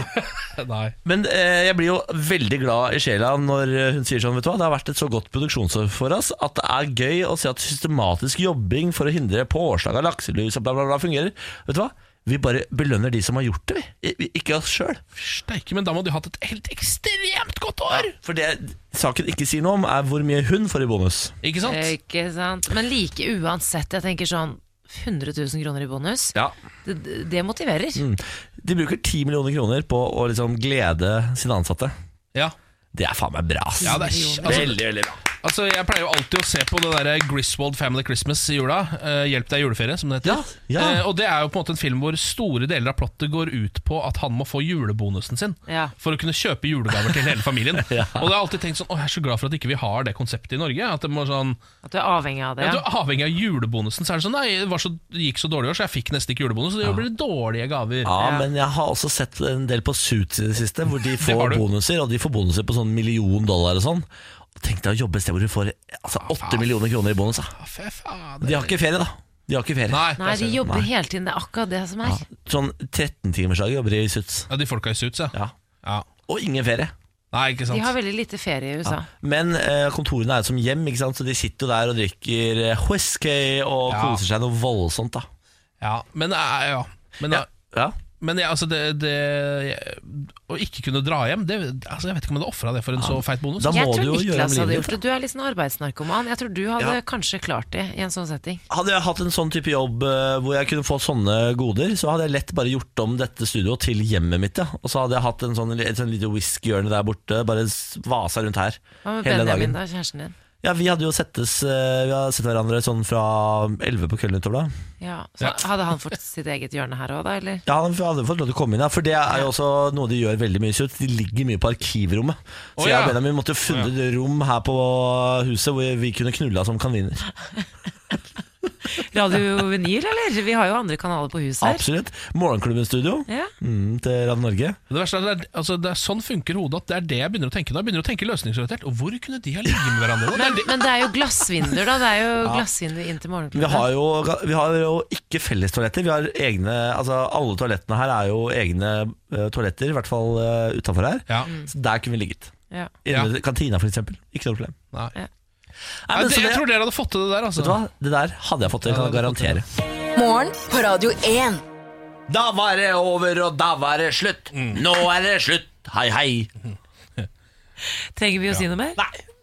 Speaker 1: Men eh, jeg blir jo veldig glad i sjela når eh, hun sier sånn, vet du hva, det har vært et så godt produksjonsår for oss at det er gøy å se at systematisk jobbing for å hindre påslag av lakselus og bla, bla, bla fungerer. Vet du hva? Vi bare belønner de som har gjort det, vi. I- Ikke oss sjøl.
Speaker 2: Steike, men da må de ha hatt et helt ekstremt godt år!
Speaker 1: For det saken ikke sier noe om, er hvor mye hun får i bonus.
Speaker 2: Ikke sant?
Speaker 3: Ikke sant? Men like uansett, jeg tenker sånn 100 000 kroner i bonus,
Speaker 1: Ja.
Speaker 3: det, det motiverer.
Speaker 1: Mm. De bruker 10 millioner kroner på å liksom glede sine ansatte.
Speaker 2: Ja.
Speaker 1: Det er faen meg bra. ass.
Speaker 2: Ja, det er altså-
Speaker 1: veldig, veldig bra.
Speaker 2: Altså, Jeg pleier jo alltid å se på det der Griswold Family Christmas i jula. eh, Hjelp deg i juleferie, som det heter.
Speaker 1: Ja, ja.
Speaker 2: Eh, og Det er jo på en måte en film hvor store deler av plottet går ut på at han må få julebonusen sin
Speaker 3: Ja.
Speaker 2: for å kunne kjøpe julegaver til hele familien. Og da har jeg alltid tenkt sånn, Å, jeg er så glad for at ikke vi har det konseptet i Norge. At, det må sånn,
Speaker 3: At du er avhengig av det.
Speaker 2: at du
Speaker 3: Ja.
Speaker 2: er avhengig av julebonusen. Så er det sånn, nei, det, var så, det gikk så dårlig i år, så jeg fikk nesten ikke julebonus. Så det blir dårlige gaver.
Speaker 1: Ja, men jeg har også sett en del på Suits i det siste, hvor de
Speaker 2: har
Speaker 1: får
Speaker 2: du.
Speaker 1: bonuser, og de får bonuser på sånn million dollar og sånn. Og Tenk deg å jobbe et sted hvor du får altså, 8 millioner kroner i bonus. Da.
Speaker 2: Ah, Fy faen.
Speaker 1: De har ikke ferie, da. De har ikke ferie.
Speaker 3: Nei, de jobber hele tiden. Det er akkurat det som er.
Speaker 1: Sånn 13-timersdag jobber de i Suits.
Speaker 2: Ja, de folka i Suits, ja.
Speaker 1: Og ingen ferie.
Speaker 2: Nei, ikke
Speaker 3: De har veldig lite ferie i USA.
Speaker 1: Men eh, kontorene er jo som hjem, ikke sant? så de sitter jo der og drikker eh, whisky og
Speaker 2: Ja.
Speaker 1: koser seg noe voldsomt. da
Speaker 2: Ja, men eh, ja. Men, ja. men ja, altså det, det Å ikke kunne dra hjem det, altså Jeg vet ikke om jeg hadde ofra det for en så feit bonus.
Speaker 3: jeg tror Niklas hadde gjort det. Du er litt sånn arbeidsnarkoman. Jeg tror du hadde
Speaker 1: Ja.
Speaker 3: kanskje klart det i en sånn setting.
Speaker 1: Hadde jeg hatt en sånn type jobb eh, hvor jeg kunne få sånne goder, så hadde jeg lett bare gjort om dette studioet til hjemmet mitt. Ja. Og så hadde jeg hatt en sånn, et sånn lite whiskyhjørne der borte, bare s- vasa rundt her
Speaker 3: Hva med
Speaker 1: hele dagen.
Speaker 3: Benjamin, da? Kjæresten din.
Speaker 1: Ja, Vi hadde jo settes eh, Vi hadde sett hverandre sånn fra elleve på kvelden utover da.
Speaker 3: Ja. Så
Speaker 1: Ja.
Speaker 3: Hadde han fått sitt eget hjørne her òg, da? Eller?
Speaker 1: Ja, Han hadde fått lov til å komme inn, ja, for det er jo også noe de gjør veldig mye i Suits. De ligger mye på arkivrommet. Så
Speaker 2: Å,
Speaker 1: jeg
Speaker 2: ja.
Speaker 1: og Benjamin måtte jo funnet et rom her på huset hvor vi kunne knulla som kaniner.
Speaker 3: Radio Vinyl, eller? Vi har jo andre kanaler på huset her.
Speaker 1: Absolutt. Morgenklubben studio
Speaker 3: Ja.
Speaker 1: mm, til Radio Norge.
Speaker 2: Det verste er, at det er, altså, det er Sånn funker hodet at det er det jeg begynner å tenke. Da Jeg begynner å tenke løsningsorientert. Og hvor kunne de ha ligget med hverandre? da?
Speaker 3: Men,
Speaker 2: Det er det-
Speaker 3: men det er jo glassvinduer, da. Det er jo
Speaker 1: Ja.
Speaker 3: glassvinduer inn til
Speaker 1: Vi
Speaker 3: morgenklubben.
Speaker 1: har, jo, vi har jo ikke fellestoaletter. Vi har egne, altså Alle toalettene her er jo egne eh, toaletter, i hvert fall uh, utafor her. Så der kunne vi ligget.
Speaker 3: Ja.
Speaker 1: Inne ved kantina, for eksempel. Ikke noe problem.
Speaker 2: Nei.
Speaker 1: Nei,
Speaker 2: Nei,
Speaker 1: men
Speaker 2: det,
Speaker 1: så
Speaker 2: jeg
Speaker 1: det-
Speaker 2: tror dere hadde fått til det der.
Speaker 1: Vet
Speaker 2: Altså.
Speaker 1: du hva? Det der hadde jeg fått til, kan jeg garantere.
Speaker 4: Morgen på Radio 1.
Speaker 1: Da var det over, og da var det Mm. slutt. Nå er det slutt. Hei, hei.
Speaker 3: Trenger vi å si noe mer?
Speaker 1: Nei.